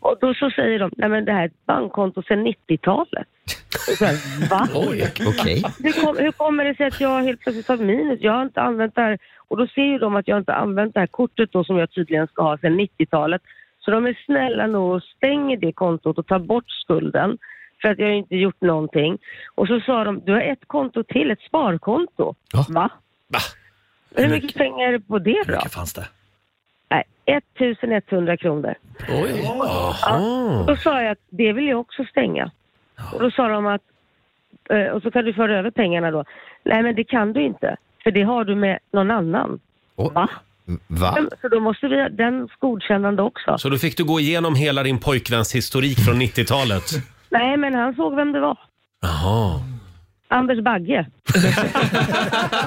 Speaker 10: Och då så säger de, nej men det här är ett bankkonto sedan 90-talet. Och så här, va?
Speaker 2: Okej.
Speaker 10: Hur, kom, hur kommer det sig att jag helt plötsligt har minus? Jag har inte använt det här. Och då ser ju de att jag inte har använt det här kortet då som jag tydligen ska ha sedan 90-talet. Så de är snälla nog och stänger det kontot och tar bort skulden. För att jag har ju inte gjort någonting. Och så sa de, du har ett konto till, ett sparkonto.
Speaker 2: Ja.
Speaker 10: Va?
Speaker 1: Va?
Speaker 10: Hur mycket pengar är det på det
Speaker 9: Hur
Speaker 10: då?
Speaker 9: mycket fanns det?
Speaker 10: Nej, 1100 kronor.
Speaker 1: Oj.
Speaker 4: Ah.
Speaker 10: Ja, då sa jag att det vill jag också stänga. Och då sa de att, eh, och så kan du föra över pengarna då. Nej men det kan du inte, för det har du med någon annan.
Speaker 2: Åh,
Speaker 10: Va?
Speaker 2: Va?
Speaker 10: Så då måste vi ha den godkännande också.
Speaker 1: Så då fick du gå igenom hela din pojkväns historik från 90-talet?
Speaker 10: Nej men han såg vem det var.
Speaker 1: Jaha.
Speaker 10: Anders Bagge.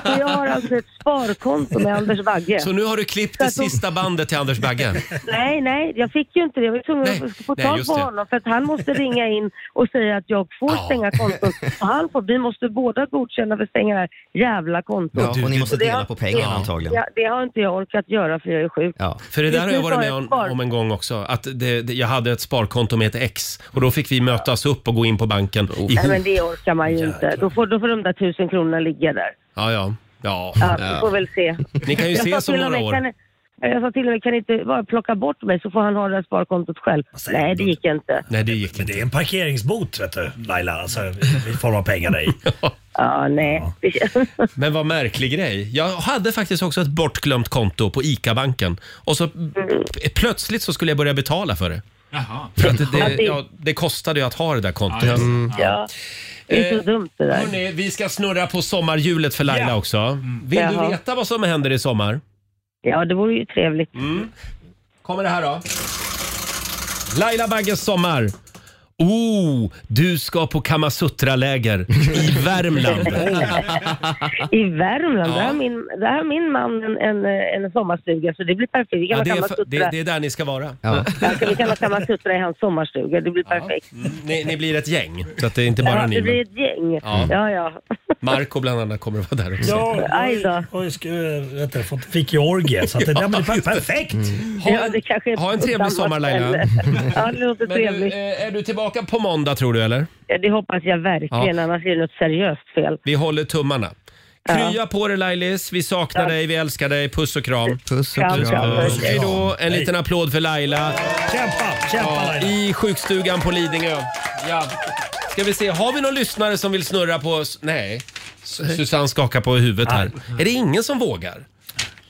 Speaker 10: Så jag har alltså ett sparkonto med Anders Bagge.
Speaker 1: Så nu har du klippt det sista bandet till Anders Bagge?
Speaker 10: Nej, nej, jag fick ju inte det. Jag var tvungen
Speaker 1: Nej,
Speaker 10: att få
Speaker 1: nej,
Speaker 10: tag
Speaker 1: just
Speaker 10: på
Speaker 1: det.
Speaker 10: honom för att han måste ringa in och säga att jag får stänga kontot. Och han får, vi måste båda godkänna för att stänga det här jävla kontot.
Speaker 2: Ja, och ni måste
Speaker 10: det
Speaker 2: dela
Speaker 10: har-
Speaker 2: på pengarna
Speaker 10: det-
Speaker 2: antagligen.
Speaker 10: Ja, det har inte jag orkat göra för jag är sjuk.
Speaker 2: Ja.
Speaker 1: För det där har jag
Speaker 10: Precis,
Speaker 1: varit
Speaker 10: har
Speaker 1: med
Speaker 10: jag
Speaker 1: om,
Speaker 10: ett spar-
Speaker 1: om en gång också. Att det, det, jag hade ett sparkonto med ett ex och då fick vi mötas upp och gå in på banken
Speaker 10: Nej,
Speaker 1: ihop.
Speaker 10: men det orkar man ju inte. Då får, då får de där tusen kronorna ligga där.
Speaker 1: Ja, ja. Ja.
Speaker 10: Ja, Vi får väl se.
Speaker 1: Ni kan ju
Speaker 10: Jag sa
Speaker 1: ses om
Speaker 10: till
Speaker 1: några
Speaker 10: och med,
Speaker 1: år.
Speaker 10: Kan, jag sa till och med, kan inte bara plocka bort mig så får han ha det här sparkontot själv.
Speaker 9: säger
Speaker 10: Nej,
Speaker 9: du
Speaker 10: det
Speaker 9: då?
Speaker 10: gick inte.
Speaker 1: Nej, det gick
Speaker 9: Men
Speaker 1: inte.
Speaker 9: det är en parkeringsbot vet du, Laila, alltså, i form av pengar där i.
Speaker 10: Ja, nej.
Speaker 1: Men vad märklig grej. Jag hade faktiskt också ett bortglömt konto på ICA-banken. Och så
Speaker 10: Mm.
Speaker 1: p- plötsligt så skulle jag börja betala för det.
Speaker 11: Jaha.
Speaker 1: För att det, ja, det kostade ju att ha det där kontot. Mm.
Speaker 10: ja. Det är
Speaker 1: Eh,
Speaker 10: så dumt det där.
Speaker 1: Hörrni, vi ska snurra på sommarhjulet för Laila
Speaker 9: Ja.
Speaker 1: också. Vill du
Speaker 10: Mm. Jaha.
Speaker 1: veta vad som händer i sommar?
Speaker 10: Ja, det vore ju trevligt.
Speaker 1: Mm. Kommer det här då? Laila Bagges sommar. Oh, du ska på Kamasutra-läger i Värmland.
Speaker 10: I Värmland,
Speaker 1: Ja.
Speaker 10: där, har min, där har min man en, en, en sommarstuga så det blir perfekt. Vi kan
Speaker 1: Ja,
Speaker 10: ha
Speaker 1: det, är, för- det,
Speaker 10: Kamasutra
Speaker 1: det är där ni ska vara.
Speaker 2: Ja.
Speaker 10: ja, så vi kan ha Kamasutra i hans sommarstuga, det blir perfekt.
Speaker 1: Mm, Ni, ni blir ett gäng, så att det är inte bara
Speaker 10: Ja,
Speaker 1: ni.
Speaker 10: det blir
Speaker 1: Men
Speaker 10: ett gäng.
Speaker 1: Ja.
Speaker 10: Ja, ja. ja.
Speaker 1: Marco bland annat kommer att vara där också.
Speaker 10: Aj då.
Speaker 9: och jag skulle- vet du, fått- fick Georgie, så att det, där, men det är perfekt.
Speaker 1: Ha, en-
Speaker 10: det kanske är
Speaker 1: ha en
Speaker 10: på
Speaker 1: trevlig
Speaker 10: samma
Speaker 1: sommar Laila.
Speaker 10: ställe. Ja, det låter
Speaker 1: Men du,
Speaker 10: trevligt.
Speaker 1: eh, är du tillbaka på måndag tror du eller?
Speaker 10: Ja, Det hoppas jag verkligen, annars är det något seriöst fel.
Speaker 1: Vi håller tummarna. Krya på dig Lailis, vi saknar dig, vi älskar dig, puss och kram.
Speaker 2: Puss och
Speaker 10: Kram,
Speaker 2: kram.
Speaker 10: kram.
Speaker 1: Hej då, en liten applåd för Laila.
Speaker 9: Kämpa, kämpa
Speaker 1: Ja,
Speaker 9: Laila.
Speaker 1: I sjukstugan på Lidingö. Ja. Ska vi se, har vi någon lyssnare som vill snurra på... oss? Nej. S- Susanne skakar på huvudet här. Är det ingen som vågar?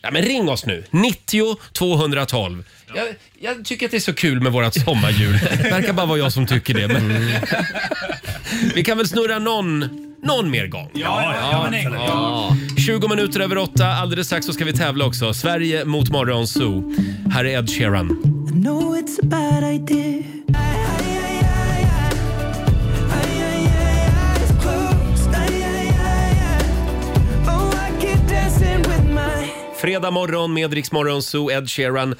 Speaker 1: Ja, men ring oss nu. 90 212. Jag, jag tycker att det är så kul med vårt sommarjul. Det verkar bara vara jag som tycker det. Men...
Speaker 9: Mm.
Speaker 1: Vi kan väl snurra någon, någon mer gång.
Speaker 9: Ja, ja, ja, men en gång.
Speaker 1: 20 minuter över åtta. Alldeles strax så ska vi tävla också. Sverige mot Morgonzoo. Här är Ed Sheeran. Fredag morgon med Rix Morgonzoo, Ed Sheeran,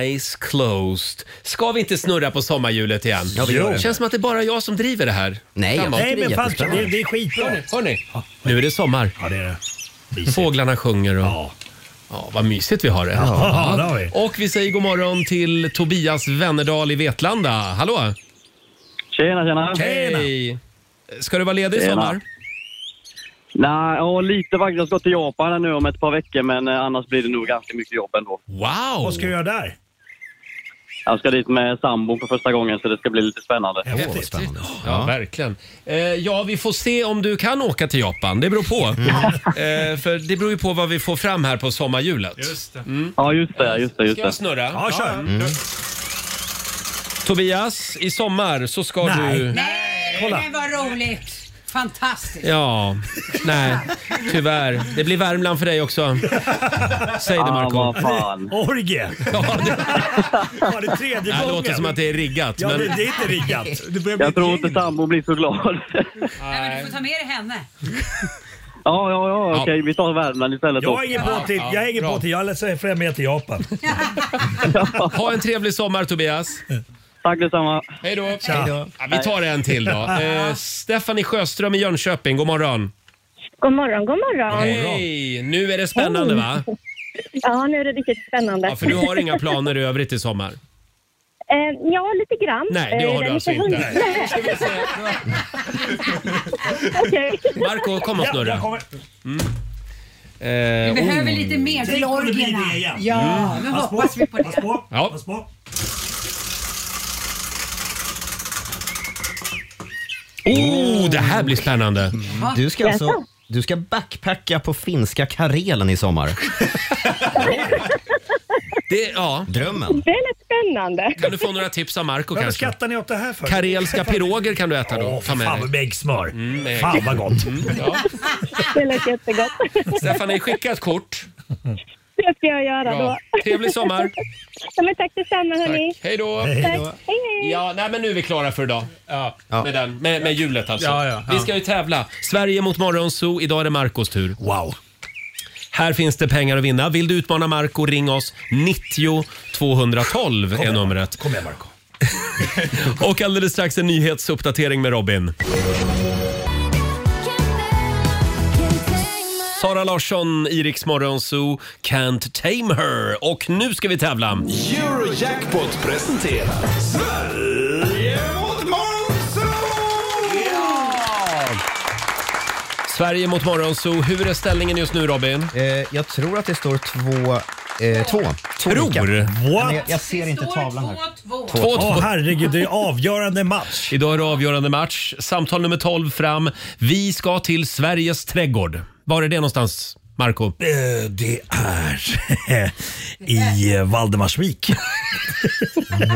Speaker 1: Eyes Closed. Ska vi inte snurra på sommarhjulet igen?
Speaker 2: Ja, vi gör det.
Speaker 1: känns som att det är bara jag som driver det här.
Speaker 2: Nej, jag
Speaker 1: Framåt.
Speaker 9: Nej men fan,
Speaker 2: Jättespännande.
Speaker 9: det, det är skitbra.
Speaker 1: Hörni, nu är det sommar.
Speaker 9: Ja, det är det.
Speaker 1: Fåglarna sjunger och
Speaker 9: Ja.
Speaker 1: ja, vad mysigt vi har det.
Speaker 9: Ja, det har vi.
Speaker 1: Och vi säger god morgon till Tobias Wennerdal i Vetlanda. Hallå!
Speaker 10: Tjena, tjena.
Speaker 9: Tjena.
Speaker 1: Hej! Ska du vara ledig i
Speaker 10: Tjena.
Speaker 1: sommar?
Speaker 10: Nej, ja, lite faktiskt. Jag ska till Japan här nu om ett par veckor, men eh, annars blir det nog ganska mycket jobb ändå.
Speaker 1: Wow!
Speaker 9: Vad ska du göra där?
Speaker 10: Jag ska dit med sambon Eh, för första gången, så det ska bli lite spännande.
Speaker 9: Häftigt.
Speaker 1: Ja, verkligen. Eh, ja, vi får se om du kan åka till Japan. Det beror på. Eh, för det beror ju på vad vi får fram här på sommarhjulet. Mm.
Speaker 11: Just det.
Speaker 10: Ja, just det, just
Speaker 1: Ska
Speaker 10: det, just
Speaker 1: jag
Speaker 10: det. Mm.
Speaker 1: snurra?
Speaker 9: Ja, kör.
Speaker 1: Tobias, i sommar så ska
Speaker 9: Nej.
Speaker 1: du...
Speaker 3: Nej,
Speaker 9: Kolla.
Speaker 3: men vad roligt. Fantastiskt.
Speaker 1: Ja, nej, tyvärr. Det blir Värmland för dig också. Säg det
Speaker 10: Ah,
Speaker 1: Marco
Speaker 10: vad fan.
Speaker 9: Orgie.
Speaker 1: Ja, det,
Speaker 9: Ja, det är tredje
Speaker 1: nej,
Speaker 9: gången.
Speaker 1: det låter som att det är riggat.
Speaker 9: Ja,
Speaker 1: Men,
Speaker 9: det, det är inte riggat.
Speaker 10: Jag tror inte sambon blir så glad.
Speaker 3: Nej, men du får ta med dig henne.
Speaker 11: Ja, ja, ja, okej. Vi tar Värmland istället.
Speaker 9: Jag
Speaker 11: då.
Speaker 9: hänger på till, jag hänger på till. Jag säger fler med till Japan.
Speaker 1: Ha en trevlig sommar Tobias.
Speaker 11: Tack detsamma.
Speaker 1: Hej då.
Speaker 9: Tja.
Speaker 1: Ja, vi tar en till då. Eh, Stephanie Sjöström i Jönköping, god morgon.
Speaker 12: God morgon, god morgon.
Speaker 1: Hej! Nu är det spännande va?
Speaker 12: Ja, nu är det riktigt spännande.
Speaker 1: Ja, för du har inga planer i övrigt i sommar?
Speaker 12: Eh, ja, lite grann.
Speaker 1: Nej, det har
Speaker 12: Eh,
Speaker 1: du
Speaker 12: lite
Speaker 1: alltså inte.
Speaker 12: hund-
Speaker 1: Nej.
Speaker 12: Nej. Okej.
Speaker 1: Marco, kom och
Speaker 12: Ja,
Speaker 1: snurra.
Speaker 12: jag kommer.
Speaker 1: Mm.
Speaker 3: Vi
Speaker 1: Eh,
Speaker 3: behöver
Speaker 1: oh.
Speaker 3: lite mer till orgierna. Ja,
Speaker 1: Mm.
Speaker 3: nu
Speaker 1: Pass på,
Speaker 3: hoppas vi på det.
Speaker 1: Ja.
Speaker 2: Oh,
Speaker 1: det här blir spännande.
Speaker 10: Mm.
Speaker 2: Du ska alltså
Speaker 1: Jaså?
Speaker 2: du ska backpacka på finska Karelen i sommar.
Speaker 1: Det, ja.
Speaker 2: Drömmen.
Speaker 12: Det är lite spännande.
Speaker 1: Kan du få några tips av Marco
Speaker 9: Varför
Speaker 1: kanske?
Speaker 9: skrattar ni åt det här för?
Speaker 1: Karelska piroger kan du äta då.
Speaker 9: Åh,
Speaker 1: Ta med
Speaker 9: fan
Speaker 1: dig.
Speaker 9: vad med äggsmör.
Speaker 1: Mm, med ägg.
Speaker 9: Fan vad gott.
Speaker 1: Mm, ja.
Speaker 12: Det lät jättegott.
Speaker 1: Stephanie, skicka ett kort.
Speaker 12: Det ska jag göra
Speaker 1: Bra.
Speaker 12: då.
Speaker 1: Trevlig sommar.
Speaker 12: Ja, men tack detsamma hörni.
Speaker 1: Hej då.
Speaker 12: Tack.
Speaker 1: Hej
Speaker 12: Hej,
Speaker 1: då.
Speaker 12: hej.
Speaker 1: Ja, nej men nu är vi klara för idag. Ja, Med, den, med, med hjulet alltså.
Speaker 8: Ja, ja, ja.
Speaker 1: Vi ska ju tävla. Sverige mot Morgonzoo. Idag är det Marcos tur. Wow. Här finns det pengar att vinna. Vill du utmana Marco, ring oss. 90 212 är numret.
Speaker 9: Kom igen Marco.
Speaker 1: Och alldeles strax en nyhetsuppdatering med Robin. Sara Larsson, Iriks Morgonzoo, Can't Tame Her. Och nu ska vi tävla.
Speaker 4: Eurojackpot presenterar Sverige mot
Speaker 1: Sverige mot Morgonzoo. Hur är ställningen just nu Robin?
Speaker 2: Eh, jag tror att det står två... Eh, två. Två
Speaker 1: Tror?
Speaker 2: lika.
Speaker 1: What?
Speaker 2: Men Jag, jag ser inte tavlan här.
Speaker 9: Två, två. Åh, herregud, det är avgörande match.
Speaker 1: Idag är det avgörande match. Samtal nummer 12 fram. Vi ska till Sveriges trädgård. Var är det någonstans, Marco?
Speaker 9: Eh, Det är i eh, Valdemarsvik.
Speaker 1: Mm.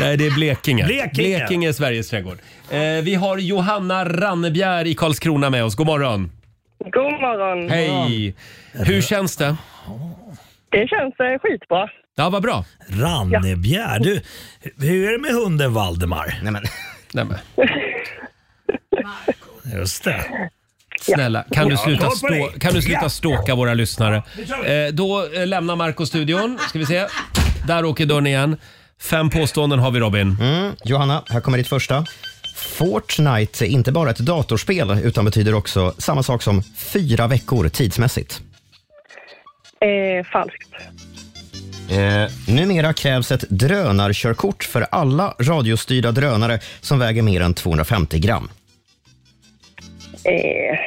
Speaker 1: Nej, det är Blekinge.
Speaker 9: Blekinge.
Speaker 1: Blekinge är Sveriges trädgård. Eh, vi har Johanna Rannebjer i Karlskrona med oss. God morgon.
Speaker 13: God morgon.
Speaker 1: Hej! Hur känns det?
Speaker 13: Det känns eh, skitbra.
Speaker 1: Ja, vad bra.
Speaker 9: Rannebjer. Du, hur är det med hunden Valdemar?
Speaker 2: Nej men.
Speaker 1: Nej, men.
Speaker 9: Just det.
Speaker 1: Snälla, kan du
Speaker 9: Ja,
Speaker 1: sluta,
Speaker 9: kolla på
Speaker 1: stå,
Speaker 9: dig.
Speaker 1: kan du sluta
Speaker 9: Ja.
Speaker 1: ståka våra lyssnare?
Speaker 9: nu kör
Speaker 1: Eh, då eh, lämnar Marco studion. Ska vi se. Där åker dörren igen. Fem påståenden har vi Robin.
Speaker 2: Mm. Johanna, här kommer ditt första. Fortnite är inte bara ett datorspel utan betyder också samma sak som fyra veckor tidsmässigt.
Speaker 13: Eh, falskt.
Speaker 2: Eh, numera krävs ett drönarkörkort för alla radiostyrda drönare som väger mer än 250 gram.
Speaker 13: Eh,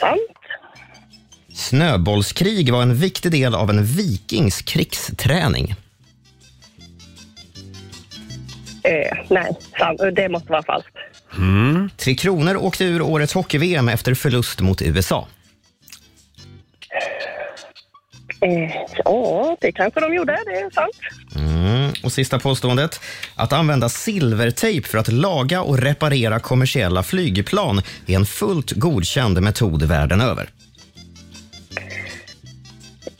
Speaker 13: sant.
Speaker 2: Snöbollskrig var en viktig del av en vikings krigsträning.
Speaker 13: Eh, nej, sant. det måste vara falskt.
Speaker 1: Mm.
Speaker 2: Tre Kronor åkte ur årets hockey-VM efter förlust mot USA.
Speaker 13: Eh, ja, det kanske de gjorde. Det är sant.
Speaker 2: Mm. Och sista påståendet. Att använda silvertejp för att laga och reparera kommersiella flygplan är en fullt godkänd metod världen över.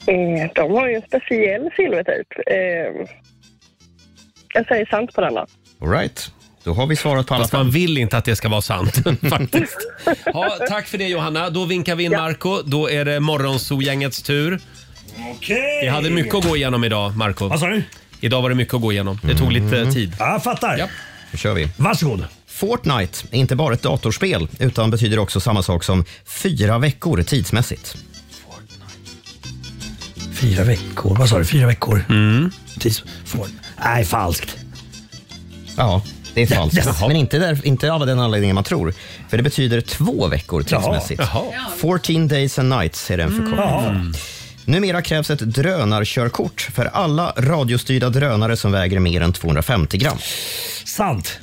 Speaker 13: Eh, de har ju en speciell silvertejp. Eh, jag säger sant på den då.
Speaker 2: All right. Då har vi svarat på alla
Speaker 1: Fast man vill inte att det ska vara sant faktiskt. Ja, tack för det Johanna. Då vinkar vi in Marco. Då är det Morgonzoo-gängets tur.
Speaker 9: Okej.
Speaker 1: Vi hade mycket att gå igenom idag, Marco. Vad
Speaker 9: sa du? Mm.
Speaker 1: Idag var det mycket att gå igenom. Det tog lite tid.
Speaker 9: Ja, jag fattar. Ja.
Speaker 2: Nu Mm. kör vi.
Speaker 9: Varsågod.
Speaker 2: Fortnite är inte bara ett datorspel utan betyder också samma sak som fyra veckor tidsmässigt.
Speaker 9: Fyra veckor. Vad sa du? Fyra veckor? Mm. Tids... Får... Nej, falskt.
Speaker 2: Ja, det är falskt.
Speaker 9: Jaha.
Speaker 2: Men inte, där, inte av den anledningen man tror. För det betyder två veckor
Speaker 9: Jaha.
Speaker 2: tidsmässigt.
Speaker 9: Jaha.
Speaker 2: 14 days and nights är den förkortningen.
Speaker 9: Mm. Jaha.
Speaker 2: Mm. Numera krävs ett drönarkörkort för alla radiostyrda drönare som väger mer än 250 gram.
Speaker 9: Sant.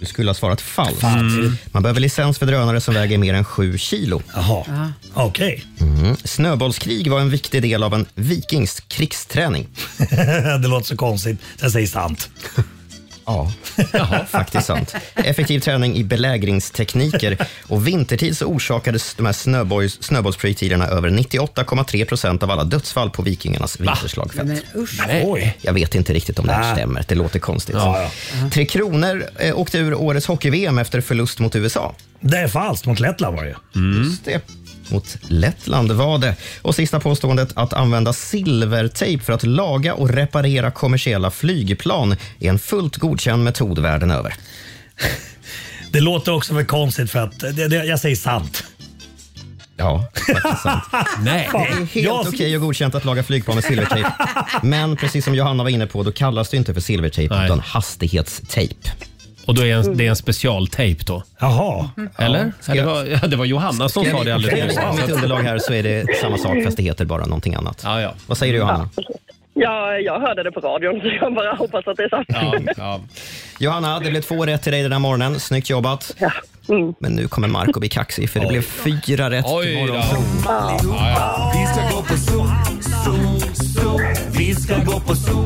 Speaker 2: Du skulle ha svarat falskt.
Speaker 9: Falskt. Mm.
Speaker 2: Man behöver licens för drönare som väger mer än 7 kilo.
Speaker 9: Jaha. Okej.
Speaker 2: Mm. Snöbollskrig var en viktig del av en vikings krigsträning.
Speaker 9: det låter så konstigt. Jag säger sant.
Speaker 2: Ja, Jaha. faktiskt sant. Effektiv träning i belägringstekniker. Och vintertid så orsakades de här snöboys, snöbollsprojektilerna över 98,3 procent av alla dödsfall på vikingarnas vinterslagfält.
Speaker 9: Oj.
Speaker 2: Jag vet inte riktigt om det här
Speaker 9: Nej.
Speaker 2: stämmer. Det låter konstigt.
Speaker 9: Ja, Mm. ja.
Speaker 2: Tre Kronor eh, åkte ur årets hockey-VM efter förlust mot USA.
Speaker 1: Mm.
Speaker 9: Det är falskt. Mot Lettland var det ju.
Speaker 2: Just det. mot Lettland var det. Och sista påståendet, att använda silvertejp för att laga och reparera kommersiella flygplan är en fullt godkänd metod världen över.
Speaker 9: Det låter också för konstigt för att det, det, jag säger sant.
Speaker 2: Ja, faktiskt sant.
Speaker 9: Nej.
Speaker 2: det är helt
Speaker 9: Jag-
Speaker 2: okej och godkänt att laga flygplan med silvertejp. Men precis som Johanna var inne på, då kallas det inte för silvertejp utan hastighetstejp.
Speaker 1: Och då är en, det är en specialtejp då?
Speaker 9: Jaha.
Speaker 1: Eller? Ja, det, var, ja, det var Johanna som sa det alldeles nyss.
Speaker 2: nyss. mitt underlag här så är det samma sak fast det heter bara någonting annat. Vad säger du Johanna?
Speaker 13: Ja, jag hörde det på radion så jag bara hoppas att det är sant.
Speaker 2: Johanna, det blev två rätt till dig den här morgonen. Snyggt jobbat. Men nu kommer Marco bli kaxig för det blev fyra rätt till morgonprov.
Speaker 4: Vi ska gå på zoo, zoo, zoo. Vi ska gå på zoo.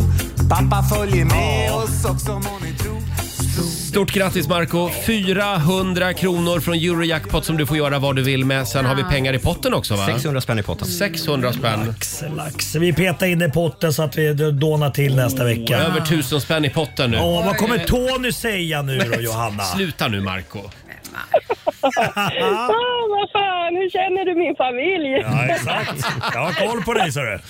Speaker 4: Pappa följer med oss också må ni tro.
Speaker 1: Stort grattis Marco 400 kronor från Eurojackpot som du får göra vad du vill med. Sen har vi pengar i potten också va?
Speaker 2: 600 spänn i potten.
Speaker 1: 600 spänn.
Speaker 9: Lax. Vi petar in i potten så att vi dånar till nästa vecka.
Speaker 1: Oh, Över 1000 spänn i potten nu.
Speaker 9: Åh, vad kommer Tony säga nu då Johanna?
Speaker 1: Sluta nu Marco
Speaker 12: Ah, vad fan, hur känner du min familj?
Speaker 9: Ja, exakt. Jag har koll på dig sa du.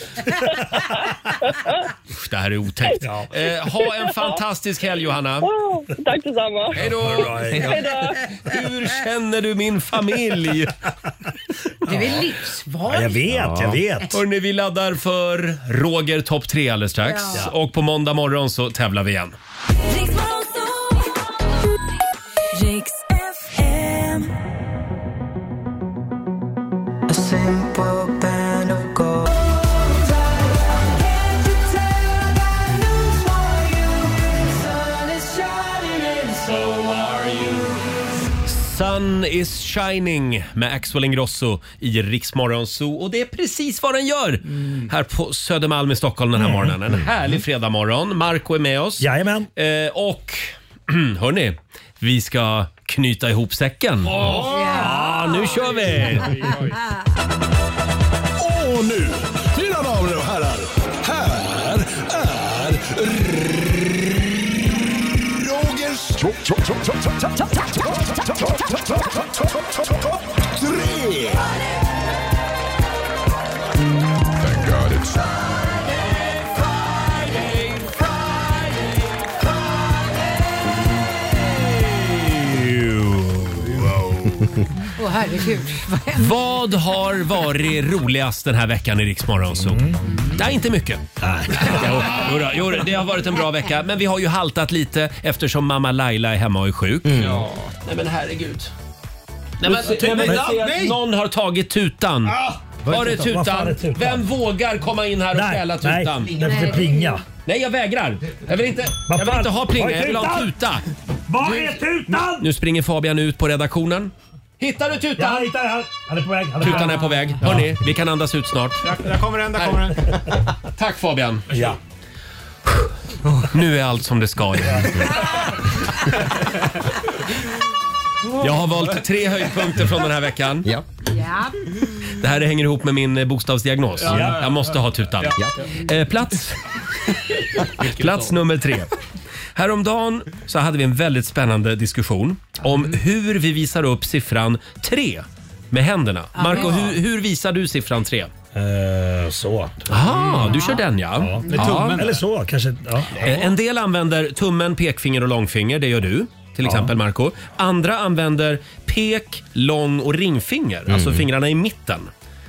Speaker 1: Usch, det här är otäckt. Eh, ha en fantastisk helg Johanna.
Speaker 12: Tack detsamma.
Speaker 1: Hej då! Hur känner du min familj?
Speaker 3: Du är livsfarlig.
Speaker 1: Ja, jag vet, jag vet. Hörrni, vi laddar för Roger topp 3 alldeles strax.
Speaker 3: Ja.
Speaker 1: Och på måndag morgon så tävlar vi igen.
Speaker 4: A simple band of gold.
Speaker 1: Sun is shining med Axel Ingrosso i Riksmorgon Zoo. Och det är precis vad den gör här på Södermalm i Stockholm den här morgonen. En härlig fredagmorgon. Marco är med oss.
Speaker 9: Jajamän.
Speaker 1: Eh, och hörni, vi ska knyta ihop säcken. Ja, nu kör vi!
Speaker 4: Och nu, mina damer och herrar, här är Rogers tre.
Speaker 3: Åh herregud. Vad hände?
Speaker 1: Vad har varit roligast den här veckan i Riksmorgon Zoo?
Speaker 9: Mm.
Speaker 1: Det är inte mycket. Jo, jo, då, jo, då, det har varit en bra vecka, men vi har ju haltat lite eftersom mamma Laila är hemma och är sjuk.
Speaker 9: Mm.
Speaker 8: Ja. Nej men herregud.
Speaker 1: Nej, men,
Speaker 8: Du ser-
Speaker 1: nej, men,
Speaker 8: men-
Speaker 1: jag ser att
Speaker 8: nej!
Speaker 1: Någon har tagit tutan. Var är
Speaker 9: Ah! Vad fan är
Speaker 1: tutan?
Speaker 9: tutan?
Speaker 1: Vem vågar komma in här och
Speaker 9: Nej,
Speaker 1: stjäla
Speaker 9: nej,
Speaker 1: tutan?
Speaker 9: det är för plinga.
Speaker 1: Nej, jag vägrar. Jag vill inte,
Speaker 9: Vad
Speaker 1: jag vill
Speaker 9: fan?
Speaker 1: inte ha plinga,
Speaker 9: Var är
Speaker 1: jag vill ha
Speaker 9: tutan?
Speaker 1: tuta.
Speaker 9: Var är tutan?
Speaker 1: Nu springer Fabian ut på redaktionen. Hittar du tutan?
Speaker 9: Ja, hittar jag. Han är på väg. Han på
Speaker 1: Tutan är på väg. Hörni, vi kan andas ut snart.
Speaker 7: Där, där kommer den, där
Speaker 1: Här.
Speaker 7: kommer den.
Speaker 1: Tack Fabian.
Speaker 9: Ja.
Speaker 1: Nu är allt som det ska igen. Jag har valt tre höjdpunkter från den här veckan.
Speaker 3: Ja.
Speaker 1: Det här hänger ihop med min eh, bokstavsdiagnos.
Speaker 3: Ja.
Speaker 1: Jag måste ha tutan. Eh, plats plats nummer tre. Häromdagen så hade vi en väldigt spännande diskussion om
Speaker 9: Mm.
Speaker 1: hur vi visar upp siffran tre med händerna.
Speaker 9: Ja. Eh,
Speaker 1: Marco, hur, hur visar du siffran tre?
Speaker 9: så.
Speaker 1: Aha, du kör den ja.
Speaker 9: Med tummen. Eller så kanske. Ja.
Speaker 1: Eh, En del använder tummen, pekfinger och långfinger. Det gör du, till exempel Marco. Andra använder pek, lång och ringfinger, alltså fingrarna i mitten.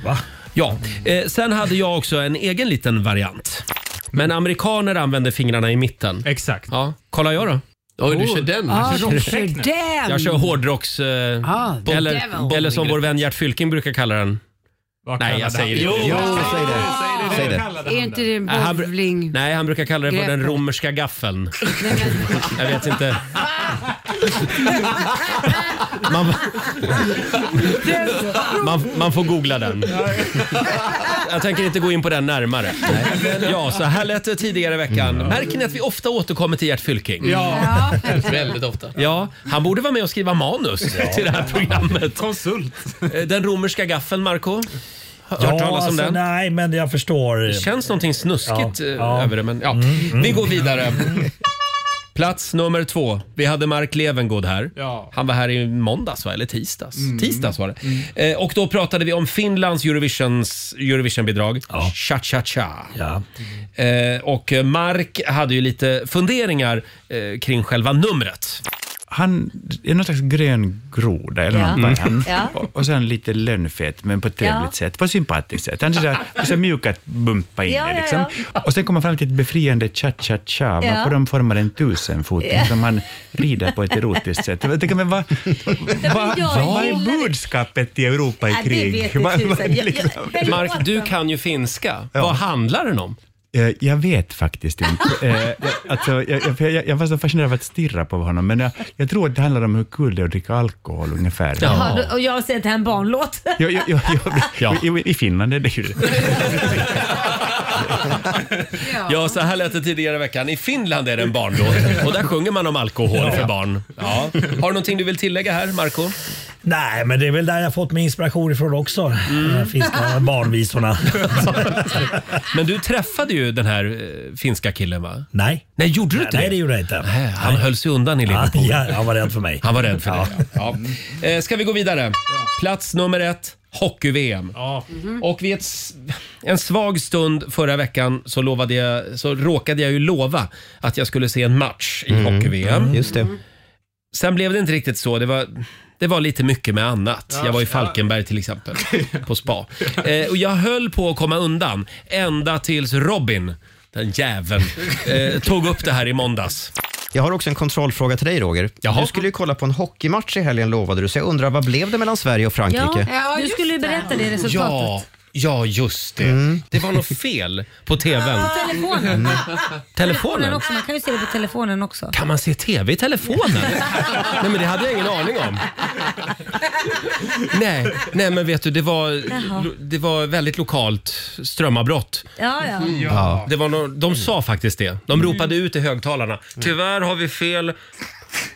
Speaker 9: Va?
Speaker 1: Ja. Eh, sen hade jag också en egen liten variant. Men amerikaner använder fingrarna i mitten. Mm. Exakt. Ja. Kolla jag då. Oj, du kör den.
Speaker 3: Ah, de kör den.
Speaker 1: Jag kör hårdrocks... Eh,
Speaker 3: Ah, the
Speaker 1: eller,
Speaker 3: devil.
Speaker 1: eller som vår vän Gert Fylking brukar kalla den. Nej, jag säger det.
Speaker 2: Jo, Jo, säg det. Säg det.
Speaker 3: Är inte det en
Speaker 1: Nej, han br-
Speaker 3: bowling?
Speaker 1: Nej, han brukar kalla det för den
Speaker 3: Greppet.
Speaker 1: romerska gaffeln. Jag vet inte. Man, man, man får googla den. Jag tänker inte gå in på den närmare. Ja, så här lät det tidigare i veckan. Märker ni att vi ofta återkommer till Gert Fylking?
Speaker 8: Ja. Väldigt ofta.
Speaker 1: Ja, han borde vara med och skriva manus
Speaker 8: Ja.
Speaker 1: till det här programmet. Konsult. Den romerska gaffeln, Marco Hört talas om
Speaker 9: alltså,
Speaker 1: den?
Speaker 9: Nej, men jag förstår.
Speaker 1: Det känns någonting snuskigt
Speaker 9: Ja, Mm.
Speaker 1: eh,
Speaker 9: ja.
Speaker 1: över det, men ja. Vi går vidare. Plats nummer två. Vi hade Mark Levengood här.
Speaker 7: Ja.
Speaker 1: Han var här i måndags, va? eller tisdags.
Speaker 9: Mm.
Speaker 1: Tisdags var det. Eh, och då pratade vi om Finlands Eurovisions, Eurovision-bidrag. Cha-cha-cha. Eh, och Mark hade ju lite funderingar eh, kring själva numret.
Speaker 14: Han är någon slags grön groda eller
Speaker 1: Ja.
Speaker 14: något vad är han?
Speaker 1: Ja.
Speaker 14: Och- Och sen lite lönnfet, men på ett trevligt
Speaker 15: Mm. Ja.
Speaker 14: sätt, på ett sympatiskt sätt. Han är sådär, så mjuk att bumpa in
Speaker 15: Ja,
Speaker 14: i,
Speaker 15: ja,
Speaker 14: liksom. Och sen kommer han fram till ett befriande cha-cha-cha,
Speaker 15: Ja.
Speaker 14: varpå de formar en tusenfoting
Speaker 15: Ja.
Speaker 14: som han rider på ett erotiskt sätt. Jag tänker, men vad,
Speaker 15: men
Speaker 14: vad,
Speaker 15: jag
Speaker 14: vad
Speaker 15: gillar
Speaker 14: är budskapet till Europa i
Speaker 15: Ja, det vet
Speaker 14: krig?
Speaker 15: inte
Speaker 14: Vad- liksom- vad-
Speaker 15: tusan. Jag- jag- jag-
Speaker 1: Mark, du kan ju finska. Vad handlar den om?
Speaker 14: Eh, Jag vet faktiskt inte. Eh, jag- alltså, jag, jag, för jag, jag var så fascinerad av att stirra på honom, men jag, jag tror att det handlar om hur kul det är att dricka alkohol ungefär.
Speaker 15: Jaha, då- och jag har sett en barnlåt.
Speaker 14: Jo, jo, jo, jo, jo, I Finland är det ju det.
Speaker 1: Ja, så här lät det tidigare i veckan. I Finland är det en barnlåt och där sjunger man om alkohol
Speaker 9: Ja.
Speaker 1: för barn. Ja. Har du någonting du vill tillägga här, Marco?
Speaker 9: Nej, men det är väl där jag fått min inspiration ifrån också.
Speaker 1: Mm.
Speaker 9: De här finska barnvisorna.
Speaker 1: Men du träffade ju den här eh, finska killen va?
Speaker 9: Nej.
Speaker 1: Nej, gjorde du inte
Speaker 9: Nej,
Speaker 1: det?
Speaker 9: det gjorde jag inte.
Speaker 1: Nej, han höll sig undan i Liverpool.
Speaker 9: Ja, han var rädd för mig.
Speaker 1: Han var rädd för dig. Ja. Eh, Ska vi gå vidare? Plats nummer ett, hockey-VM. Och vid ett, s- en svag stund förra veckan så, lovade jag, så råkade jag ju lova att jag skulle se en match i
Speaker 2: Mm.
Speaker 1: hockey-VM.
Speaker 2: Mm, just det.
Speaker 1: Sen blev det inte riktigt så. Det var, det var lite mycket med annat.
Speaker 2: Ja.
Speaker 1: Jag var i Falkenberg till exempel, på spa. Eh, och jag höll på att komma undan ända tills Robin, den jäveln, eh, tog upp det här i måndags.
Speaker 2: Jag har också en kontrollfråga till dig, Roger. Du skulle ju kolla på en hockeymatch i helgen, lovade du, så jag undrar vad blev det mellan Sverige och Frankrike?
Speaker 15: du skulle ju berätta det resultatet.
Speaker 1: Ja, ja just det.
Speaker 2: Mm.
Speaker 1: Det var något fel på tvn.
Speaker 15: På
Speaker 1: Mm.
Speaker 15: telefonen.
Speaker 1: Telefonen?
Speaker 15: också. Man kan ju se det på telefonen också.
Speaker 1: Kan man se tv i telefonen? nej, men det hade jag ingen aning om. nej, nej, men vet du, det var,
Speaker 15: Jaha.
Speaker 1: lo- det var väldigt lokalt strömavbrott.
Speaker 15: Ja, ja.
Speaker 1: Ja. Det var no de sa faktiskt det. De
Speaker 2: Mm.
Speaker 1: ropade ut i högtalarna. Tyvärr har vi fel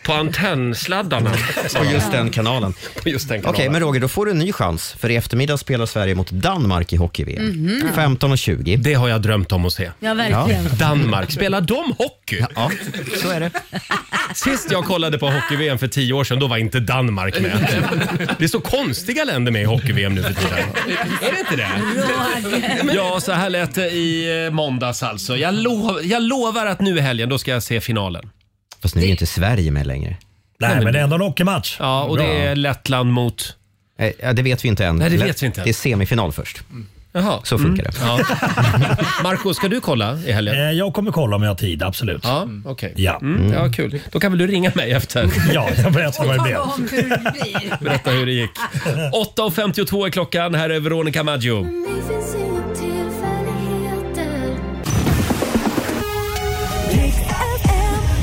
Speaker 1: på antennsladdarna.
Speaker 2: På just den kanalen.
Speaker 1: På just den
Speaker 2: Okej,
Speaker 1: kanalen.
Speaker 2: men Roger, då får du en ny chans. För i eftermiddag spelar Sverige mot Danmark i hockey-VM.
Speaker 15: Mhm.
Speaker 2: 15.20.
Speaker 1: Det har jag drömt om att se.
Speaker 15: Ja, verkligen.
Speaker 1: Danmark, spelar de hockey?
Speaker 2: Ja, så är det.
Speaker 1: Sist jag kollade på hockey-VM för tio år sedan, då var inte Danmark med. Det är så konstiga länder med i hockey-VM nu för tiden. Är det inte det? Ja, så här lät det i eh, måndags alltså. Jag, lo- jag lovar att nu i helgen, då ska jag se finalen.
Speaker 2: Fast nu är ju inte Sverige med längre.
Speaker 9: Nej, men det är ändå en hockeymatch.
Speaker 1: Ja, och det är Lettland mot...
Speaker 2: Eh, Ja, det vet vi inte än.
Speaker 1: Nej, det vet vi inte än.
Speaker 2: Det är semifinal först.
Speaker 1: Jaha. Mm.
Speaker 2: Så funkar det.
Speaker 1: Ja. Marco, ska du kolla i helgen?
Speaker 9: Eh, Jag kommer kolla om jag har tid, absolut.
Speaker 1: Ja, okej.
Speaker 9: Ja.
Speaker 1: Mm, ja, kul. Då kan väl du ringa mig efter?
Speaker 9: Ja, jag berättar vad det blev.
Speaker 1: Berätta hur det gick. 8.52 är klockan. Här är Veronica Maggio.